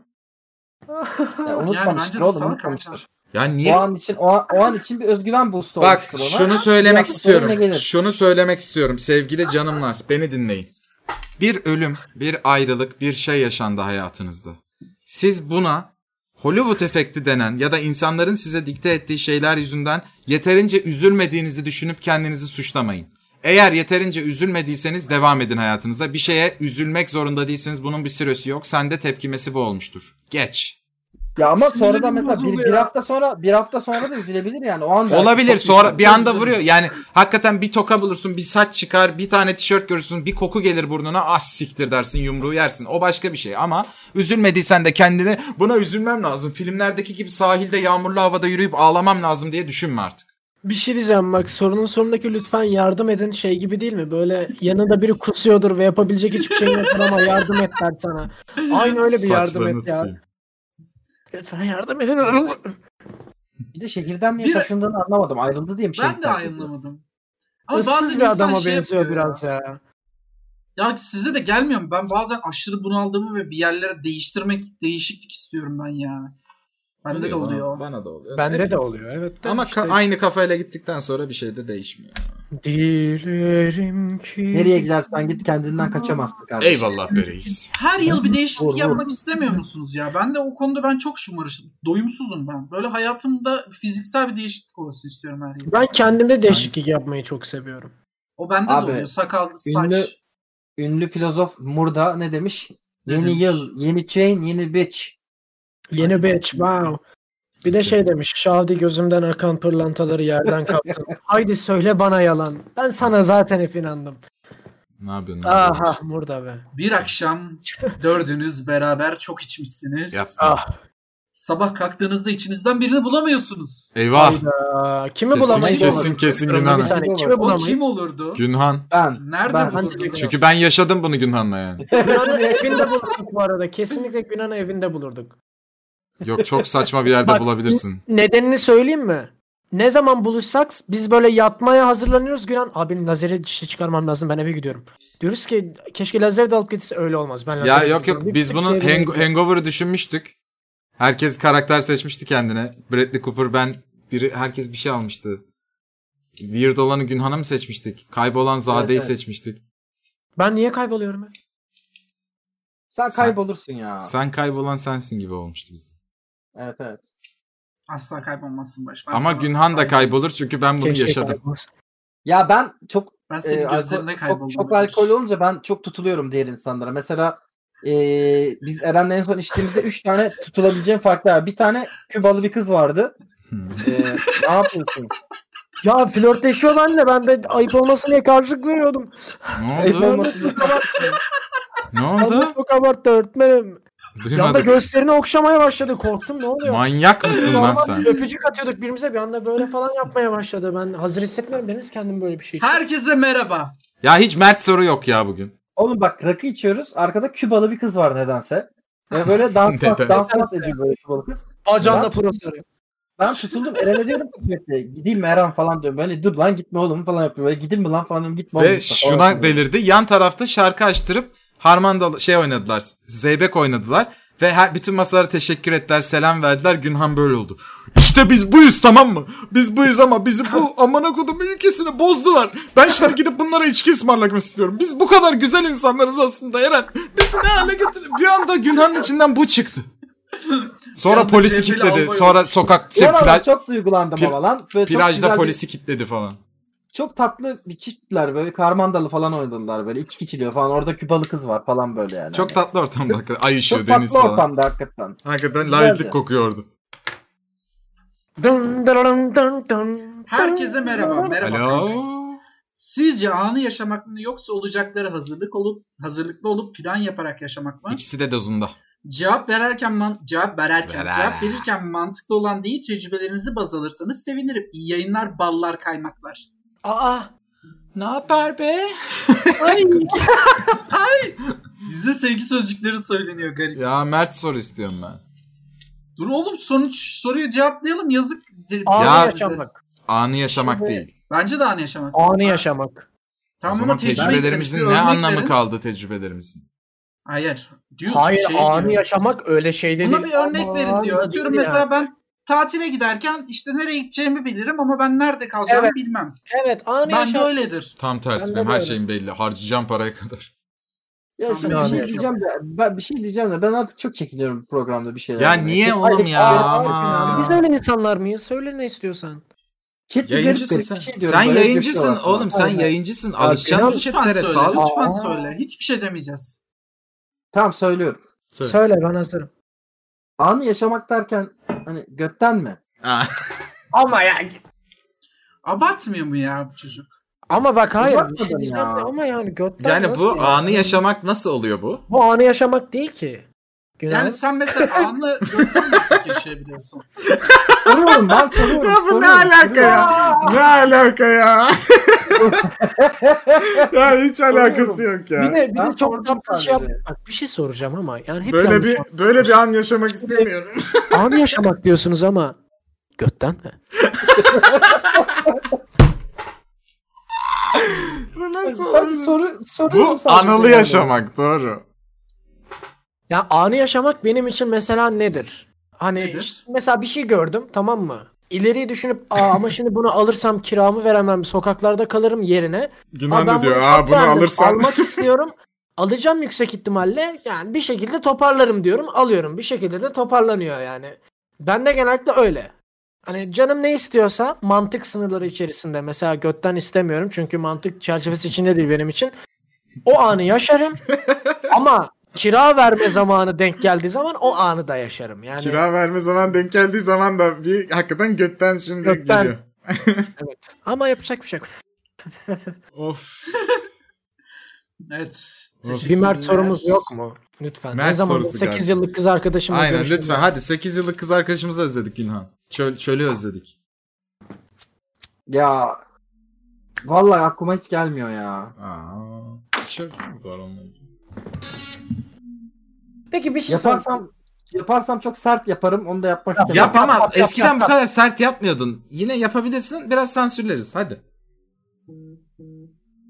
Speaker 5: Ya,
Speaker 3: bence
Speaker 5: unutmamıştır
Speaker 3: de
Speaker 5: oğlum
Speaker 3: sana
Speaker 5: unutmamıştır.
Speaker 4: Ya
Speaker 5: O
Speaker 4: niye?
Speaker 5: an için o an, o an için bir özgüven boostu
Speaker 4: Bak
Speaker 5: olmuştur ona.
Speaker 4: şunu söylemek
Speaker 5: Yapma, sonra yine
Speaker 4: istiyorum.
Speaker 5: gelir.
Speaker 4: Şunu söylemek istiyorum sevgili canımlar. Beni dinleyin. Bir ölüm, bir ayrılık, bir şey yaşandı hayatınızda. Siz buna Hollywood efekti denen ya da insanların size dikte ettiği şeyler yüzünden yeterince üzülmediğinizi düşünüp kendinizi suçlamayın. Eğer yeterince üzülmediyseniz devam edin hayatınıza. Bir şeye üzülmek zorunda değilsiniz. Bunun bir süresi yok. Sende tepkimesi bu olmuştur. Geç.
Speaker 5: Ya ama
Speaker 3: Sinirlerim
Speaker 5: sonra da mesela bir,
Speaker 3: bozuldu
Speaker 5: bir
Speaker 3: ya.
Speaker 5: hafta sonra bir hafta sonra da üzülebilir yani. O an belki
Speaker 4: Olabilir
Speaker 5: çok
Speaker 4: sonra bir
Speaker 5: üzülebilir.
Speaker 4: anda vuruyor. Yani hakikaten bir toka bulursun, bir saç çıkar, bir tane tişört görürsün, bir koku gelir burnuna. Ah siktir dersin, yumruğu yersin. O başka bir şey ama üzülmediysen de kendini buna üzülmem lazım. Filmlerdeki gibi sahilde yağmurlu havada yürüyüp ağlamam lazım diye düşünme artık.
Speaker 2: Bir şey diyeceğim bak sorunun sonundaki lütfen yardım edin şey gibi değil mi? Böyle yanında biri kusuyordur ve yapabilecek hiçbir şey yoktur ama yardım et der sana. Aynı öyle bir yardım
Speaker 4: Saçlarını
Speaker 2: et ya.
Speaker 4: tutayım.
Speaker 2: Lütfen yardım edin.
Speaker 5: Bir de şehirden niye
Speaker 3: Bir-
Speaker 5: taşındığını anlamadım. Ayrıldı
Speaker 2: şey
Speaker 5: diye şey mi
Speaker 3: Ben de
Speaker 5: şehirden?
Speaker 3: anlamadım. Ama
Speaker 2: Issız
Speaker 3: bazı
Speaker 2: bir
Speaker 3: insan
Speaker 2: adama
Speaker 3: şey
Speaker 2: benziyor
Speaker 3: yapıyor ya.
Speaker 2: biraz ya.
Speaker 3: Ya size de gelmiyor mu? Ben bazen aşırı bunaldığımı ve bir yerlere değiştirmek, değişiklik istiyorum ben ya. Bende de oluyor.
Speaker 4: Bana da oluyor.
Speaker 2: Bende de
Speaker 4: Herkes.
Speaker 2: oluyor evet. de
Speaker 4: Ama
Speaker 2: işte-
Speaker 4: ka- aynı kafayla gittikten sonra bir şey de değişmiyor.
Speaker 2: Dilerim ki.
Speaker 5: Nereye gidersen git kendinden kaçamazsın kardeşim.
Speaker 4: Eyvallah be reis.
Speaker 3: Her yıl bir değişiklik
Speaker 5: Doğru, doğru.
Speaker 3: yapmak istemiyor musunuz ya? Ben de o konuda ben çok şımarışım. Doyumsuzum ben. Böyle hayatımda fiziksel bir değişiklik olsun istiyorum her yıl.
Speaker 2: Ben kendimde değişiklik yapmayı çok seviyorum.
Speaker 3: O bende
Speaker 5: Abi,
Speaker 3: de oluyor. Sakal, saç.
Speaker 5: ünlü- Ünlü filozof Murda ne demiş?
Speaker 3: Ne
Speaker 5: yeni
Speaker 3: demiş?
Speaker 5: yıl, yeni chain, yeni bitch.
Speaker 2: Yeni bitch wow. Bir de şey demiş. Şaldi gözümden akan pırlantaları yerden
Speaker 4: [LAUGHS]
Speaker 2: kaptım. Haydi söyle bana yalan. Ben sana zaten hep inandım.
Speaker 4: Ne yapıyorsun? Ne yapıyorsun?
Speaker 2: Aha burada be.
Speaker 3: Bir akşam dördünüz beraber çok içmişsiniz.
Speaker 4: Yap.
Speaker 2: Ah.
Speaker 3: Sabah kalktığınızda içinizden birini bulamıyorsunuz.
Speaker 4: Eyvah.
Speaker 2: Aa, kimi
Speaker 4: Kesin
Speaker 2: bulamayız?
Speaker 4: kesin kesin
Speaker 2: Bir
Speaker 4: Günhan.
Speaker 2: saniye
Speaker 5: Olmadı.
Speaker 2: kimi
Speaker 3: O
Speaker 2: bulamayız?
Speaker 3: kim olurdu?
Speaker 4: Günhan.
Speaker 5: Ben.
Speaker 3: Nerede
Speaker 5: Ben-
Speaker 3: bulurdunuz?
Speaker 4: Çünkü ben yaşadım bunu Günhan'la yani.
Speaker 2: Günan'ı evinde bulurduk bu arada. Kesinlikle Günan'ı evinde bulurduk.
Speaker 4: Yok çok saçma bir yerde
Speaker 2: Bak,
Speaker 4: bulabilirsin.
Speaker 2: Nedenini söyleyeyim mi? Ne zaman buluşsak biz böyle yatmaya hazırlanıyoruz. Günan abi lazeri dişi çıkarmam lazım ben eve gidiyorum. Diyoruz ki keşke lazeri de alıp gitse öyle olmaz. Ben
Speaker 4: Ya
Speaker 2: lazeri
Speaker 4: yok yok
Speaker 2: gidiyorum. Bir
Speaker 4: biz
Speaker 2: tık
Speaker 4: bunun
Speaker 2: diye
Speaker 4: hang-
Speaker 2: bir-
Speaker 4: Hangover'ı düşünmüştük. Herkes karakter seçmişti kendine. Bradley Cooper ben biri herkes bir şey almıştı. Weird olanı Günhan'ı mı seçmiştik? Kaybolan Zade'yi
Speaker 5: Evet, evet.
Speaker 4: seçmiştik.
Speaker 2: Ben niye kayboluyorum? ya?
Speaker 5: Sen
Speaker 4: Sen-
Speaker 5: kaybolursun ya.
Speaker 4: Sen kaybolan sensin gibi olmuştu bizde.
Speaker 5: Evet evet.
Speaker 3: Asla kaybolmazsın başka.
Speaker 4: Ama Günhan da kaybolur çünkü ben bunu
Speaker 2: Keşke
Speaker 4: yaşadım.
Speaker 2: kaybolsa.
Speaker 5: Ya ben çok
Speaker 3: Ben senin
Speaker 5: e, alkol-
Speaker 3: gözlerinde kayboldum.
Speaker 5: çok, çok alkol olunca ben çok tutuluyorum diğer insanlara. Mesela e, biz Eren'le en son içtiğimizde 3 tane tutulabileceğim farklı var. Bir tane Kübalı bir kız vardı.
Speaker 4: Hmm.
Speaker 5: E, ne yapıyorsun?
Speaker 2: Ya flörtleşiyor benimle. Ben de ayıp olmasın diye karşılık veriyordum.
Speaker 4: Ne
Speaker 5: Ayıp
Speaker 4: oldu?
Speaker 5: olmasın.
Speaker 4: ne
Speaker 2: Ben de
Speaker 4: oldu?
Speaker 2: çok abarttı öğretmenim. Yanda
Speaker 4: Duymadık.
Speaker 2: göğüslerini okşamaya başladı. Korktum ne oluyor?
Speaker 4: Manyak mısın lan
Speaker 2: Normal [LAUGHS]
Speaker 4: sen?
Speaker 2: bir Öpücük atıyorduk birbirimize bir anda böyle falan yapmaya başladı. Ben hazır hissetmiyorum deniz kendim böyle bir şey. için.
Speaker 3: Herkese merhaba.
Speaker 4: Ya hiç Mert soru yok ya bugün.
Speaker 5: Oğlum bak rakı içiyoruz. Arkada Kübalı bir kız var nedense.
Speaker 4: [LAUGHS]
Speaker 5: Ve böyle dans
Speaker 4: Nedense.
Speaker 5: dans dans ediyor böyle Kübalı kız.
Speaker 2: Bacağında
Speaker 5: Ben-
Speaker 2: pırıl sarıyor.
Speaker 5: Ben tutuldum Eren'e diyorum ki sürekli gideyim mi Eren falan diyorum. Böyle dur lan gitme oğlum falan yapıyor. Böyle gidin mi lan falan diyorum gitme oğlum.
Speaker 4: Ve
Speaker 5: falan
Speaker 4: şuna
Speaker 5: yapıyor.
Speaker 4: delirdi. Yan tarafta şarkı açtırıp harmandal şey oynadılar. Zeybek oynadılar. Ve her, bütün masalara teşekkür ettiler. Selam verdiler. Günhan böyle oldu. İşte biz buyuz tamam mı? Biz buyuz ama bizi
Speaker 5: [LAUGHS]
Speaker 4: bu amına kodum ülkesini bozdular. Ben şimdi gidip bunlara içki ısmarlamak istiyorum. Biz bu kadar güzel insanlarız aslında Eren. Bizi ne hale getirdin? Bir anda Günhan'ın içinden bu çıktı.
Speaker 3: Bir
Speaker 4: Sonra
Speaker 3: anda
Speaker 4: polisi
Speaker 3: Cemil
Speaker 4: kilitledi.
Speaker 3: Albay
Speaker 4: Sonra
Speaker 3: olmuş.
Speaker 4: sokak şey,
Speaker 5: Ulan abi
Speaker 4: plaj-
Speaker 5: çok duygulandım
Speaker 4: pir-
Speaker 5: ama lan. Böyle çok
Speaker 4: plajda
Speaker 5: güzel bir-
Speaker 4: polisi kilitledi falan.
Speaker 5: Çok tatlı bir çiftler böyle karmandalı falan oynadılar böyle. İçki içiliyor falan. Orada Kübalı kız var falan böyle yani. Hani
Speaker 4: Çok tatlı ortamda hakikaten. Ay ışığı,
Speaker 5: Çok
Speaker 4: deniz
Speaker 5: tatlı
Speaker 4: falan.
Speaker 5: ortamda hakikaten.
Speaker 4: Hakikaten
Speaker 5: Güzeldi.
Speaker 4: layıklık kokuyordu.
Speaker 2: Dın dırırın dın dın.
Speaker 3: Herkese merhaba. Merhaba.
Speaker 4: Alo.
Speaker 3: Sizce anı yaşamak mı yoksa olacaklara hazırlık olup hazırlıklı olup plan yaparak yaşamak mı?
Speaker 4: İkisi de dozunda.
Speaker 3: Cevap verirken man cevap verirken
Speaker 4: Verer.
Speaker 3: cevap verirken mantıklı olan değil tecrübelerinizi baz alırsanız sevinirim. İyi yayınlar ballar kaymaklar.
Speaker 2: Aa.
Speaker 4: Ne yapar be?
Speaker 2: Ay.
Speaker 3: Bize sevgi sözcükleri söyleniyor garip.
Speaker 4: Ya Mert soru istiyorum ben.
Speaker 3: Dur oğlum sonuç soruyu cevaplayalım yazık.
Speaker 2: Anı
Speaker 4: Ya-
Speaker 2: yaşamak.
Speaker 4: Anı yaşamak
Speaker 2: Evet.
Speaker 4: değil.
Speaker 3: Bence de anı yaşamak.
Speaker 2: Anı yaşamak.
Speaker 4: O
Speaker 3: Tamam ama
Speaker 4: zaman
Speaker 3: tecrübe
Speaker 4: tecrübelerimizin
Speaker 3: istemiş.
Speaker 4: ne
Speaker 3: Bir örnek
Speaker 4: anlamı
Speaker 3: verin.
Speaker 4: kaldı tecrübelerimizin?
Speaker 3: Hayır. Diyor,
Speaker 2: Hayır
Speaker 3: şey
Speaker 2: anı
Speaker 3: diyor.
Speaker 2: yaşamak öyle şey değil.
Speaker 3: Buna bir örnek
Speaker 2: Aman,
Speaker 3: verin diyor.
Speaker 2: değil
Speaker 3: Atıyorum
Speaker 2: yani.
Speaker 3: mesela ben tatile giderken işte nereye gideceğimi bilirim ama ben nerede kalacağımı
Speaker 2: Evet.
Speaker 3: bilmem.
Speaker 2: Evet anı
Speaker 3: Ben de
Speaker 2: yaşamak.
Speaker 3: öyledir.
Speaker 4: Tam tersi
Speaker 2: Ben de
Speaker 4: benim her
Speaker 2: böyle.
Speaker 4: şeyim belli. Harcayacağım paraya kadar.
Speaker 5: Ya şimdi
Speaker 3: Samimi
Speaker 5: bir şey
Speaker 3: yani.
Speaker 5: diyeceğim de ben bir şey diyeceğim de ben artık çok çekiniyorum programda bir şeyler.
Speaker 4: Ya
Speaker 5: yapmaya.
Speaker 4: niye
Speaker 5: Çok-
Speaker 4: oğlum
Speaker 5: Hayır,
Speaker 4: ya?
Speaker 5: hayır, hayır,
Speaker 4: Aman.
Speaker 5: hayır.
Speaker 2: Biz öyle insanlar mıyız? Söyle ne istiyorsan.
Speaker 5: Chat bir garip
Speaker 4: Yayıncısın
Speaker 5: garip
Speaker 4: sen.
Speaker 5: bir şey diyorum,
Speaker 4: sen
Speaker 5: böyle
Speaker 4: yayıncısın
Speaker 5: döküyorlar falan.
Speaker 4: oğlum sen
Speaker 5: Aynen.
Speaker 4: yayıncısın. Alışacaksın
Speaker 2: Kenan,
Speaker 4: bu
Speaker 3: Lütfen
Speaker 4: chatlere
Speaker 3: söyle.
Speaker 4: sağlık.
Speaker 3: Lütfen
Speaker 2: Aa.
Speaker 3: söyle. Hiçbir şey demeyeceğiz.
Speaker 5: Tamam söylüyorum.
Speaker 4: Söyle.
Speaker 2: Söyle ben hazırım.
Speaker 5: anı yaşamak derken hani götten mi?
Speaker 4: Ha.
Speaker 2: Ama ya.
Speaker 3: Abartmıyor mu ya bu çocuk?
Speaker 2: Ama bak hayır. bir şey
Speaker 5: Bakmadım
Speaker 2: diyeceğim
Speaker 5: ya.
Speaker 2: de Ama yani götten
Speaker 4: Yani
Speaker 2: nasıl
Speaker 4: bu anı yaşamak nasıl oluyor bu?
Speaker 2: Bu anı yaşamak değil ki. Günah.
Speaker 3: Yani sen
Speaker 2: [LAUGHS]
Speaker 3: mesela anla gökten nasıl yaşayabiliyorsun?
Speaker 5: Soruyorum ben
Speaker 4: [LAUGHS]
Speaker 5: soruyorum.
Speaker 4: Ya bu ne
Speaker 5: soruyorum,
Speaker 4: alaka ya? Ne alaka [LAUGHS] ya? ya hiç alakası yok
Speaker 2: Bir
Speaker 4: ya.
Speaker 2: de, bir
Speaker 5: Ben
Speaker 2: de çok
Speaker 5: sordum
Speaker 2: tatlı şey yap.
Speaker 5: sadece.
Speaker 2: Bak bir şey soracağım ama. Yani hep
Speaker 4: Böyle
Speaker 2: yanlış
Speaker 4: bir
Speaker 2: anlıyorsunuz.
Speaker 4: böyle bir an yaşamak istemiyorum.
Speaker 2: Anı yaşamak diyorsunuz ama götten mi?
Speaker 4: bu
Speaker 5: soruyorum.
Speaker 4: nasıl
Speaker 5: Sadece
Speaker 4: olur?
Speaker 5: soru, soruyorum
Speaker 4: Bu
Speaker 5: sadece
Speaker 4: anılı
Speaker 5: yani.
Speaker 4: yaşamak doğru.
Speaker 2: Ya anı yaşamak benim için mesela nedir? Hani
Speaker 3: Nedir?
Speaker 2: işte mesela bir şey gördüm tamam mı? İleriyi düşünüp aa ama [LAUGHS] şimdi bunu alırsam kiramı veremem sokaklarda kalırım yerine. Aa,
Speaker 4: Günan da
Speaker 2: ben
Speaker 4: diyor
Speaker 2: bunu
Speaker 4: aa
Speaker 2: çok
Speaker 4: bunu
Speaker 2: beğendim,
Speaker 4: alırsan.
Speaker 2: Almak istiyorum. Alacağım yüksek ihtimalle. Yani bir şekilde toparlarım diyorum. Alıyorum. Bir şekilde de toparlanıyor yani. Ben de genellikle öyle. Hani canım ne istiyorsa mantık sınırları içerisinde. Mesela götten istemiyorum. Çünkü mantık çerçevesi içinde değil benim için. O anı
Speaker 4: [LAUGHS]
Speaker 2: yaşarım. ama kira verme zamanı denk geldiği zaman o anı da yaşarım. Yani
Speaker 4: [LAUGHS] Kira verme zaman denk geldiği zaman da bir hakikaten götten şimdi
Speaker 2: Götten.
Speaker 4: geliyor.
Speaker 2: evet. Ama yapacak bir şey yok.
Speaker 4: Of.
Speaker 3: Evet.
Speaker 4: Bir
Speaker 2: Bir
Speaker 3: teşekkürler.
Speaker 2: Mert sorumuz yok mu? Lütfen.
Speaker 4: Mert
Speaker 2: ne zaman
Speaker 4: sorusu
Speaker 2: 8
Speaker 4: gelsin.
Speaker 2: yıllık kız arkadaşımla
Speaker 4: Aynen
Speaker 2: görüşürüm.
Speaker 4: lütfen hadi 8 yıllık kız arkadaşımızı özledik Günhan. Çöl, çölü özledik.
Speaker 5: Ya vallahi aklıma hiç gelmiyor ya.
Speaker 4: Aa, tişörtümüz var onunla ilgili.
Speaker 2: Peki bir şey sorsam.
Speaker 5: Yaparsam yaparsam çok sert yaparım. Onu da yapmak istemiyorum.
Speaker 4: Yap ama
Speaker 2: yap, yap,
Speaker 4: eskiden
Speaker 2: yap,
Speaker 4: bu kadar sert yapmıyordun. Yine yapabilirsin biraz sansürleriz hadi.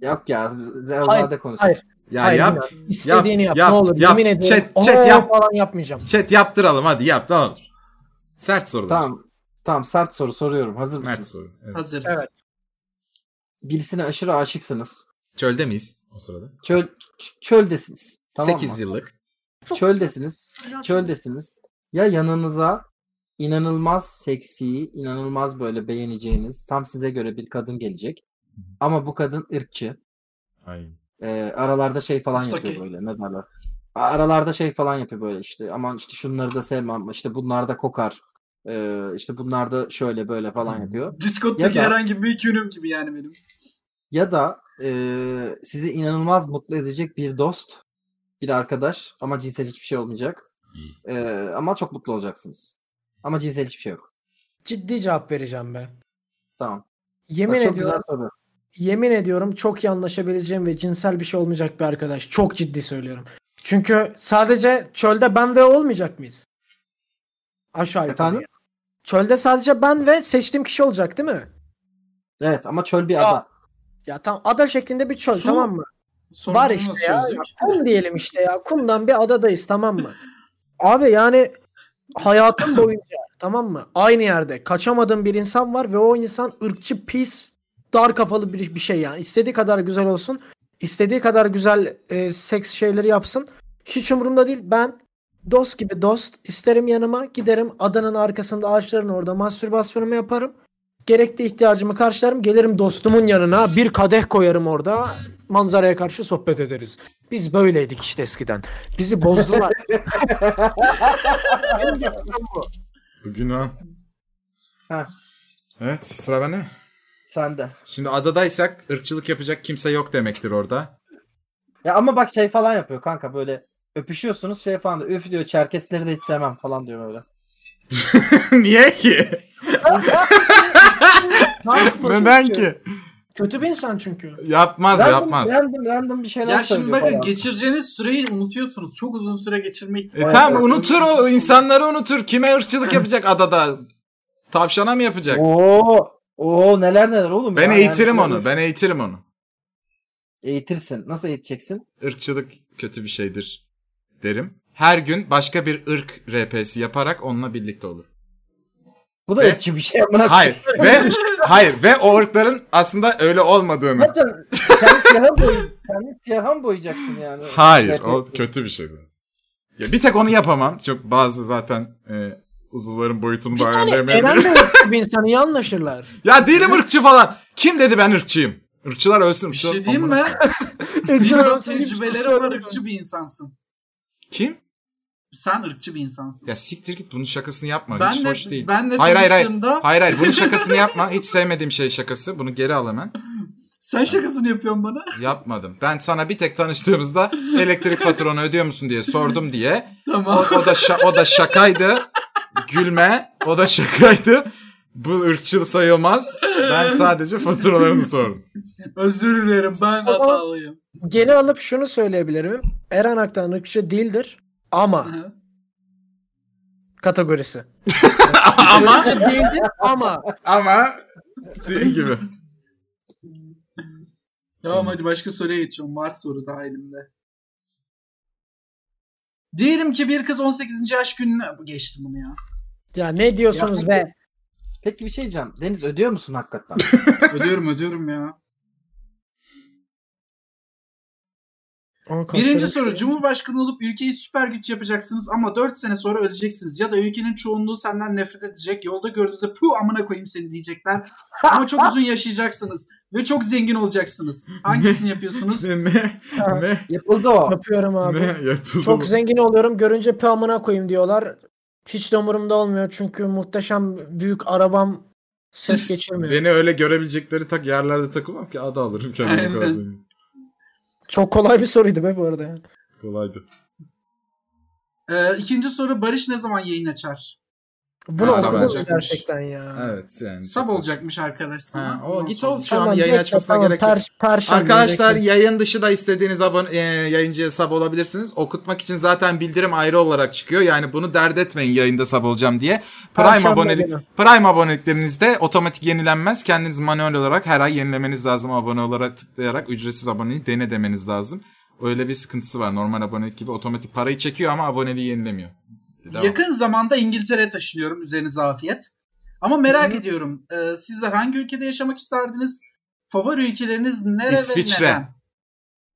Speaker 5: Yok ya. Zerrazade konusu.
Speaker 2: hayır.
Speaker 4: Ya
Speaker 2: Hayır,
Speaker 4: yap.
Speaker 2: bilmiyorum. İstediğini yap,
Speaker 4: yap,
Speaker 2: ne olur.
Speaker 4: yap.
Speaker 2: Yemin ediyorum.
Speaker 4: Chat, chat
Speaker 2: "Oo"
Speaker 4: yap.
Speaker 2: falan yapmayacağım.
Speaker 4: Chat yaptıralım hadi yap tamam. Sert sorular.
Speaker 5: Tamam. Tamam sert soru soruyorum. Hazır mısınız?
Speaker 4: Mert soru. Evet.
Speaker 3: Hazırız.
Speaker 2: Evet.
Speaker 5: Birisine aşırı aşıksınız.
Speaker 4: Çölde miyiz o sırada?
Speaker 5: Çöl ç- çöldesiniz. Tamam
Speaker 4: 8
Speaker 5: mı?
Speaker 4: yıllık.
Speaker 5: Çöldesiniz. Çöldesiniz. Ya yanınıza inanılmaz seksi, inanılmaz böyle beğeneceğiniz, tam size göre bir kadın gelecek. Ama bu kadın ırkçı.
Speaker 4: Ay.
Speaker 5: Ee, aralarda şey falan
Speaker 3: Stalking.
Speaker 5: yapıyor böyle ne derler. A- Aralarda şey falan yapıyor böyle işte aman işte şunları da sevmem işte bunlar da kokar. Ee, işte bunlar da şöyle böyle falan yapıyor. Ya
Speaker 3: Discord'daki
Speaker 5: da-
Speaker 3: herhangi bir yönüm gibi yani benim.
Speaker 5: Ya da ee, sizi inanılmaz mutlu edecek bir dost, bir arkadaş ama cinsel hiçbir şey olmayacak. Ee, ama çok mutlu olacaksınız. Ama cinsel hiçbir şey yok.
Speaker 2: Ciddi cevap vereceğim be.
Speaker 5: Tamam. Bak,
Speaker 2: Yemin
Speaker 5: çok
Speaker 2: ediyorum.
Speaker 5: güzel soru.
Speaker 2: Yemin ediyorum çok iyi anlaşabileceğim ve cinsel bir şey olmayacak bir arkadaş. Çok ciddi söylüyorum. Çünkü sadece çölde ben ve olmayacak mıyız? Aşağı yukarı.
Speaker 5: Efendim?
Speaker 2: yani. Çölde sadece ben ve seçtiğim kişi olacak değil mi?
Speaker 5: Evet ama çöl bir
Speaker 2: Ya,
Speaker 5: ada.
Speaker 2: Ya tam ada şeklinde bir çöl
Speaker 3: Su-
Speaker 2: tamam mı?
Speaker 3: Sorunu
Speaker 2: Var işte
Speaker 3: nasıl
Speaker 2: ya.
Speaker 3: çözdük?
Speaker 2: Kum diyelim işte ya. Kumdan bir adadayız tamam mı? Abi yani hayatım boyunca tamam mı? Aynı yerde kaçamadığım bir insan var ve o insan ırkçı, pis, dar kafalı bir, bir şey yani. İstediği kadar güzel olsun. istediği kadar güzel e, seks şeyleri yapsın. Hiç umurumda değil. Ben dost gibi dost isterim yanıma giderim adanın arkasında ağaçların orada mastürbasyonumu yaparım. Gerekli ihtiyacımı karşılarım. Gelirim dostumun yanına bir kadeh koyarım orada. Manzaraya karşı sohbet ederiz. Biz böyleydik işte eskiden. Bizi bozdular. Benim fikrim bu.
Speaker 4: Bu Günhan.
Speaker 5: Ha.
Speaker 4: Evet sıra bende mi?
Speaker 5: Sen de.
Speaker 4: Şimdi adadaysak ırkçılık yapacak kimse yok demektir orada.
Speaker 5: Ya ama bak şey falan yapıyor kanka böyle öpüşüyorsunuz şey falan diyor. Üf diyor Çerkesleri de hiç sevmem falan diyor böyle.
Speaker 4: [LAUGHS] Niye ki?
Speaker 2: Ne yaptın?
Speaker 4: Neden ki?
Speaker 2: Kötü bir insan çünkü.
Speaker 4: Yapmaz
Speaker 5: şey Random,
Speaker 4: yapmaz.
Speaker 5: Random random bir şeyler
Speaker 3: Ya şimdi
Speaker 5: söylüyor
Speaker 3: bakın
Speaker 5: falan.
Speaker 3: geçireceğiniz süreyi unutuyorsunuz. Çok uzun süre geçirme
Speaker 4: E
Speaker 3: ihtimali.
Speaker 4: tamam unutur o insanları unutur. Kime ırkçılık yapacak adada? Tavşana mı yapacak?
Speaker 5: Oo, oo neler neler oğlum.
Speaker 4: Ben
Speaker 5: ya.
Speaker 4: eğitirim
Speaker 5: Yani
Speaker 4: onu. Ben eğitirim onu.
Speaker 5: Eğitirsin. Nasıl eğiteceksin?
Speaker 4: Irkçılık kötü bir şeydir derim. Her gün başka bir ırk RP'si yaparak onunla birlikte olur.
Speaker 5: Bu da
Speaker 4: Ve-
Speaker 5: ırkçı bir şey amına koyayım.
Speaker 4: Hayır ve hayır ve o ırkların aslında öyle olmadığını.
Speaker 5: Zaten kendi siyahın boy kendi siyahın boyayacaksın yani.
Speaker 4: Hayır
Speaker 5: Yapıyor.
Speaker 4: o kötü bir şey. zaten. Ya bir tek onu yapamam. Çok bazı zaten e, uzuvların boyutunu
Speaker 2: Bir
Speaker 4: da
Speaker 2: tane
Speaker 4: ayarlayamayabilirim.
Speaker 2: Eren de ırkçı bir insan iyi anlaşırlar.
Speaker 4: Ya değilim ırkçı falan. Kim dedi ben ırkçıyım? Irkçılar ölsün.
Speaker 3: Bir
Speaker 4: ırkçılar-
Speaker 3: şey diyeyim
Speaker 4: Amına-
Speaker 3: mi?
Speaker 2: Irkçı
Speaker 4: [LAUGHS]
Speaker 3: Bizim
Speaker 2: adam seni hiç
Speaker 3: tecrübelerim
Speaker 2: kusura
Speaker 3: var
Speaker 2: bakma.
Speaker 3: ırkçı bir insansın.
Speaker 4: Kim?
Speaker 3: Sen ırkçı bir insansın.
Speaker 4: Ya siktir git bunun şakasını yapma.
Speaker 3: ben
Speaker 4: Hiç
Speaker 3: de,
Speaker 4: hoş değil.
Speaker 3: ben de
Speaker 4: Hayır, hayır, hayır.
Speaker 3: tanıştığımda
Speaker 4: Hayır hayır bunun şakasını yapma. Hiç sevmediğim şey şakası. Bunu geri al hemen.
Speaker 3: sen şakasını yapıyorsun bana. [LAUGHS]
Speaker 4: Yapmadım. Ben sana bir tek tanıştığımızda elektrik faturanı ödüyor musun diye sordum diye. O,
Speaker 3: Tamam.
Speaker 4: o da şa- o da şakaydı. Gülme. O da şakaydı. Bu ırkçıl sayılmaz. Ben sadece faturalarını sordum.
Speaker 3: Özür dilerim ben
Speaker 2: Ama-
Speaker 4: [LAUGHS]
Speaker 3: hatalıyım.
Speaker 2: Geri alıp şunu söyleyebilirim. Eren Aktan ırkçı değildir ama
Speaker 3: Hı.
Speaker 2: kategorisi.
Speaker 4: ama
Speaker 2: Irkçı değildir ama
Speaker 4: ama değil gibi.
Speaker 3: Tamam hadi başka soruya geçiyorum. Var soru daha elimde. Diyelim ki bir kız 18. yaş gününe... Geçtim bunu ya.
Speaker 2: ya ne diyorsunuz
Speaker 5: Ya-
Speaker 2: be?
Speaker 5: Peki bir şey diyeceğim. Deniz ödüyor musun hakikaten?
Speaker 3: ödüyorum ödüyorum ya.
Speaker 2: Ama
Speaker 3: Birinci
Speaker 2: konuşalım.
Speaker 3: soru. Cumhurbaşkanı olup ülkeyi süper güç yapacaksınız ama 4 sene sonra öleceksiniz. Ya da ülkenin çoğunluğu senden nefret edecek. Yolda gördüğünüzde puh amına koyayım seni diyecekler. Ama çok uzun yaşayacaksınız. Ve çok zengin olacaksınız. Hangisini
Speaker 4: [LAUGHS]
Speaker 3: yapıyorsunuz?
Speaker 4: me, me,
Speaker 5: Yapıldı o.
Speaker 2: Yapıyorum abi.
Speaker 4: yapıldı
Speaker 2: Çok zengin oluyorum. Görünce pe amına koyayım diyorlar. Hiç de umurumda olmuyor çünkü muhteşem büyük arabam ses geçirmiyor.
Speaker 4: Beni öyle görebilecekleri tak yerlerde takılmam ki adı alırım kendimi
Speaker 3: Aynen.
Speaker 4: kolay zengin.
Speaker 2: Çok kolay bir soruydu be bu arada. ya.
Speaker 4: Kolaydı.
Speaker 3: Ee, ikinci soru. Barış ne zaman yayın açar?
Speaker 2: Bunu
Speaker 4: Ha,
Speaker 2: okudunuz
Speaker 4: sabahacakmış.
Speaker 2: gerçekten ya.
Speaker 4: Evet yani.
Speaker 3: Sab olacakmış arkadaş sana.
Speaker 4: Ha, o
Speaker 3: Ondan
Speaker 4: git
Speaker 3: sonra-
Speaker 4: ol şu an yayın
Speaker 2: geç,
Speaker 4: açmasına
Speaker 2: tamam,
Speaker 4: gerek yok.
Speaker 2: per- Perşembe
Speaker 4: Arkadaşlar
Speaker 2: gelecek.
Speaker 4: yayın dışı da istediğiniz abone, e, yayıncıya sab olabilirsiniz. Okutmak için zaten bildirim ayrı olarak çıkıyor. Yani bunu dert etmeyin yayında sab olacağım diye. Prime,
Speaker 2: Perşembe
Speaker 4: abonelik,
Speaker 2: günü.
Speaker 4: Prime aboneliklerinizde otomatik yenilenmez. Kendiniz manuel olarak her ay yenilemeniz lazım. Abone olarak tıklayarak ücretsiz aboneliği dene demeniz lazım. Öyle bir sıkıntısı var. Normal abonelik gibi otomatik parayı çekiyor ama aboneliği yenilemiyor. Devam.
Speaker 3: Yakın zamanda İngiltere'ye taşınıyorum. Üzerinize afiyet. Ama merak ediyorum. e, sizler hangi ülkede yaşamak isterdiniz? Favori ülkeleriniz nere
Speaker 4: İsviçre.
Speaker 3: ve neden?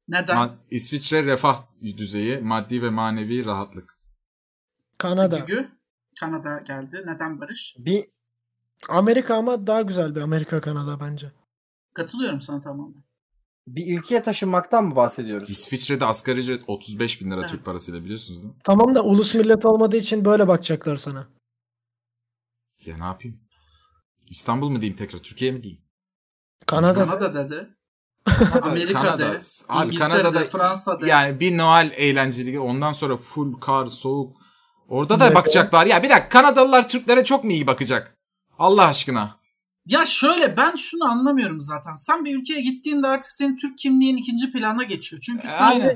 Speaker 3: Neden?
Speaker 4: Ma- İsviçre refah düzeyi, maddi ve manevi rahatlık.
Speaker 2: Kanada.
Speaker 3: Gügü. Kanada geldi. Neden Barış?
Speaker 5: Bir
Speaker 2: Amerika ama daha güzel bir Amerika Kanada bence.
Speaker 3: Katılıyorum sana tamamen.
Speaker 5: bir ülkeye taşınmaktan mı bahsediyoruz?
Speaker 4: İsviçre'de asgari ücret 35 bin lira
Speaker 3: Evet.
Speaker 4: Türk parasıyla biliyorsunuz değil mi?
Speaker 2: Tamam da ulus millet olmadığı için böyle bakacaklar sana.
Speaker 4: Ya ne yapayım? İstanbul mu diyeyim tekrar? Türkiye mi diyeyim?
Speaker 2: Kanada.
Speaker 3: Kanada dedi.
Speaker 4: Kanada-
Speaker 3: Amerika'da,
Speaker 4: Abi
Speaker 3: İngiltere'de,
Speaker 4: Kanada'da
Speaker 3: Fransa'da.
Speaker 4: yani bir Noel eğlenceli. Ondan sonra full kar, soğuk. Orada da
Speaker 2: Evet.
Speaker 4: bakacaklar. Ya bir dakika Kanadalılar Türklere çok mu iyi bakacak? Allah aşkına.
Speaker 3: Ya şöyle ben şunu anlamıyorum zaten. Sen bir ülkeye gittiğinde artık senin Türk kimliğin ikinci plana geçiyor. Çünkü sen
Speaker 4: Aynen.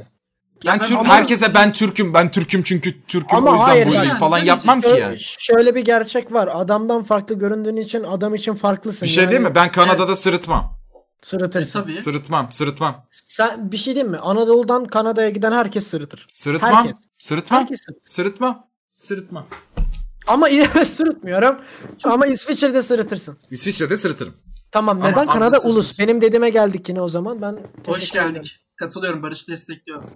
Speaker 4: Ben,
Speaker 3: ben-
Speaker 4: Türk,
Speaker 3: ama-
Speaker 4: herkese ben Türk'üm, ben Türk'üm çünkü Türk'üm
Speaker 2: Ama
Speaker 4: o yüzden
Speaker 2: hayır
Speaker 4: bu
Speaker 2: yani,
Speaker 4: iyi falan
Speaker 3: ne
Speaker 4: yapmam ki
Speaker 3: diyeceksin?
Speaker 4: yani.
Speaker 2: Şöyle bir gerçek var. Adamdan farklı göründüğün için adam için farklısın.
Speaker 4: Bir şey
Speaker 2: yani.
Speaker 4: değil mi? Ben Kanada'da sırıtmam.
Speaker 3: E,
Speaker 2: Sırıtırsın.
Speaker 3: tabii.
Speaker 4: Sırıtmam, sırıtmam.
Speaker 2: Sen bir şey değil mi? Anadolu'dan Kanada'ya giden herkes sırıtır.
Speaker 4: Sırıtmam,
Speaker 2: Herkes.
Speaker 4: sırıtmam,
Speaker 2: Herkes sırıtır.
Speaker 4: sırıtmam, sırıtmam.
Speaker 2: Ama İ- sırıtmıyorum. Ama İsviçre'de sırıtırsın.
Speaker 4: İsviçre'de sırıtırım.
Speaker 2: Tamam
Speaker 4: Ama
Speaker 2: neden?
Speaker 4: farklı
Speaker 2: Kanada
Speaker 4: sırıtırsın.
Speaker 2: ulus. Benim dediğime geldik yine o zaman. Ben
Speaker 3: Hoş
Speaker 2: teşekkür ederim.
Speaker 3: geldik. Katılıyorum. Barış'ı destekliyorum.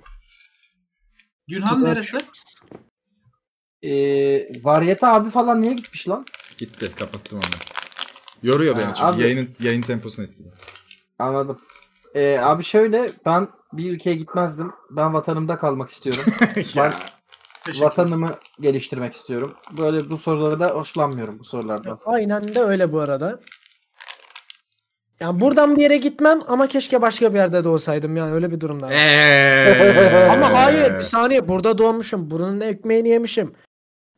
Speaker 3: Günhan
Speaker 2: Tutar.
Speaker 3: neresi?
Speaker 5: Ee, Varyete abi falan niye gitmiş lan?
Speaker 4: Gitti, kapattım onu. Yoruyor beni
Speaker 5: Ha,
Speaker 4: çünkü
Speaker 5: abi.
Speaker 4: yayının yayın temposunu
Speaker 5: [LAUGHS]
Speaker 4: etkiliyor.
Speaker 5: Anladım. Ee, abi şöyle ben bir ülkeye gitmezdim. Ben vatanımda kalmak istiyorum.
Speaker 4: [LAUGHS]
Speaker 5: ben
Speaker 3: Teşekkür
Speaker 5: vatanımı geliştirmek istiyorum. Böyle bu sorulara da hoşlanmıyorum bu sorulardan.
Speaker 2: Aynen de öyle bu arada. Yani buradan bir yere gitmem ama keşke başka bir yerde de olsaydım yani öyle bir durumda.
Speaker 4: Ee. Eee.
Speaker 2: Ama hayır bir saniye burada doğmuşum. Buranın ekmeğini yemişim.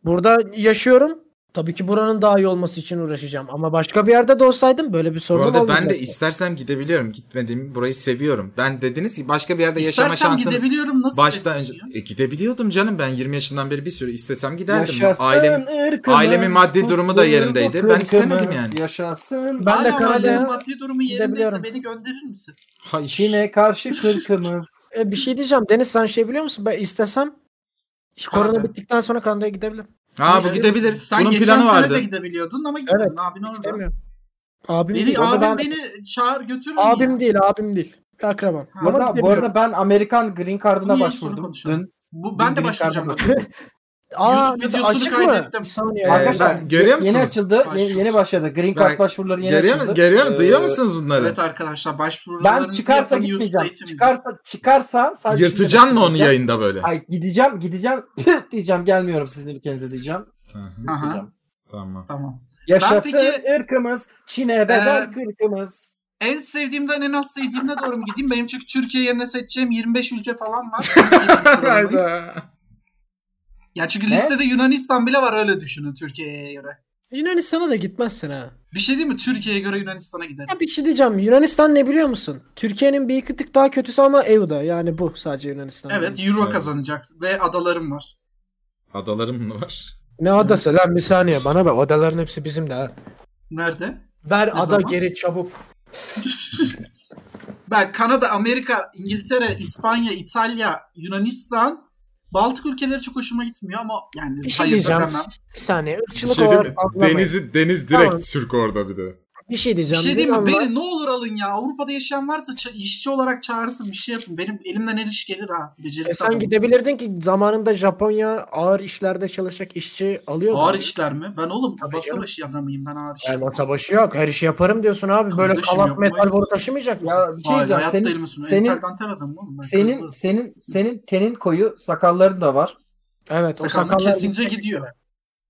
Speaker 2: Burada yaşıyorum. Tabii ki buranın daha iyi olması için uğraşacağım. Ama başka bir yerde de olsaydım böyle bir
Speaker 4: Bu
Speaker 2: sorun
Speaker 4: arada
Speaker 2: olmayacaktı.
Speaker 4: ben de istersem gidebiliyorum. Gitmediğim burayı seviyorum. Ben dediniz ki başka bir yerde yaşama
Speaker 3: İstersen
Speaker 4: şansınız.
Speaker 3: gidebiliyorum. Nasıl
Speaker 4: Baştan önce
Speaker 3: gidebiliyorsun ya?
Speaker 4: e, gidebiliyordum canım ben 20 yaşından beri bir sürü istesem giderdim.
Speaker 5: Yaşasın
Speaker 4: Ailem
Speaker 5: ırkımız,
Speaker 4: ailemin maddi durumu da yerindeydi. Ben
Speaker 5: ırkımız,
Speaker 4: istemedim yani.
Speaker 5: Yaşasın.
Speaker 2: Ben de
Speaker 3: Hala ailenin
Speaker 2: Kanada'ya
Speaker 3: maddi durumu yerindeyse
Speaker 2: gidebiliyorum.
Speaker 3: beni gönderir misin?
Speaker 4: Hayır.
Speaker 3: [LAUGHS]
Speaker 5: Çin'e karşı kırkımız.
Speaker 2: E, bir şey diyeceğim. Deniz sen şey biliyor musun? Ben istesem korona
Speaker 3: Kanada.
Speaker 2: bittikten sonra Kanada'ya gidebilirim.
Speaker 4: Ha bu
Speaker 3: Neyse,
Speaker 4: gidebilir.
Speaker 3: Sen
Speaker 4: Bunun
Speaker 3: geçen
Speaker 4: planı
Speaker 3: sene
Speaker 4: vardı.
Speaker 3: de gidebiliyordun ama gitmedin.
Speaker 2: Evet,
Speaker 3: Abin orada.
Speaker 2: İstemiyorum. Abim
Speaker 3: Beni,
Speaker 2: değil. orada
Speaker 3: abim
Speaker 2: ben-
Speaker 3: beni çağır götürür mü ya?
Speaker 2: Abim değil, abim değil. Akrabam.
Speaker 5: Bu
Speaker 2: Ama
Speaker 3: şey
Speaker 5: arada, bu
Speaker 2: gidebiliyorum.
Speaker 5: arada ben Amerikan Green Card'ına
Speaker 3: Bunu yeni sonra
Speaker 5: başvurdum.
Speaker 3: konuşalım.
Speaker 5: Dün
Speaker 3: Bu, ben de
Speaker 5: Green
Speaker 3: başlayacağım.
Speaker 5: Card'ı
Speaker 3: bak.
Speaker 2: Aa,
Speaker 3: YouTube
Speaker 2: mesela
Speaker 3: videosunu
Speaker 2: açık
Speaker 3: kaydettim.
Speaker 2: mı? Bir saniye.
Speaker 4: Ee,
Speaker 5: Arkadaşlar,
Speaker 4: ben- görüyor musunuz?
Speaker 5: Yeni açıldı.
Speaker 3: Ay,
Speaker 5: Yeni,
Speaker 3: şu-
Speaker 5: yeni başladı. Green
Speaker 4: Bak,
Speaker 5: Card başvuruları yeni
Speaker 4: Görüyor musun?
Speaker 5: açıldı.
Speaker 4: Görüyor musun? Duyuyor
Speaker 5: Ee,
Speaker 4: musunuz bunları?
Speaker 3: Evet arkadaşlar başvurularınızı
Speaker 5: Ben çıkarsa
Speaker 3: yapın,
Speaker 5: gitmeyeceğim.
Speaker 3: YouTube'da
Speaker 5: Çıkarsa çıkarsa sadece
Speaker 4: Yırtacaksın mı onu
Speaker 5: gideceğim.
Speaker 4: yayında böyle?
Speaker 5: Ay gideceğim gideceğim [LAUGHS] Püh diyeceğim gelmiyorum sizin ülkenize diyeceğim.
Speaker 4: Hı,
Speaker 3: Aha.
Speaker 5: Diyeceğim.
Speaker 4: tamam.
Speaker 3: Tamam.
Speaker 5: Yaşasın
Speaker 3: peki- Ee,
Speaker 5: ırkımız Çin'e bedel kırkımız.
Speaker 3: En sevdiğimden en az sevdiğimle doğru mu gideyim? Benim çünkü Türkiye yerine seçeceğim 25 ülke falan
Speaker 5: [LAUGHS]
Speaker 3: var. Hayda. ya çünkü
Speaker 5: Ne?
Speaker 3: listede Yunanistan bile var öyle düşünün Türkiye'ye göre.
Speaker 2: Yunanistan'a da gitmezsin ha.
Speaker 3: Bir şey değil mi? Türkiye'ye göre Yunanistan'a giderim.
Speaker 2: Ya bir şey diyeceğim. Yunanistan ne biliyor musun? Türkiye'nin bir iki tık daha kötüsü ama EU'da. Yani bu sadece Yunanistan.
Speaker 3: Evet Euro
Speaker 4: Evet.
Speaker 3: kazanacak ve adalarım var.
Speaker 4: Adalarım mı var?
Speaker 2: Ne adası lan bir saniye bana bak. Adaların hepsi bizim de ha.
Speaker 3: Nerede?
Speaker 2: Ver ada
Speaker 3: zaman?
Speaker 2: geri çabuk.
Speaker 3: ben Kanada, Amerika, İngiltere, İspanya, İtalya, Yunanistan, Baltık ülkeleri çok hoşuma gitmiyor ama yani
Speaker 2: Bir şey
Speaker 3: hayır
Speaker 2: diyeceğim.
Speaker 3: demem.
Speaker 2: Bir saniye.
Speaker 4: Bir
Speaker 2: ırkçılık
Speaker 4: şey değil
Speaker 2: olarak
Speaker 4: mi?
Speaker 2: algılamayın.
Speaker 4: Denizi, deniz direkt
Speaker 2: Tamam.
Speaker 4: Türk orada bir de.
Speaker 2: Bir şey
Speaker 3: Bir
Speaker 2: diyeceğim.
Speaker 3: şey diyeyim mi?
Speaker 2: Bilmem lan.
Speaker 3: Beni ne olur alın ya. Avrupa'da yaşayan varsa ça- işçi olarak çağırsın bir şey yapın. Benim elimden el iş gelir ha. Becerikli
Speaker 2: E sen
Speaker 3: adamım.
Speaker 2: gidebilirdin ki zamanında Japonya ağır işlerde çalışacak işçi alıyordu.
Speaker 3: Ağır işler mi? Ben oğlum
Speaker 2: Tabii
Speaker 3: masa
Speaker 2: canım.
Speaker 3: başı adamıyım ben ağır işler.
Speaker 2: Yani masa başı yok. Her işi yaparım diyorsun abi. Böyle
Speaker 3: Kardeşim
Speaker 2: kalak
Speaker 3: yapmayız.
Speaker 2: metal boru taşımayacak mısın?
Speaker 5: Ya bir şey
Speaker 3: Hayır
Speaker 5: diyeceğim.
Speaker 3: hayatta
Speaker 5: Senin,
Speaker 3: elimi sürmem.
Speaker 5: senin-
Speaker 3: Entel dantel adamım oğlum. Ben
Speaker 5: senin
Speaker 3: kırılırım.
Speaker 5: senin senin tenin koyu sakalların da var.
Speaker 2: Evet. o
Speaker 3: Sakalını
Speaker 2: sakallar-
Speaker 3: kesince gidiyor.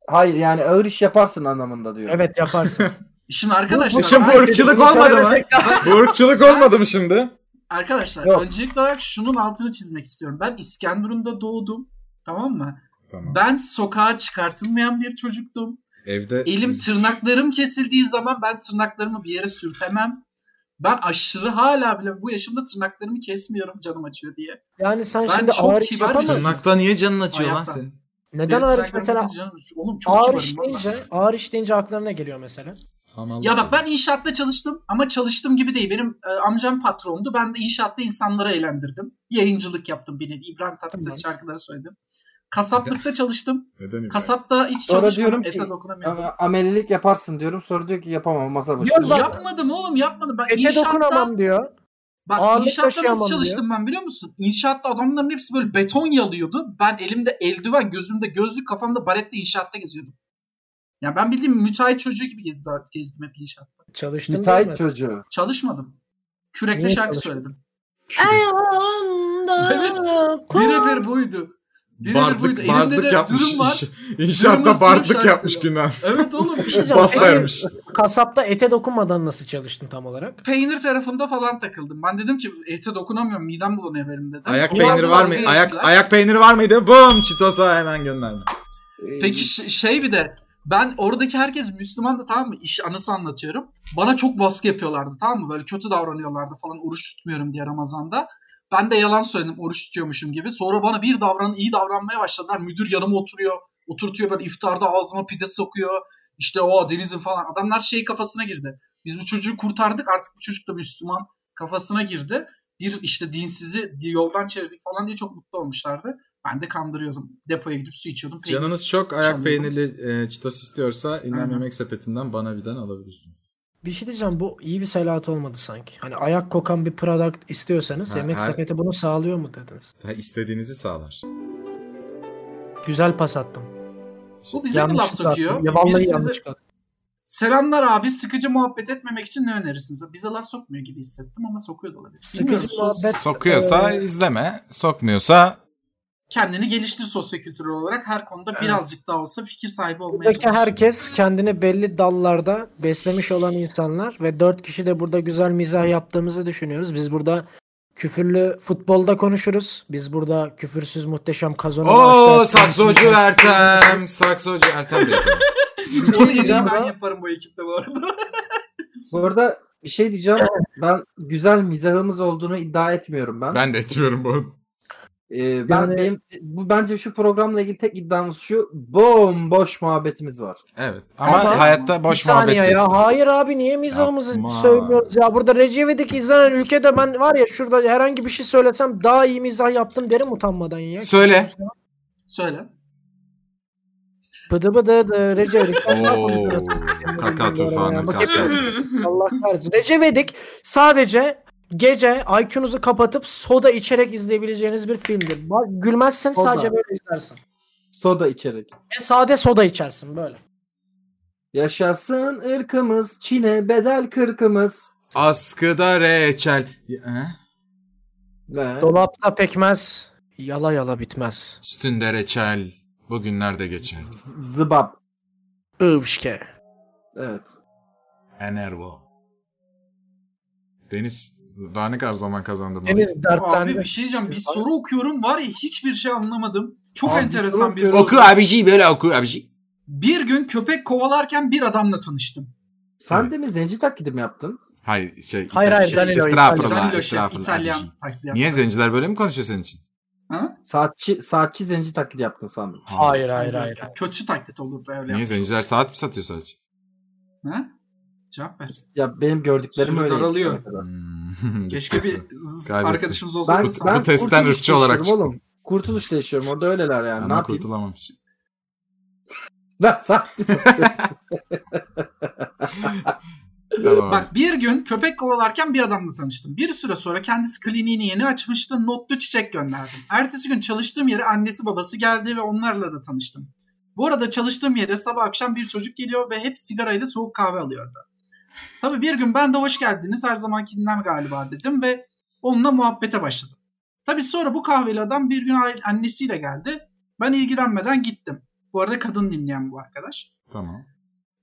Speaker 5: Hayır yani ağır iş yaparsın anlamında diyor.
Speaker 2: Evet yaparsın.
Speaker 3: Şimdi arkadaşlar.
Speaker 4: Şimdi bu
Speaker 3: ben-
Speaker 4: ırkçılık
Speaker 2: şey
Speaker 4: olmadı mı?
Speaker 2: Söylemesek daha-
Speaker 4: [LAUGHS] Bu ırkçılık olmadı mı şimdi?
Speaker 3: Arkadaşlar
Speaker 5: Yok.
Speaker 3: öncelikli olarak şunun altını çizmek istiyorum. Ben İskenderun'da doğdum. Tamam mı?
Speaker 4: Tamam.
Speaker 3: Ben sokağa çıkartılmayan bir çocuktum.
Speaker 4: Evde
Speaker 3: Elim tırnaklarım kesildiği zaman ben tırnaklarımı bir yere sürtemem. Ben aşırı hala bile bu yaşımda tırnaklarımı kesmiyorum canım açıyor diye.
Speaker 2: Yani sen
Speaker 3: Ben
Speaker 2: şimdi
Speaker 3: çok
Speaker 2: ağır iş
Speaker 3: kibar
Speaker 2: yapamazsın.
Speaker 3: insanım.
Speaker 4: Tırnakta niye canın açıyor lan
Speaker 3: Ayakta.
Speaker 4: senin?
Speaker 2: Neden
Speaker 3: Benim
Speaker 2: ağır iş
Speaker 3: tırnaklarım
Speaker 2: mesela?
Speaker 3: kesildi canım açıyor. Oğlum çok
Speaker 2: Ağır
Speaker 3: kibarım
Speaker 2: iş
Speaker 3: valla.
Speaker 2: deyince, ağır iş deyince akllarına geliyor mesela.
Speaker 4: Tamam.
Speaker 3: Ya bak ben inşaatta çalıştım ama çalıştığım gibi değil. Benim e, amcam patrondu. Ben de inşaatta insanları eğlendirdim. Yayıncılık yaptım bir nevi. İbrahim Tatlıses şarkıları söyledim. Kasaplıkta çalıştım.
Speaker 4: Neden
Speaker 3: Kasapta hiç
Speaker 5: Sonra
Speaker 3: çalışmadım.
Speaker 5: diyorum ki-
Speaker 3: Ete dokunamıyorum.
Speaker 5: Ama Amelilik yaparsın diyorum. Sonra diyor ki yapamam masa başı.
Speaker 2: Yok lan.
Speaker 3: Yapmadım oğlum yapmadım. Ben
Speaker 2: Ete
Speaker 3: inşaatta-
Speaker 2: dokunamam diyor.
Speaker 3: Bak
Speaker 2: Ağırlık
Speaker 3: inşaatta
Speaker 2: taşıyamam
Speaker 3: nasıl çalıştım ben biliyor musun? İnşaatta adamların hepsi böyle beton yalıyordu. Ben elimde eldiven, gözümde gözlük, kafamda baretle inşaatta geziyordum. Ya ben bildiğim müteahhit çocuğu gibi gezdim, gezdim hep inşaatta.
Speaker 2: Çalıştım
Speaker 5: Müteahhit
Speaker 2: diyemez.
Speaker 5: çocuğu.
Speaker 3: Çalışmadım. Kürekle
Speaker 2: Niye
Speaker 3: şarkı
Speaker 2: çalışmadın?
Speaker 3: söyledim.
Speaker 2: Ayağında
Speaker 3: Evet. Birebir buydu. Birebir buydu.
Speaker 4: Bardlık,
Speaker 3: Elimde
Speaker 4: bardlık
Speaker 3: de
Speaker 4: yapmış.
Speaker 3: dürüm var.
Speaker 4: İş, inşaatta
Speaker 3: Dürümün
Speaker 4: bardlık
Speaker 3: sınıf
Speaker 4: yapmış
Speaker 3: şarkısı.
Speaker 4: Günan.
Speaker 3: Evet oğlum.
Speaker 2: diyeceğim.
Speaker 4: Pasta
Speaker 2: Peki-
Speaker 4: yemiş.
Speaker 2: Kasapta ete dokunmadan nasıl çalıştın tam olarak?
Speaker 3: Peynir tarafında falan takıldım. Ben dedim ki ete dokunamıyorum midem bulanıyor benim dedim.
Speaker 4: Ayak
Speaker 3: Onlar
Speaker 4: peyniri
Speaker 3: da
Speaker 4: var
Speaker 3: dalga
Speaker 4: mı?
Speaker 3: geçtiler.
Speaker 4: Ayak ayak peyniri var mıydı? Bum Çitosa hemen gönderdi.
Speaker 5: Ee,
Speaker 3: Peki ş- şey bir de ben oradaki herkes Müslüman da tamam mı? İş anısı anlatıyorum. Bana çok baskı yapıyorlardı tamam mı? Böyle kötü davranıyorlardı falan oruç tutmuyorum diye Ramazan'da. Ben de yalan söyledim oruç tutuyormuşum gibi. Sonra bana bir davran iyi davranmaya başladılar. Müdür yanıma oturuyor. Oturtuyor böyle iftarda ağzıma pide sokuyor. İşte o denizin falan. Adamlar şey kafasına girdi. Biz bu çocuğu kurtardık artık bu çocuk da Müslüman kafasına girdi. Bir işte dinsizi yoldan çevirdik falan diye çok mutlu olmuşlardı. Ben de kandırıyordum. Depoya gidip su içiyordum. peynir
Speaker 4: Canınız çok ayak
Speaker 3: Çaldım.
Speaker 4: peynirli e, Çitos istiyorsa ünlem
Speaker 3: Aynen.
Speaker 4: yemek sepetinden bana birden alabilirsiniz.
Speaker 2: Bir şey diyeceğim bu iyi bir selahat olmadı sanki. Hani ayak kokan bir product istiyorsanız
Speaker 4: Ha,
Speaker 2: yemek
Speaker 4: her-
Speaker 2: sepeti bunu sağlıyor mu dediniz.
Speaker 4: Ha, istediğinizi sağlar.
Speaker 2: Güzel pas attım.
Speaker 3: Bu bize mi laf
Speaker 2: Yanlışlıkla
Speaker 3: sokuyor?
Speaker 2: attım. Ya vallahi
Speaker 3: Biri size,
Speaker 2: yanlış attım.
Speaker 3: Selamlar abi sıkıcı muhabbet etmemek için ne önerirsiniz? Bize laf sokmuyor gibi hissettim ama sokuyor da olabilir.
Speaker 2: Sıkıcı
Speaker 3: Bilmiyorum.
Speaker 2: Biz muhabbet-
Speaker 4: Sokuyorsa
Speaker 2: e,
Speaker 4: izleme, sokmuyorsa
Speaker 3: Kendini geliştir sosyokültürel olarak her konuda
Speaker 2: Evet.
Speaker 3: birazcık daha olsa fikir sahibi olmaya
Speaker 2: Buradaki
Speaker 3: çalış.
Speaker 2: herkes kendini belli dallarda beslemiş olan insanlar ve dört kişi de burada güzel mizah yaptığımızı düşünüyoruz. Biz burada küfürlü futbolda konuşuruz. Biz burada küfürsüz muhteşem kazanma
Speaker 4: Oo
Speaker 2: başlar-
Speaker 4: saksocu Ertem, saksocu Ertem Bey.
Speaker 3: Onu yediği
Speaker 5: Diyeceğim
Speaker 3: ben
Speaker 5: ya.
Speaker 3: yaparım bu ekipte bu arada.
Speaker 5: Bu arada bir şey diyeceğim. Ben güzel mizahımız olduğunu iddia etmiyorum ben.
Speaker 4: ben de etmiyorum bu.
Speaker 5: Ee, ben
Speaker 2: Yani-
Speaker 5: benim bu bence şu programla ilgili tek iddiamız şu. Bomboş muhabbetimiz var.
Speaker 4: Evet. Ama
Speaker 2: Ama-
Speaker 4: hayatta
Speaker 2: Bir
Speaker 4: boş muhabbet
Speaker 2: saniye ya.
Speaker 4: istedim.
Speaker 2: Hayır abi niye mizahımızı
Speaker 4: Yapma.
Speaker 2: söylüyoruz ya? Burada Recep'deki izlenen ülkede ben var ya şurada herhangi bir şey söylesem daha iyi mizah yaptım derim utanmadan ya.
Speaker 4: Söyle.
Speaker 3: Söyle.
Speaker 2: Bıdı bıdı dı Recep'dik.
Speaker 4: Oo. Kaka tufanı
Speaker 2: Bak
Speaker 4: kaka.
Speaker 2: Allah kahretsin. Recep İvedik sadece gece IQ'nuzu kapatıp soda içerek izleyebileceğiniz bir filmdir. Bak, Gülmezsen
Speaker 5: Soda.
Speaker 2: sadece böyle izlersin.
Speaker 5: Soda içerek.
Speaker 2: Ve sade soda içersin böyle.
Speaker 5: Yaşasın ırkımız, Çin'e bedel kırkımız.
Speaker 4: Askıda reçel. He?
Speaker 5: Ne?
Speaker 2: Dolapta pekmez, yala yala bitmez.
Speaker 4: Üstünde reçel. Bugünler de geçer.
Speaker 5: Z- Zıbap.
Speaker 2: Ivşke.
Speaker 5: Evet.
Speaker 4: Enervo. Deniz daha ne kadar zaman kazandım.
Speaker 2: Deniz
Speaker 3: Abi
Speaker 2: dertlendi.
Speaker 3: bir şey diyeceğim. Bir soru okuyorum var ya hiçbir şey anlamadım. Çok
Speaker 5: Abi,
Speaker 3: enteresan
Speaker 5: soru
Speaker 3: bir soru.
Speaker 4: Oku abici böyle oku abici.
Speaker 3: Bir gün köpek kovalarken bir adamla tanıştım.
Speaker 5: Sen
Speaker 4: Evet.
Speaker 5: de mi zenci taklidi mi yaptın?
Speaker 4: Hayır şey.
Speaker 2: Hayır, hayır,
Speaker 4: şey,
Speaker 2: Danilo,
Speaker 4: Estağfurullah.
Speaker 3: Danilo Şef
Speaker 4: Estağfurullah. abici.
Speaker 3: İtalyan taklidi
Speaker 4: Niye
Speaker 3: yaptı.
Speaker 4: zenciler böyle mi konuşuyor senin için?
Speaker 3: Ha?
Speaker 5: Saatçi, saatçi zenci taklidi yaptın sandım.
Speaker 2: Hayır hayır hayır. hayır.
Speaker 3: Kötü taklit olurdu öyle.
Speaker 4: Niye
Speaker 3: yapmış.
Speaker 4: zenciler saat mi satıyor sadece?
Speaker 3: Ha? Cevap ver.
Speaker 5: Ya benim gördüklerim
Speaker 3: Sürü
Speaker 5: öyle.
Speaker 3: daralıyor.
Speaker 4: [LAUGHS] Hmm,
Speaker 3: Keşke bir
Speaker 4: kesin.
Speaker 3: zzz
Speaker 4: Gayret
Speaker 3: arkadaşımız olsa.
Speaker 5: Ben,
Speaker 4: Bu-
Speaker 5: ben
Speaker 4: bu testten
Speaker 5: kurtuluşta
Speaker 4: ırkçı olarak
Speaker 5: yaşıyorum Oğlum. Kurtuluşta yaşıyorum orada öyleler yani. ne
Speaker 4: Ama
Speaker 5: yapayım? [LAUGHS]
Speaker 4: kurtulamamış.
Speaker 5: Lan saatçi
Speaker 4: Tamam.
Speaker 3: Bak bir gün köpek kovalarken bir adamla tanıştım. Bir süre sonra kendisi kliniğini yeni açmıştı. Notlu çiçek gönderdim. Ertesi gün çalıştığım yere annesi babası geldi ve onlarla da tanıştım. Bu arada çalıştığım yere sabah akşam bir çocuk geliyor ve hep sigarayla soğuk kahve alıyordu. Tabii bir gün ben de hoş geldiniz her zamankinden galiba dedim ve onunla muhabbete başladım. Tabii sonra bu kahveli adam bir gün aile- annesiyle geldi. Ben ilgilenmeden gittim. Bu arada kadın dinleyen bu arkadaş.
Speaker 4: Tamam.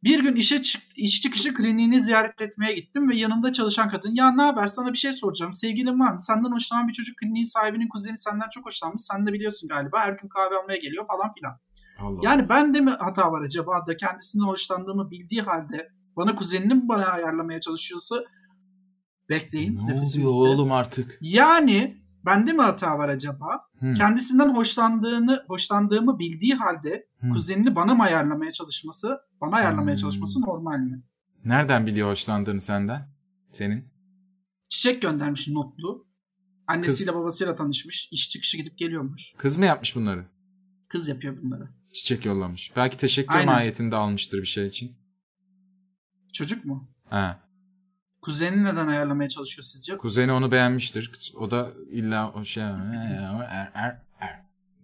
Speaker 3: Bir gün işe çık, iş çıkışı kliniğini ziyaret etmeye gittim ve yanında çalışan kadın ya ne haber sana bir şey soracağım sevgilin var mı senden hoşlanan bir çocuk kliniğin sahibinin kuzeni senden çok hoşlanmış sen de biliyorsun galiba her gün kahve almaya geliyor falan filan.
Speaker 4: Allah.
Speaker 3: Yani ben de mi hata var acaba da kendisini hoşlandığımı bildiği halde bana kuzenini mi bana ayarlamaya çalışıyorsa bekleyin.
Speaker 4: ne
Speaker 3: nefesim
Speaker 4: oluyor
Speaker 3: gitti.
Speaker 4: oğlum artık?
Speaker 3: Yani bende mi hata var acaba?
Speaker 4: Hmm.
Speaker 3: Kendisinden hoşlandığını hoşlandığımı bildiği halde
Speaker 4: Hmm.
Speaker 3: kuzenini bana mı ayarlamaya çalışması, bana ayarlamaya
Speaker 4: Hmm.
Speaker 3: çalışması normal mi?
Speaker 4: Nereden biliyor hoşlandığını senden? Senin?
Speaker 3: çiçek göndermiş notlu. Annesiyle babasıyla tanışmış. İş çıkışı gidip geliyormuş.
Speaker 4: Kız mı yapmış bunları?
Speaker 3: Kız yapıyor bunları.
Speaker 4: Çiçek yollamış. Belki teşekkür
Speaker 3: Aynen.
Speaker 4: mahiyetinde almıştır bir şey için.
Speaker 3: Çocuk mu?
Speaker 4: Ha.
Speaker 3: Kuzeni neden ayarlamaya çalışıyor sizce?
Speaker 4: Kuzeni onu beğenmiştir. O da illa o şey er, er, er.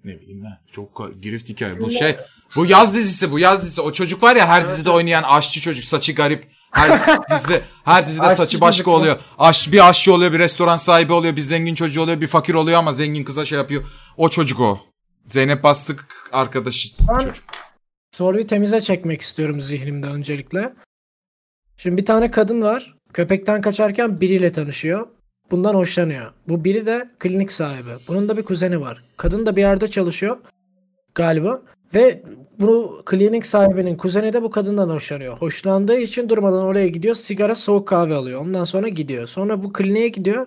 Speaker 4: ne bileyim ben. Çok ka- girift hikaye. Bu şey bu yaz dizisi bu yaz dizisi. O çocuk var ya her
Speaker 3: Evet,
Speaker 4: dizide oynayan aşçı çocuk saçı garip. Her dizide her dizide
Speaker 5: Aşçı
Speaker 4: saçı
Speaker 5: çocuk
Speaker 4: başka
Speaker 5: mu?
Speaker 4: oluyor. Aş bir aşçı oluyor, bir restoran sahibi oluyor, bir zengin çocuğu oluyor, bir fakir oluyor ama zengin kıza şey yapıyor. O çocuk o. Zeynep Bastık arkadaşı
Speaker 2: Ben-
Speaker 4: çocuk.
Speaker 2: Soruyu temize çekmek istiyorum zihnimde öncelikle. Şimdi bir tane kadın var. Köpekten kaçarken biriyle tanışıyor. Bundan hoşlanıyor. Bu biri de klinik sahibi. Bunun da bir kuzeni var. Kadın da bir yerde çalışıyor galiba. Ve bu klinik sahibinin kuzeni de bu kadından hoşlanıyor. Hoşlandığı için durmadan oraya gidiyor. Sigara soğuk kahve alıyor. Ondan sonra gidiyor. Sonra bu kliniğe gidiyor.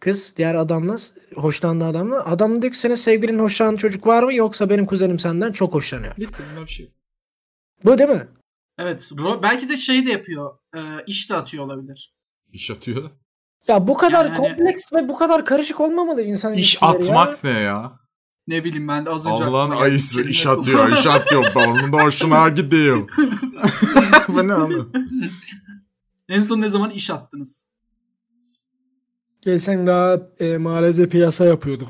Speaker 2: Kız diğer adamla hoşlandığı adamla. Adam diyor ki senin sevgilinin hoşlanan çocuk var mı? Yoksa benim kuzenim senden çok hoşlanıyor.
Speaker 4: Bitti bunlar bir şey.
Speaker 2: Bu değil mi?
Speaker 3: Evet. Ro- belki de şey de yapıyor. E, iş de atıyor olabilir.
Speaker 4: İş atıyor.
Speaker 2: Ya bu kadar
Speaker 3: Yani-
Speaker 2: kompleks ve bu kadar karışık olmamalı insan
Speaker 4: İş
Speaker 2: ilişkileri ya.
Speaker 4: atmak ne ya?
Speaker 3: Ne bileyim ben de az önce...
Speaker 4: Allah'ın
Speaker 3: aklıma geldi.
Speaker 4: ayısı
Speaker 3: Kelime
Speaker 4: iş
Speaker 3: yok.
Speaker 4: atıyor, iş atıyor. Onun da
Speaker 2: [LAUGHS]
Speaker 4: hoşuna gidiyor. [LAUGHS] Bu ne oğlum?
Speaker 3: [LAUGHS] en son ne zaman iş attınız?
Speaker 2: Gelsen daha e, mahallede piyasa yapıyorduk.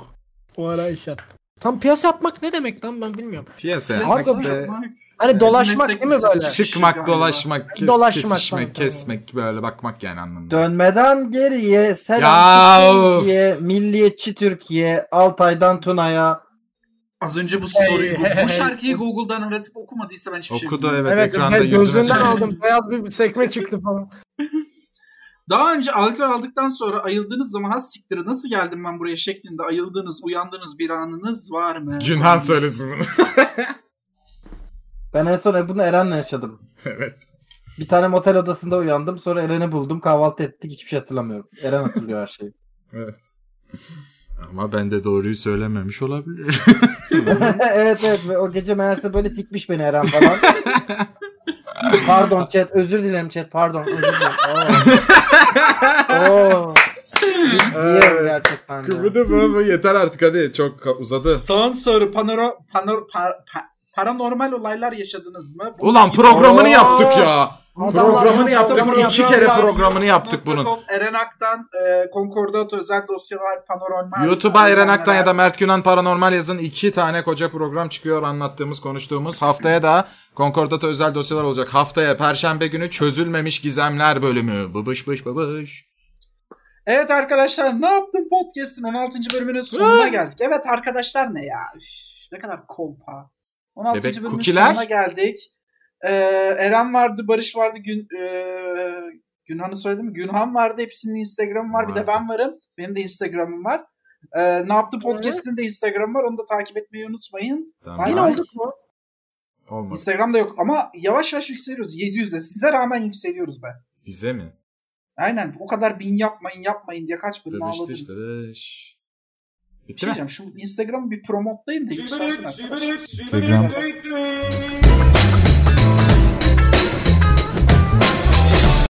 Speaker 2: O ara iş yaptım. Tam piyasa yapmak ne demek lan ben bilmiyorum.
Speaker 4: Piyasa
Speaker 3: Biraz
Speaker 4: yapmak
Speaker 2: Hakikaten-
Speaker 4: işte.
Speaker 3: yapmak.
Speaker 2: Hani
Speaker 3: Bizim
Speaker 2: dolaşmak
Speaker 3: meslek
Speaker 2: değil mi böyle?
Speaker 3: lisesi-
Speaker 4: Çıkmak,
Speaker 3: Galiba.
Speaker 4: dolaşmak, kes,
Speaker 2: Dolaşmak
Speaker 4: kesişmek,
Speaker 2: falan, tamam.
Speaker 4: kesmek böyle bakmak yani anlamında.
Speaker 5: Dönmeden geriye
Speaker 4: Ya
Speaker 5: selam Türkiye, milliyetçi Türkiye, Altay'dan Tuna'ya.
Speaker 3: Az önce bu
Speaker 2: Hey,
Speaker 3: soruyu...
Speaker 2: hey,
Speaker 3: bu şarkıyı Google'dan öğretip okumadıysa ben hiçbir şey
Speaker 4: Okudu
Speaker 3: bilmiyorum.
Speaker 4: evet,
Speaker 2: Evet,
Speaker 4: ekranda
Speaker 2: evet
Speaker 4: yüzüme
Speaker 2: gözünden
Speaker 4: şey-
Speaker 2: aldım. Beyaz bir sekme çıktı falan.
Speaker 3: Daha önce alkol aldıktan sonra ayıldığınız zaman has siktir nasıl geldim ben buraya şeklinde ayıldığınız, uyandığınız bir anınız var mı?
Speaker 4: Günhan söylesin bunu. [LAUGHS]
Speaker 5: Ben en son bunu Eren'le yaşadım.
Speaker 4: evet.
Speaker 5: Bir tane motel odasında uyandım. Sonra Eren'i buldum. Kahvaltı ettik. Hiçbir şey hatırlamıyorum. Eren hatırlıyor her şeyi.
Speaker 4: Ama ben de doğruyu
Speaker 2: [LAUGHS]
Speaker 4: söylememiş olabilir.
Speaker 5: evet evet. Ve o gece meğerse böyle sikmiş beni Eren falan. pardon chat. Özür dilerim chat. Pardon. Özür dilerim. Oo. Oo. Biliyorum gerçekten. de.
Speaker 4: Kıvırdı bu, bu yeter artık hadi çok uzadı.
Speaker 3: Son soru panoro, panor, pa, pa, paranormal olaylar yaşadınız mı? Bununla
Speaker 4: Ulan
Speaker 3: ilgili-
Speaker 4: programını
Speaker 5: Oo.
Speaker 4: yaptık ya.
Speaker 5: Adamlar
Speaker 4: Programını
Speaker 5: yanlış
Speaker 4: yaptık.
Speaker 5: adamı
Speaker 4: iki
Speaker 5: yapıyor.
Speaker 4: kere
Speaker 3: Var,
Speaker 4: programını yaptık
Speaker 3: YouTube.com,
Speaker 4: bunun.
Speaker 3: Eren Ak'tan e, Concordat özel dosyalar panorama.
Speaker 4: YouTube'a Eren Aktan ya da Mert Günan Paranormal yazın iki tane koca program çıkıyor anlattığımız konuştuğumuz. Haftaya da Concordat'a özel dosyalar olacak. Haftaya Perşembe günü çözülmemiş gizemler bölümü. Bıbış bış bıbış.
Speaker 3: Evet arkadaşlar ne yaptın podcast'in 16. bölümünün sonuna geldik. Evet arkadaşlar ne ya? Üf, ne kadar kolpa. 16.
Speaker 4: Bebek
Speaker 3: bölümün
Speaker 4: kukiler.
Speaker 3: sonuna geldik. Ee, Eren vardı, Barış vardı, Gün ee, Günhan'ı söyledim mi? Günhan vardı. Hepsinin Instagram'ı var. Bir de
Speaker 4: Vardı.
Speaker 3: ben varım. Benim de Instagram'ım var. Ee, ne yaptın podcast'in de Instagram'ı var. Onu da takip etmeyi unutmayın.
Speaker 4: Tamam.
Speaker 2: Yine
Speaker 3: Ay.
Speaker 2: olduk mu?
Speaker 4: Olmadı.
Speaker 3: Instagram'da yok ama yavaş yavaş yükseliyoruz. 700'e. Size rağmen yükseliyoruz be.
Speaker 4: Bize mi?
Speaker 3: Aynen. O kadar bin yapmayın yapmayın diye kaç bölüm
Speaker 4: Dövüş
Speaker 3: ağladınız.
Speaker 4: dış dış.
Speaker 3: Bir
Speaker 4: Bitti
Speaker 3: şey
Speaker 4: mi?
Speaker 3: diyeceğim şu Instagram'ı bir promotlayın da yükselsin
Speaker 1: Şibirit,
Speaker 3: arkadaşlar.
Speaker 1: şibirit,
Speaker 4: Instagram.
Speaker 1: şibirit, düt düt.